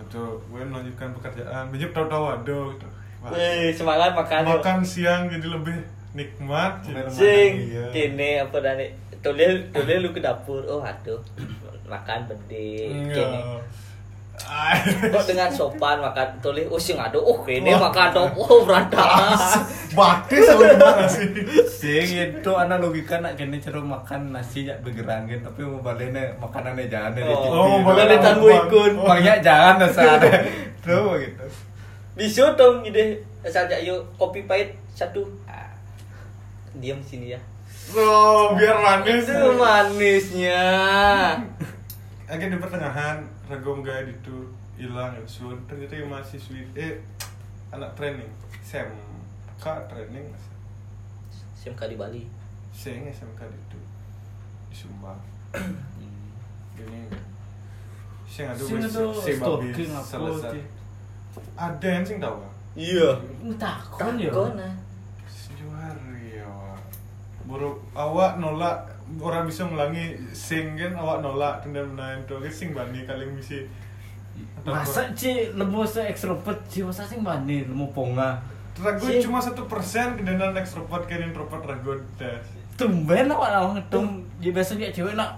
Speaker 2: satu gue melanjutkan pekerjaan bijak tahu-tahu ada gitu Wah,
Speaker 4: Wih, semangat makan. yuk.
Speaker 2: makan siang jadi lebih nikmat jadi-
Speaker 4: Sing,
Speaker 2: Iya.
Speaker 4: kini apa dani? Tulis, tulis lu ke dapur. Oh, aduh. Makan pedih.
Speaker 2: Iya.
Speaker 4: Kini.
Speaker 2: [LAUGHS] Ah,
Speaker 4: Kok dengan sopan makan tulis. Oh, sing aduh. Oh, kini makan dong. Oh, [LAUGHS] berantakan.
Speaker 2: batis lo gimana sih
Speaker 1: Sing itu analogikan nak kene cero makan nasi jak begerangin tapi mau balene makanannya jangan dari
Speaker 4: Oh,
Speaker 1: TV.
Speaker 2: oh,
Speaker 4: boleh
Speaker 2: boleh.
Speaker 4: tanbu ikun.
Speaker 2: Oh.
Speaker 1: Maknya [LAUGHS] jangan dasar. Tuh gitu.
Speaker 4: Bisa dong ide saja yuk kopi pahit satu. Ah, Diam sini ya.
Speaker 2: oh biar manis
Speaker 4: Itu manisnya.
Speaker 2: Akhirnya di pertengahan regom gaya itu hilang ya sudah ternyata yang masih sweet eh anak training SMK training
Speaker 4: SMK di Bali.
Speaker 2: sing SMK itu di Sumba gini sing ada
Speaker 1: Sing
Speaker 2: wes-
Speaker 1: ada
Speaker 2: sing babi
Speaker 1: stalking apa
Speaker 2: selesai
Speaker 1: sih?
Speaker 2: ada yang sing tahu
Speaker 4: Iya.
Speaker 1: Takon ya.
Speaker 4: Takona.
Speaker 2: sejuari ya buruk awak nolak orang bisa ngulangi sing kan awak nolak kemudian menahan tuh kan sing bani kali misi
Speaker 1: Masa ci lemu se ekstrovert ci masa sing mani lemu ponga.
Speaker 2: Ragu
Speaker 4: Sih.
Speaker 2: cuma satu persen kendaraan ekstrovert kan introvert ragu tes.
Speaker 1: Tumben awak awak ngetung. Ya biasa dia cewek nak.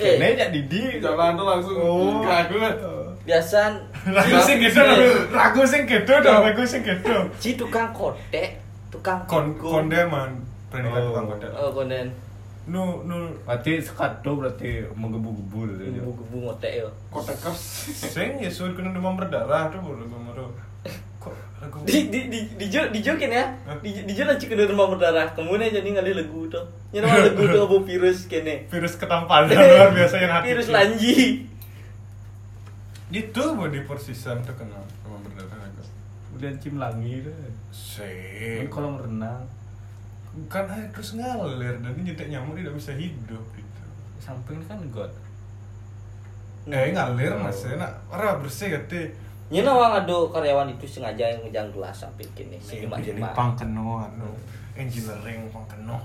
Speaker 4: Eh.
Speaker 1: Kene jak Didi.
Speaker 5: Jalan tuh langsung
Speaker 2: Oh.
Speaker 5: kaku lah.
Speaker 4: Biasan.
Speaker 2: Ragu sing gitu, ragu sing gitu, dong, ragu sing gitu.
Speaker 4: Si tukang kote, tukang
Speaker 2: Kon
Speaker 4: tigo.
Speaker 2: konde man, predikat
Speaker 1: Oh.
Speaker 2: tukang konde.
Speaker 4: Oh, konden.
Speaker 2: Nu nu
Speaker 1: Berarti sekado berarti menggebu-gebu
Speaker 2: Iya,
Speaker 1: gitu.
Speaker 4: Gebu-gebu ngotek yo.
Speaker 5: Kotak kers.
Speaker 2: sing ya sudah kena demam berdarah tuh baru ragu baru. Kok ragu?
Speaker 4: Di di di dijo dijokin ya.
Speaker 2: Hah?
Speaker 4: Di dijo lah cik kena demam berdarah. Kemudian jadi ngali legu tuh. Nyerang legu
Speaker 2: [LAUGHS]
Speaker 4: tuh abu virus kene.
Speaker 2: Virus ketampanan luar biasa yang hati.
Speaker 4: Virus lanji.
Speaker 2: Itu bu di persisan terkenal demam berdarah ragu.
Speaker 1: Kemudian cim langi deh.
Speaker 2: Sing.
Speaker 1: Kan Kolam renang
Speaker 2: Bukan air terus ngalir dan ini nyetek nyamuk tidak bisa hidup gitu.
Speaker 1: samping kan got.
Speaker 2: Eh
Speaker 4: Iya.
Speaker 2: ngalir mas, enak. Orang bersih gitu.
Speaker 4: Nyena wang ado karyawan itu sengaja yang ngejang gelas sampai kini.
Speaker 2: Sing
Speaker 4: Sing cuma
Speaker 2: jadi
Speaker 4: cuma.
Speaker 2: pangkeno
Speaker 5: Nah,
Speaker 2: anu engineering pangkeno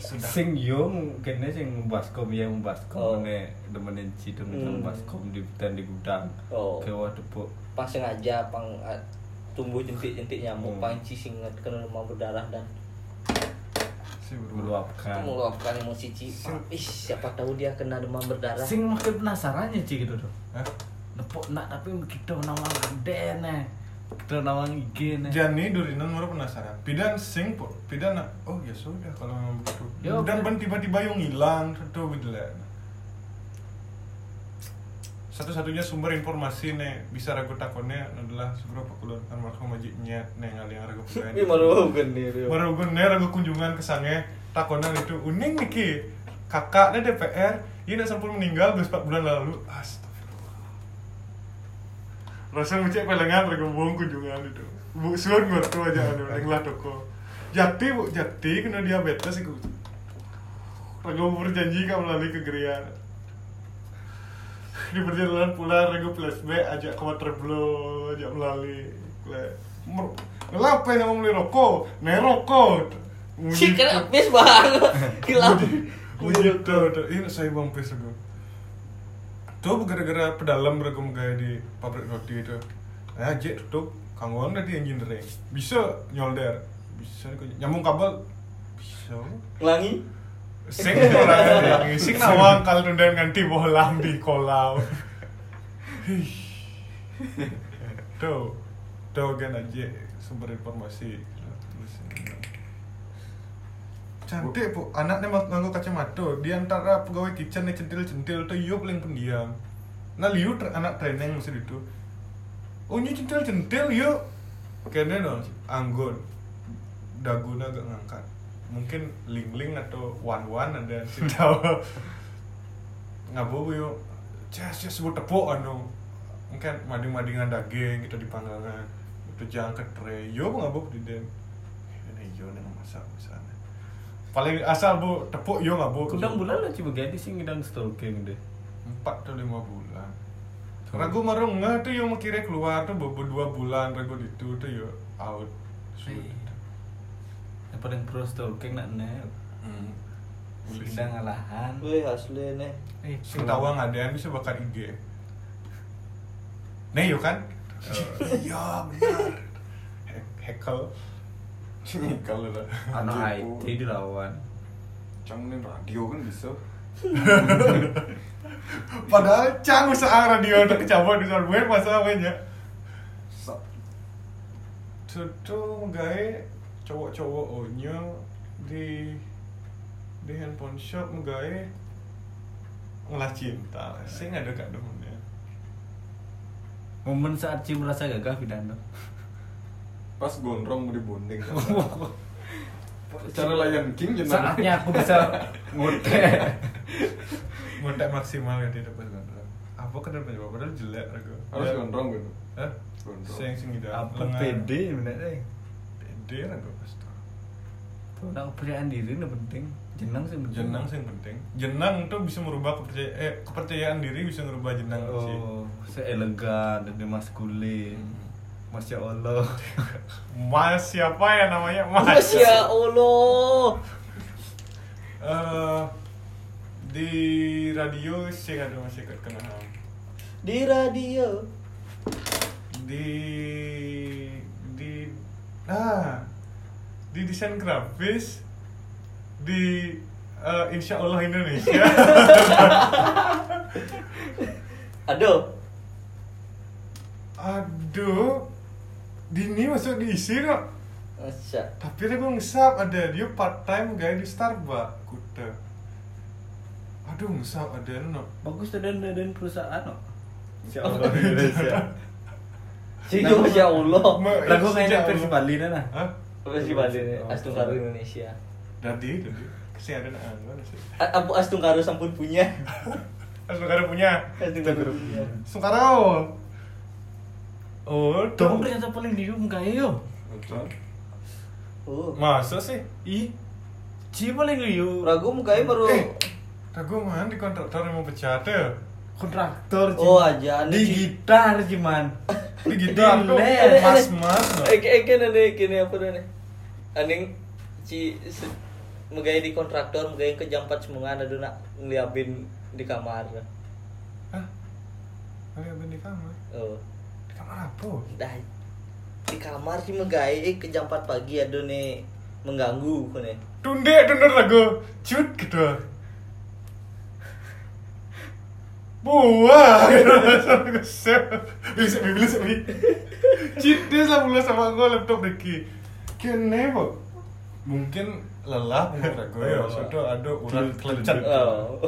Speaker 2: sudah
Speaker 1: Sing yo kene sing baskom ya baskom
Speaker 4: Oh.
Speaker 1: ne demenin ci demenin
Speaker 4: Hmm.
Speaker 1: baskom di hutan di gudang.
Speaker 4: Oh.
Speaker 1: Ke waduh bu.
Speaker 4: Pang sengaja pang ah, tumbuh jentik-jentik
Speaker 1: Hmm.
Speaker 4: nyamuk, pang cicing kena demam berdarah dan
Speaker 2: si berdua
Speaker 1: meluapkan.
Speaker 4: meluapkan emosi ci. Ih, siapa tahu dia kena demam berdarah.
Speaker 1: Sing makin penasaran ya ci gitu tuh.
Speaker 2: Hah?
Speaker 1: Nepok nak tapi gitu, kita nawang gede ne. Kita nawang IG ne.
Speaker 2: Jani Durinan baru penasaran pidan sing po pidan na- oh ya sudah kalau memang begitu
Speaker 1: Ya,
Speaker 2: dan
Speaker 1: oke.
Speaker 2: ben tiba-tiba yang hilang gitu tentu bedelek satu-satunya sumber informasi nih bisa ragu takonnya adalah sebuah pakulon almarhum Haji Nyet nih ngali yang ragu pegawai.
Speaker 4: Ih, malu gini. Iya, dia.
Speaker 2: Baru gue nih aku kunjungan ke sange takonan itu uning niki kakaknya DPR dia nak sampun meninggal beberapa bulan lalu astagfirullah rasa ngucap pelengan lagi buang kunjungan itu bu suan ngerti aja anu neng lah toko jati bu jati kena diabetes iku Ragu berjanji kau melalui kegerian di perjalanan pulang ragu flashback ajak ke waterblow ajak melalui Kule- mer- Kenapa yang mau beli rokok? Nih rokok
Speaker 4: Sih kena pis bang.
Speaker 2: [LAUGHS]
Speaker 4: Gelap.
Speaker 2: Wujud tuh, tuh. ini saya bang pis aku. Tuh gara-gara pedalam mereka gaya di pabrik roti itu. Eh aja tutup, kangguan tadi engineering. Bisa nyolder, bisa kok. nyambung kabel, bisa.
Speaker 4: Ngelangi.
Speaker 2: Sing orang ini, sing nawang kalau dan nganti bolam di kolam. Hih. Tuh, tuh kan aja sumber informasi. Cantik bu, anaknya mau nganggo kacamata. Di antara pegawai kitchen yang centil-centil tuh yuk paling pendiam. Nah liu ter- anak training mesti itu. Oh ini centil-centil yuk. Kayaknya no, anggun. Daguna agak ngangkat. Mungkin ling-ling atau wan-wan ada yang sih tahu. Ngabu yuk. Jas jas sebut tepuk anu. Mungkin mading-madingan daging kita di panggangan. Itu jangket tray. Yuk ngabu di den. Eh, Ini yo nih masak misalnya. Paling asal bu tepuk yo ngabu.
Speaker 1: Kudang bulan lah coba ganti sih ngidang stalking deh.
Speaker 2: empat atau lima bulan ragu marung nggak tuh yang kira keluar tuh bobo dua bulan ragu itu tuh yo out sulit
Speaker 1: Yang paling pro stalking nak nih.
Speaker 2: hmm. Boleh sih.
Speaker 1: Sedang ngalahan.
Speaker 4: Wih asli nih.
Speaker 1: Eh,
Speaker 2: sing tawa nggak ada yang bisa bakar IG nih yo kan Eh, iya benar Hack- hackle hackle lah
Speaker 1: Anak IT dilawan.
Speaker 5: Canggih radio kan bisa.
Speaker 2: padahal cang usaha radio untuk kecabut di software masalahnya
Speaker 5: Sap.
Speaker 2: tuh gawe cowok-cowok onyo di di handphone shop gawe ngelah cinta sing ada gak demennya
Speaker 1: Momen saat Ci merasa gagah Vidano.
Speaker 5: Pas gondrong mau dibonding. Cara layan king jenang.
Speaker 1: Oh, iya. Saatnya aku bisa ngute.
Speaker 2: ngontak maksimal ya di depan gondrong apa ke depan coba padahal jelek rego
Speaker 5: Harus gondrong gitu.
Speaker 2: eh
Speaker 5: Gondrong.
Speaker 2: sing sing ida
Speaker 1: Apa pede bener eh. deh.
Speaker 2: pede rego pasti
Speaker 1: Nah, kepercayaan diri itu penting. Jenang sih penting.
Speaker 2: jenang sing penting jenang tuh bisa merubah kepercayaan eh kepercayaan diri bisa merubah jenang sih Hmm.
Speaker 1: Oh, seelegan dan dia maskulin. Masya Allah.
Speaker 2: mas siapa ya namanya mas
Speaker 4: Masya Allah.
Speaker 2: Eh, di radio sih ada masih ikut kenal
Speaker 4: Di radio.
Speaker 2: di di ah di desain grafis di eh, Insya Allah Indonesia
Speaker 4: Aduh.
Speaker 2: aduh Dini masuk diisi kok
Speaker 4: Masya.
Speaker 2: tapi dia gue ngesap ada dia part time guys di Starbucks kuda aduh ngesap ada no
Speaker 1: Bagus tuh dan dan perusahaan oh. kok. Masya
Speaker 2: Allah, Indonesia.
Speaker 4: Sih Iya, Masya Allah.
Speaker 2: Me-
Speaker 1: Lagu
Speaker 2: Insya
Speaker 1: mainnya
Speaker 2: Allah.
Speaker 1: versi Bali dah nah.
Speaker 2: Hah?
Speaker 4: Versi Bali nih. Astung Karu Indonesia.
Speaker 2: Dadi, dadi. Sing ada nak anu sih.
Speaker 4: A- Abu Astung Karu sampun punya.
Speaker 2: Sungkaro punya.
Speaker 4: [LAUGHS] Astung Karu punya.
Speaker 2: Sungkaro. Oh,
Speaker 1: Kamu
Speaker 2: tuh.
Speaker 1: ternyata paling dirium kayak yo.
Speaker 5: Betul.
Speaker 4: Oh.
Speaker 2: Masa sih?
Speaker 1: Ih. Ci paling dirium.
Speaker 4: Ragu mukanya baru.
Speaker 2: Eh, ragu man di kontraktor yang mau pecat ya.
Speaker 1: kontraktor Ci.
Speaker 4: Oh, aja.
Speaker 1: Di gitar
Speaker 4: [LAUGHS]
Speaker 1: cuman.
Speaker 2: Di gitar tuh.
Speaker 4: Eh,
Speaker 1: Les.
Speaker 2: Mas mas.
Speaker 4: Eke eke nene kini eh, apa nene? Aning ci se- megai di kontraktor megai ke jam 4 semangat ada nak ngeliabin di kamar.
Speaker 2: Hah? Ada apa di kamar?
Speaker 4: Oh,
Speaker 2: Di kamar apa?
Speaker 4: dah di kamar sih megai eh, ke jam 4 pagi ada nih mengganggu kene.
Speaker 2: Tunde, tunde ragu. Cut gitu. Buah. Bisa bibir bisa bibir. Cintis lah mulai sama gue laptop Ricky. Kene bu. Mungkin lelah menurut ragu ya. Sudah ada urat kelencet.
Speaker 4: Oh.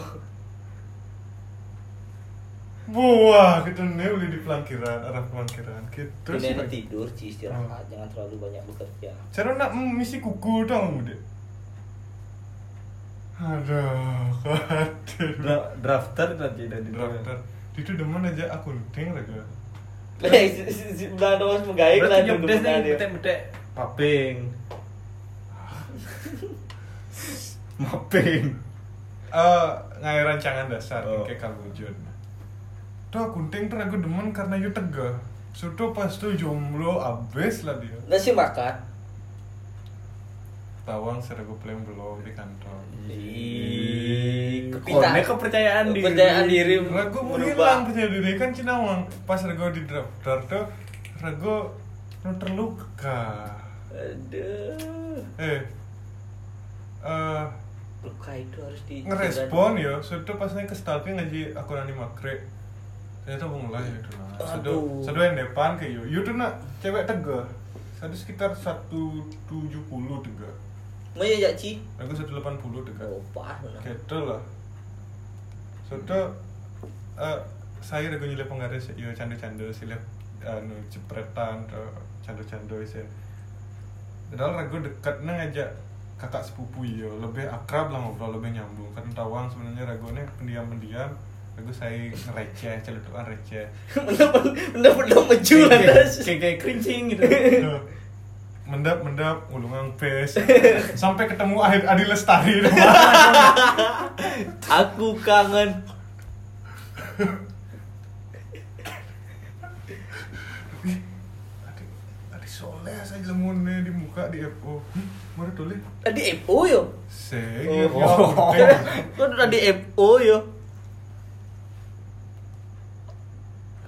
Speaker 2: Buah, kita nih udah di pelangkiran, arah pelangkiran gitu
Speaker 4: Ini
Speaker 2: sih.
Speaker 4: enak tidur ci istirahat
Speaker 1: Hmm.
Speaker 4: jangan terlalu banyak bekerja.
Speaker 2: Cara nak mengisi kuku tau muda Aduh, khawatir
Speaker 1: Dra- drafter tadi dari
Speaker 2: Drafter Itu demen aja akunting raga
Speaker 4: Eh, Belanda harus megai lah
Speaker 1: Berarti
Speaker 4: duduk
Speaker 1: job desk
Speaker 4: dengan
Speaker 1: nih
Speaker 4: dia.
Speaker 1: betek-betek paping. Mapping.
Speaker 2: Eh, ngai rancangan dasar
Speaker 1: Oh.
Speaker 2: kayak kamu Jun Tuh akunting tuh aku demen karena you tegah Sudah pas tuh jomblo abis lah dia
Speaker 4: Nasi makan.
Speaker 2: tawang sergu peleng belum di kantor
Speaker 1: Iya.
Speaker 4: Ih,
Speaker 1: Kepita. kepercayaan diri.
Speaker 4: Kepercayaan diri.
Speaker 2: Rego mau
Speaker 4: Berubah.
Speaker 2: hilang punya diri kan Cinawang pas Rego di daftar tuh Rego nu terluka
Speaker 4: Aduh.
Speaker 2: eh eh
Speaker 4: Luka itu harus di
Speaker 2: ngerespon ya sudah pasnya ke ya stalking ngaji akun anime makre ternyata bung lah ya itu nah sudah
Speaker 4: Aduh.
Speaker 2: sudah yang depan ke yo yo tuh nak cewek tegah satu sekitar satu tujuh puluh tegah
Speaker 4: Mau ya Ci?
Speaker 2: aku satu delapan puluh tegah
Speaker 4: Oh, pah. [LAUGHS]
Speaker 2: gitu lah sudah eh saya rego nyilep penggaris yo canda-canda silep iya, anu jepretan tuh canda-canda sih ya. padahal rego dekat nang ngajak kakak sepupu yo lebih akrab lah ngobrol lebih nyambung kan tawang sebenarnya rego nih pendiam-pendiam rego saya receh celetukan receh
Speaker 4: Bener-bener meju
Speaker 1: Kayak-
Speaker 4: lantas.
Speaker 1: kayak kayak kerincing gitu.
Speaker 4: [LAUGHS]
Speaker 2: Tuh. mendap mendap ngulungang pes sampai ketemu Ad- Adi Lestari [LAUGHS]
Speaker 4: Aku kangen.
Speaker 2: Adi, Adi soleh saya lemunnya di muka di Hm, FO Mana tulis?
Speaker 4: Tadi FO yo.
Speaker 2: Saya
Speaker 4: Oh.
Speaker 2: iya,
Speaker 4: Kok [LAUGHS] tadi FO yo.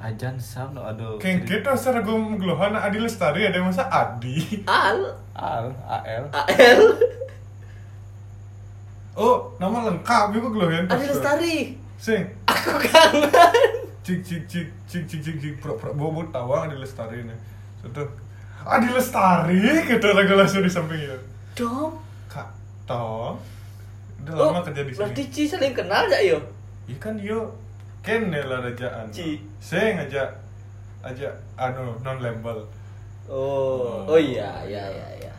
Speaker 1: Ajan sam no aduh.
Speaker 2: Kayak gitu secara gue ngeluhan Adi Lestari ada masa Adi
Speaker 4: Al
Speaker 1: Al AL.
Speaker 4: AL
Speaker 2: Oh nama lengkap gue ngeluhan
Speaker 4: Adi Lestari.
Speaker 2: Sing
Speaker 4: Aku kangen.
Speaker 2: Cik cik cik cik cik cik cik Pro pro bobo tawang Adi Lestari nih Sudah Adi Lestari gitu lagu langsung di samping ya
Speaker 4: Dom.
Speaker 2: Kak Tom Udah lama
Speaker 4: Oh,
Speaker 2: kerja di
Speaker 4: Berarti
Speaker 2: sini
Speaker 4: Ci saling kenal ya yo.
Speaker 2: Iya kan yo Ken lah rajaan
Speaker 4: Ci.
Speaker 2: Saya ngajak Ajak Anu non label
Speaker 4: Oh,
Speaker 2: Oh.
Speaker 4: oh iya, iya, iya, iya.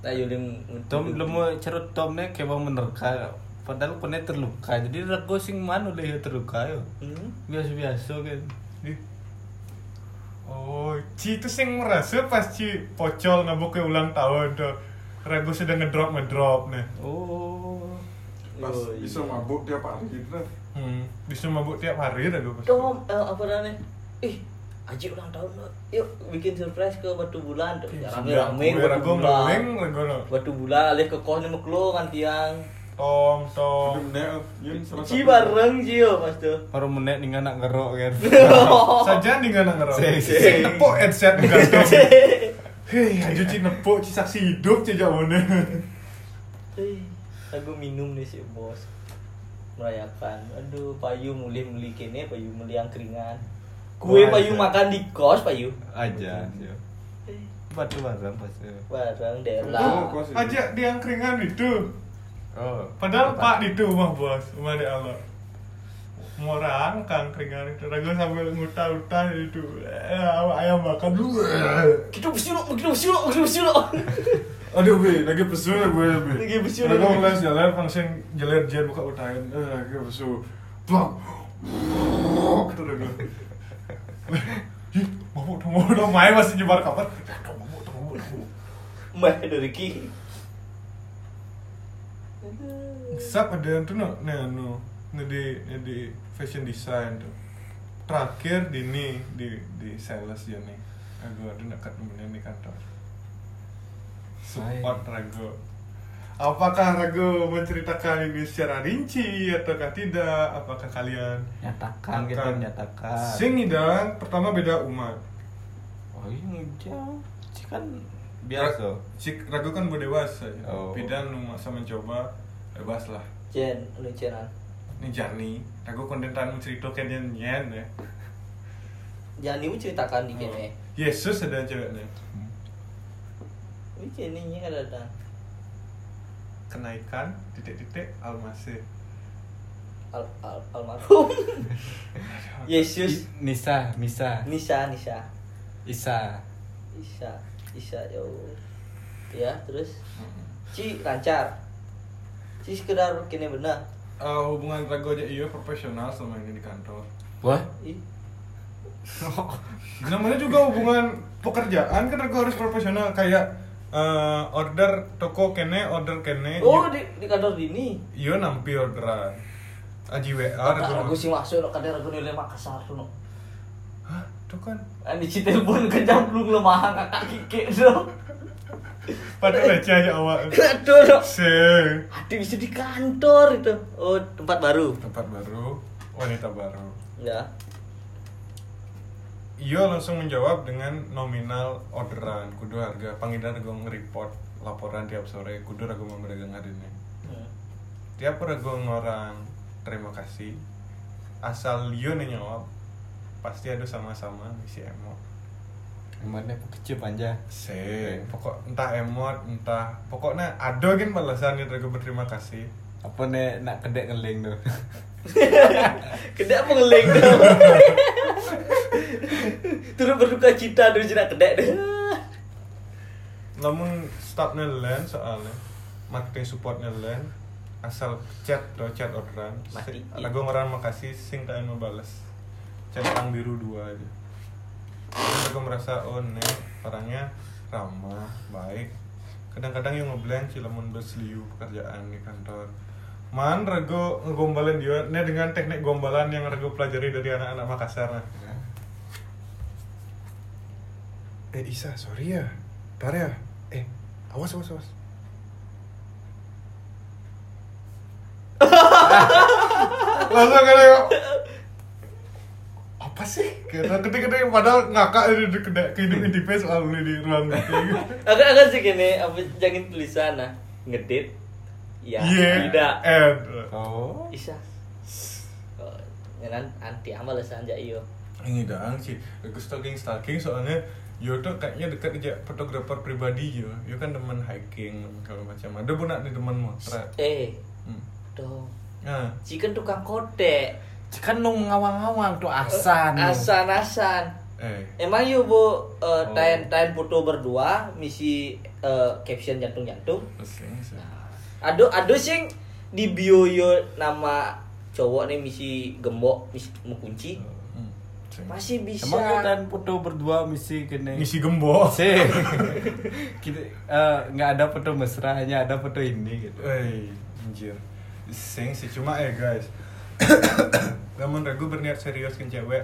Speaker 4: Nah, Yulim
Speaker 1: Tom lemu cerut Tomnya kayak mau menerka. Padahal punya terluka. Jadi rego sing mana deh yang terluka yo.
Speaker 4: Hmm?
Speaker 1: Biasa-biasa kan.
Speaker 2: Ih. Oh, Ci itu sing merasa pas Ci pocol nabuk ke ulang tahun tuh. Rego sudah ngedrop ngedrop nih.
Speaker 1: Oh.
Speaker 5: Pas
Speaker 4: Oh, iya.
Speaker 5: bisa mabuk tiap hari gitu lah.
Speaker 2: Hmm, bisa mabuk tiap hari Rego pasti.
Speaker 4: Tom, eh, apa namanya? Ih, Aji ulang tahun lo. Yuk bikin surprise ke Batu Bulan. Tuh, Ya, rame-rame ke Batu
Speaker 2: Rego
Speaker 4: Bulan.
Speaker 2: ngeling, Rego no.
Speaker 4: Batu Bulan alih ke kos nemu klo kan tiang.
Speaker 2: Tom,
Speaker 5: Oh.
Speaker 2: Tom.
Speaker 5: Yun salah
Speaker 4: Ci
Speaker 5: satu.
Speaker 4: bareng Ci yo pas tuh.
Speaker 1: Baru menek nih anak ngerok [LAUGHS] kan.
Speaker 2: Saja nih nggak ngerok.
Speaker 1: Sing, sing.
Speaker 2: Sing nepok headset enggak Tom. Hei, aja Ci nepok, Ci saksi hidup Ci jawabannya.
Speaker 4: Ih, [LAUGHS] Aku minum nih si bos merayakan. Aduh, payu mulih muli kene, payu muli angkringan. Kue
Speaker 1: Wah,
Speaker 4: payu
Speaker 1: iya.
Speaker 4: makan di kos payu.
Speaker 1: Ajan yo. Batu barang pas yo.
Speaker 5: Oh,
Speaker 4: Bareng Dela.
Speaker 5: kok sih?
Speaker 2: Ajak di angkringan itu.
Speaker 1: Oh.
Speaker 2: Padahal
Speaker 1: Apa?
Speaker 2: Pak di rumah bos, rumah di Allah. Morang kangkringan itu, ragu sambil ngutah-utah itu. Eh, ayam makan dulu. Eh,
Speaker 4: Kita bersiul, kita bersiul, kita bersiul.
Speaker 2: Aduh, be, lagi pesu
Speaker 5: ya,
Speaker 2: gue, be.
Speaker 4: Lagi pesu,
Speaker 2: Ragu
Speaker 4: lagi.
Speaker 2: ngeles jalan, langsung jeler jeler buka utahin. Eh, lagi pesu. Plak. Gitu ragu. Ih, mabuk dong, mabuk dong. Main masih nyebar kabar. Dong, Mabuk dong, mabuk dong.
Speaker 4: Mbak dari Ki.
Speaker 2: Sap ada yang tuh no, nah no, no di, no di fashion design tuh. Terakhir di ni di di sales ya nih. Aku ada nak temenin di kantor. Support Rago. Apakah Rago menceritakan ini secara rinci ataukah tidak? Apakah kalian
Speaker 1: Nyatakan gitu
Speaker 2: akan-
Speaker 1: nyatakan.
Speaker 2: Sing dan pertama beda umat.
Speaker 1: Oh iya ngejauh. Sih kan biasa.
Speaker 2: Cik Rago kan udah dewasa. Ya.
Speaker 1: Oh.
Speaker 2: Bidan nu masa mencoba bebas lah.
Speaker 4: Jen, lu Jenan.
Speaker 2: Ini Jani, Rago kontentanmu cerita kalian nyen ya.
Speaker 4: Jangan ibu ceritakan di
Speaker 2: Oh.
Speaker 4: kene.
Speaker 2: Yesus ada ceweknya
Speaker 1: Hmm.
Speaker 4: Ini kene nya kadang.
Speaker 2: kenaikan titik-titik almasih
Speaker 4: Al al almarhum. Yesus.
Speaker 1: I- Nisa, Misa,
Speaker 4: Nisa, Nisa.
Speaker 1: Isa.
Speaker 4: Isa, Isa jauh. Ya, terus Ci lancar. Ci sekedar kene benar.
Speaker 2: Eh, hubungan ragu aja iya profesional selama ini di kantor
Speaker 1: Wah,
Speaker 4: Ih,
Speaker 2: namanya juga hubungan pekerjaan kan ragu harus profesional kayak eh, order toko kene order kene
Speaker 4: Oh, di, di kantor dini.
Speaker 2: iya nampi orderan aji wa
Speaker 4: Aku
Speaker 2: ragu
Speaker 4: sih masuk lo kadang aku nilai Makassar tuh. no.
Speaker 2: Hah? Itu kan
Speaker 4: Ani si Eh, telepon ke jamblung lemah kakak kike do.
Speaker 2: pada aja aja awak.
Speaker 4: Aduh do.
Speaker 2: Se
Speaker 4: Aduh bisa di kantor itu. Oh tempat baru.
Speaker 2: tempat baru, wanita baru.
Speaker 4: Ya.
Speaker 2: Ia Iya, langsung menjawab dengan nominal orderan kudu harga pangidar gong report laporan tiap sore kudu ragu memegang harinya.
Speaker 4: Hmm.
Speaker 2: Tiap ragu orang terima kasih asal Leo jawab pasti ada sama-sama isi emot.
Speaker 1: Emangnya aku kecil panjang.
Speaker 2: Se pokok entah emot entah pokoknya ada kan balasan yang ragu berterima kasih.
Speaker 1: Apa nih nak kedek ngeling tuh?
Speaker 4: Kedek apa ngeling [LAUGHS] do. Turut berduka cita do jenak kedek do.
Speaker 2: Namun stop nelen soalnya mati support nelen asal chat do chat orderan Si-
Speaker 4: Mati.
Speaker 2: lagu orang makasih sing tak mau balas chat orang biru dua aja terus aku merasa oh nih orangnya ramah baik kadang-kadang yang ngeblank sih lamun berseliu pekerjaan di kantor man rego ngegombalin dia nih dengan teknik gombalan yang rego pelajari dari anak-anak Makassar nah. eh Isa sorry ya tar ya eh awas awas awas langsung kena yuk apa sih kena ketik-ketik padahal ngakak di di kedai kehidupan di face lalu di ruang meeting
Speaker 4: Agak-agak sih gini apa jangan tulisan nah ngedit. Ya
Speaker 2: Yeah,
Speaker 4: tidak.
Speaker 2: and
Speaker 1: Oh.
Speaker 4: Isa. Oh, ngenan anti amal sanja iyo.
Speaker 2: ini dang sih aku stalking stalking soalnya yo tuh kayaknya dekat aja fotografer pribadi yo yo kan demen hiking kalau macam ada pun nak nih demen motret
Speaker 4: Eh,
Speaker 2: hmm.
Speaker 4: dong.
Speaker 2: nah
Speaker 4: Chicken tukang kodek.
Speaker 1: [LAUGHS] Kan nung ngawang-ngawang tuh asan.
Speaker 4: Asan asan.
Speaker 2: eh Oh.
Speaker 4: Emang yuk bu uh, tayan tayan foto berdua misi uh, caption jantung jantung.
Speaker 2: pusing sih
Speaker 4: Aduh aduh sing di bio yo nama cowok nih misi gembok misi mau kunci
Speaker 2: Hmm, pusing.
Speaker 4: masih bisa.
Speaker 1: Emang kita foto berdua misi kene.
Speaker 2: misi gembok [LAUGHS]
Speaker 1: Sih. kita eh, nggak ada foto mesra, hanya ada foto ini gitu.
Speaker 2: Wey, anjir. Sing sih cuma eh guys. [COUGHS] Namun ragu berniat serius kan cewek.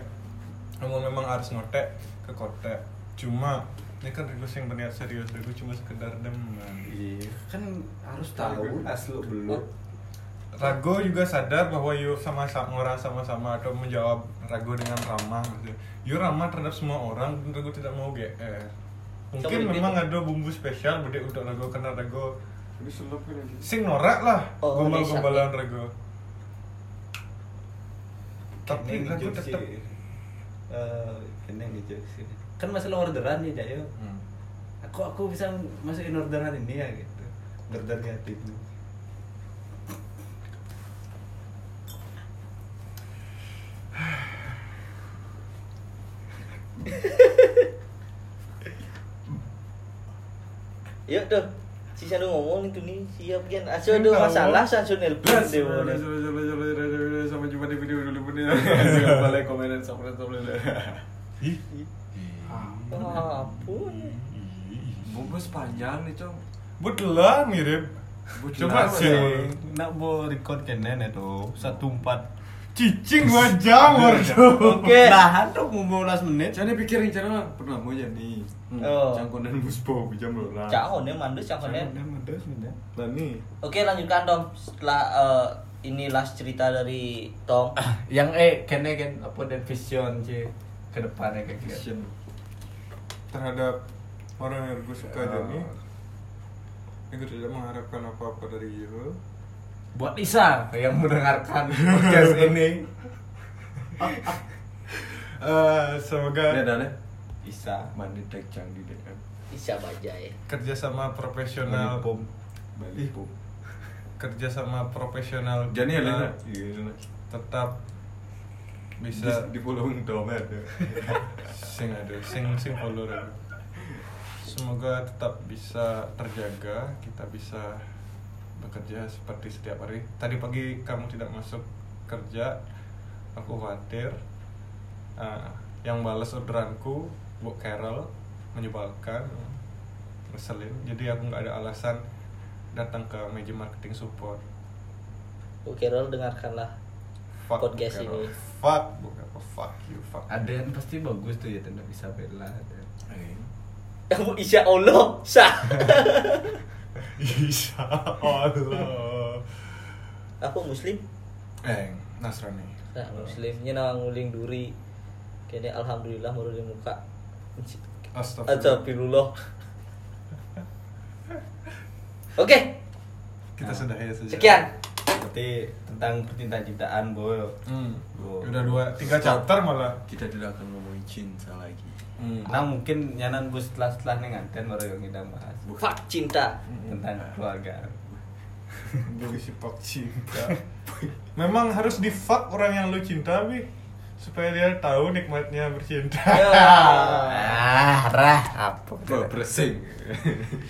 Speaker 2: Namun memang harus ngotek ke kotek. Cuma ini kan ragu sing berniat serius, ragu cuma sekedar demen.
Speaker 1: Iya, kan harus tahu asli belum.
Speaker 2: Rago juga sadar bahwa yuk sama-sama orang sama-sama atau menjawab Rago dengan ramah maksudnya. Yuk ramah terhadap semua orang, dan Rago tidak mau GR. Mungkin
Speaker 4: Coba
Speaker 2: memang ada bumbu spesial bedek untuk Rago karena Rago
Speaker 5: Jadi selop kan ya.
Speaker 2: sing norak lah
Speaker 4: Oh,
Speaker 2: gombal-gombalan
Speaker 4: desa.
Speaker 2: rego tapi
Speaker 1: Kene
Speaker 2: rego
Speaker 1: ngejuk
Speaker 2: tetep
Speaker 1: sih. Eh, kene ngejuk sih. Kan masalah orderan nih, Jayo.
Speaker 2: Hmm.
Speaker 1: Aku aku bisa masukin orderan ini ya gitu. Order
Speaker 2: [LAUGHS]
Speaker 1: gratis.
Speaker 4: Yuk Ya, tuh. Si Sandu ngomong itu nih siap kan. Aso
Speaker 2: Ini
Speaker 4: ada
Speaker 2: kalau-
Speaker 4: masalah Sandu nelpon
Speaker 5: Plus,
Speaker 4: deh.
Speaker 5: sampai jumpa di video dulu pun ya. Jangan balik komen dan subscribe
Speaker 2: Ih.
Speaker 4: Ah, Ampun.
Speaker 2: Hmm.
Speaker 5: Bungkus panjang nih cong.
Speaker 2: Butlah mirip
Speaker 5: Butlah
Speaker 2: Coba
Speaker 5: apa
Speaker 2: sih
Speaker 1: ya? Nak mau record kene nih tuh. Satu empat.
Speaker 7: [LAUGHS]
Speaker 2: Cicing dua jam
Speaker 1: iya.
Speaker 2: Wardo
Speaker 4: Oke.
Speaker 1: Nah, tuh mau 15 menit.
Speaker 5: Jadi pikirin cara pernah mau ya nih.
Speaker 2: Hmm.
Speaker 4: Oh.
Speaker 5: Cangkon dan buspo jam lo lah.
Speaker 4: Cakon ya mandus cakon ya.
Speaker 1: Udah, udah, udah.
Speaker 5: Lah nih.
Speaker 4: Oke lanjutkan Tom setelah eh, ini last cerita dari
Speaker 2: [COUGHS]
Speaker 4: Tom.
Speaker 7: yang eh kene kan apa dan vision sih ke depannya kayak gitu
Speaker 5: Action.
Speaker 2: Terhadap orang yang gue suka jadi
Speaker 5: Ah.
Speaker 2: Aku tidak mengharapkan apa-apa dari you
Speaker 7: buat Isa yang mendengarkan
Speaker 1: [LAUGHS]
Speaker 7: podcast ini
Speaker 2: Eh,
Speaker 5: Ini
Speaker 2: Semoga
Speaker 5: ada nih.
Speaker 1: Bisa.
Speaker 5: Mandi tag canggih deh kan.
Speaker 4: Bisa baca ya.
Speaker 2: kerjasama profesional
Speaker 5: Balik bom. Balik bom.
Speaker 2: kerjasama profesional
Speaker 5: Jadi ya
Speaker 2: kita
Speaker 5: Lena. Iya Lena.
Speaker 2: Ah, tetap
Speaker 5: Bisa
Speaker 2: bisa
Speaker 5: di follow dong ya.
Speaker 2: [LAUGHS] sing ada sing sing follow Rego. semoga tetap bisa terjaga kita bisa bekerja seperti setiap hari tadi pagi kamu tidak masuk kerja aku khawatir Ah, yang balas orderanku bu Carol menyebalkan ngeselin jadi aku nggak ada alasan datang ke meja marketing support
Speaker 4: Oke Rol dengarkanlah
Speaker 2: fuck Bu
Speaker 4: Podcast
Speaker 2: Carol.
Speaker 4: ini.
Speaker 2: fuck bu Carol. Oh, fuck you, fuck.
Speaker 7: ada yang pasti bagus tuh ya tentang Isabella ada
Speaker 4: Kamu Isya Allah,
Speaker 2: [LAUGHS]
Speaker 4: sah.
Speaker 2: Insya Allah.
Speaker 4: Aku Muslim.
Speaker 2: Eh, Nasrani.
Speaker 4: Nah, Muslimnya nang nguling duri. Kini alhamdulillah baru di muka. Astagfirullah. Oke,
Speaker 2: Kita sudahi ya saja.
Speaker 4: sekian.
Speaker 1: Berarti tentang percintaan cintaan, Bo.
Speaker 2: Hmm.
Speaker 1: Wow.
Speaker 2: Udah dua, tiga chapter malah.
Speaker 3: Kita tidak akan ngomongin cinta lagi.
Speaker 2: Hmm.
Speaker 1: Nah mungkin nyanan gue setelah setelah nih nganten baru yang kita bahas
Speaker 4: Fuck cinta.
Speaker 1: tentang
Speaker 7: Hmm.
Speaker 1: keluarga.
Speaker 2: Beli si pak cinta. [LAUGHS] Memang harus di fuck orang yang lu cinta, bi. Supaya dia tahu nikmatnya
Speaker 4: Iya.
Speaker 2: bercinta.
Speaker 4: Ya.
Speaker 1: Ah, rah, apa?
Speaker 3: Bersing.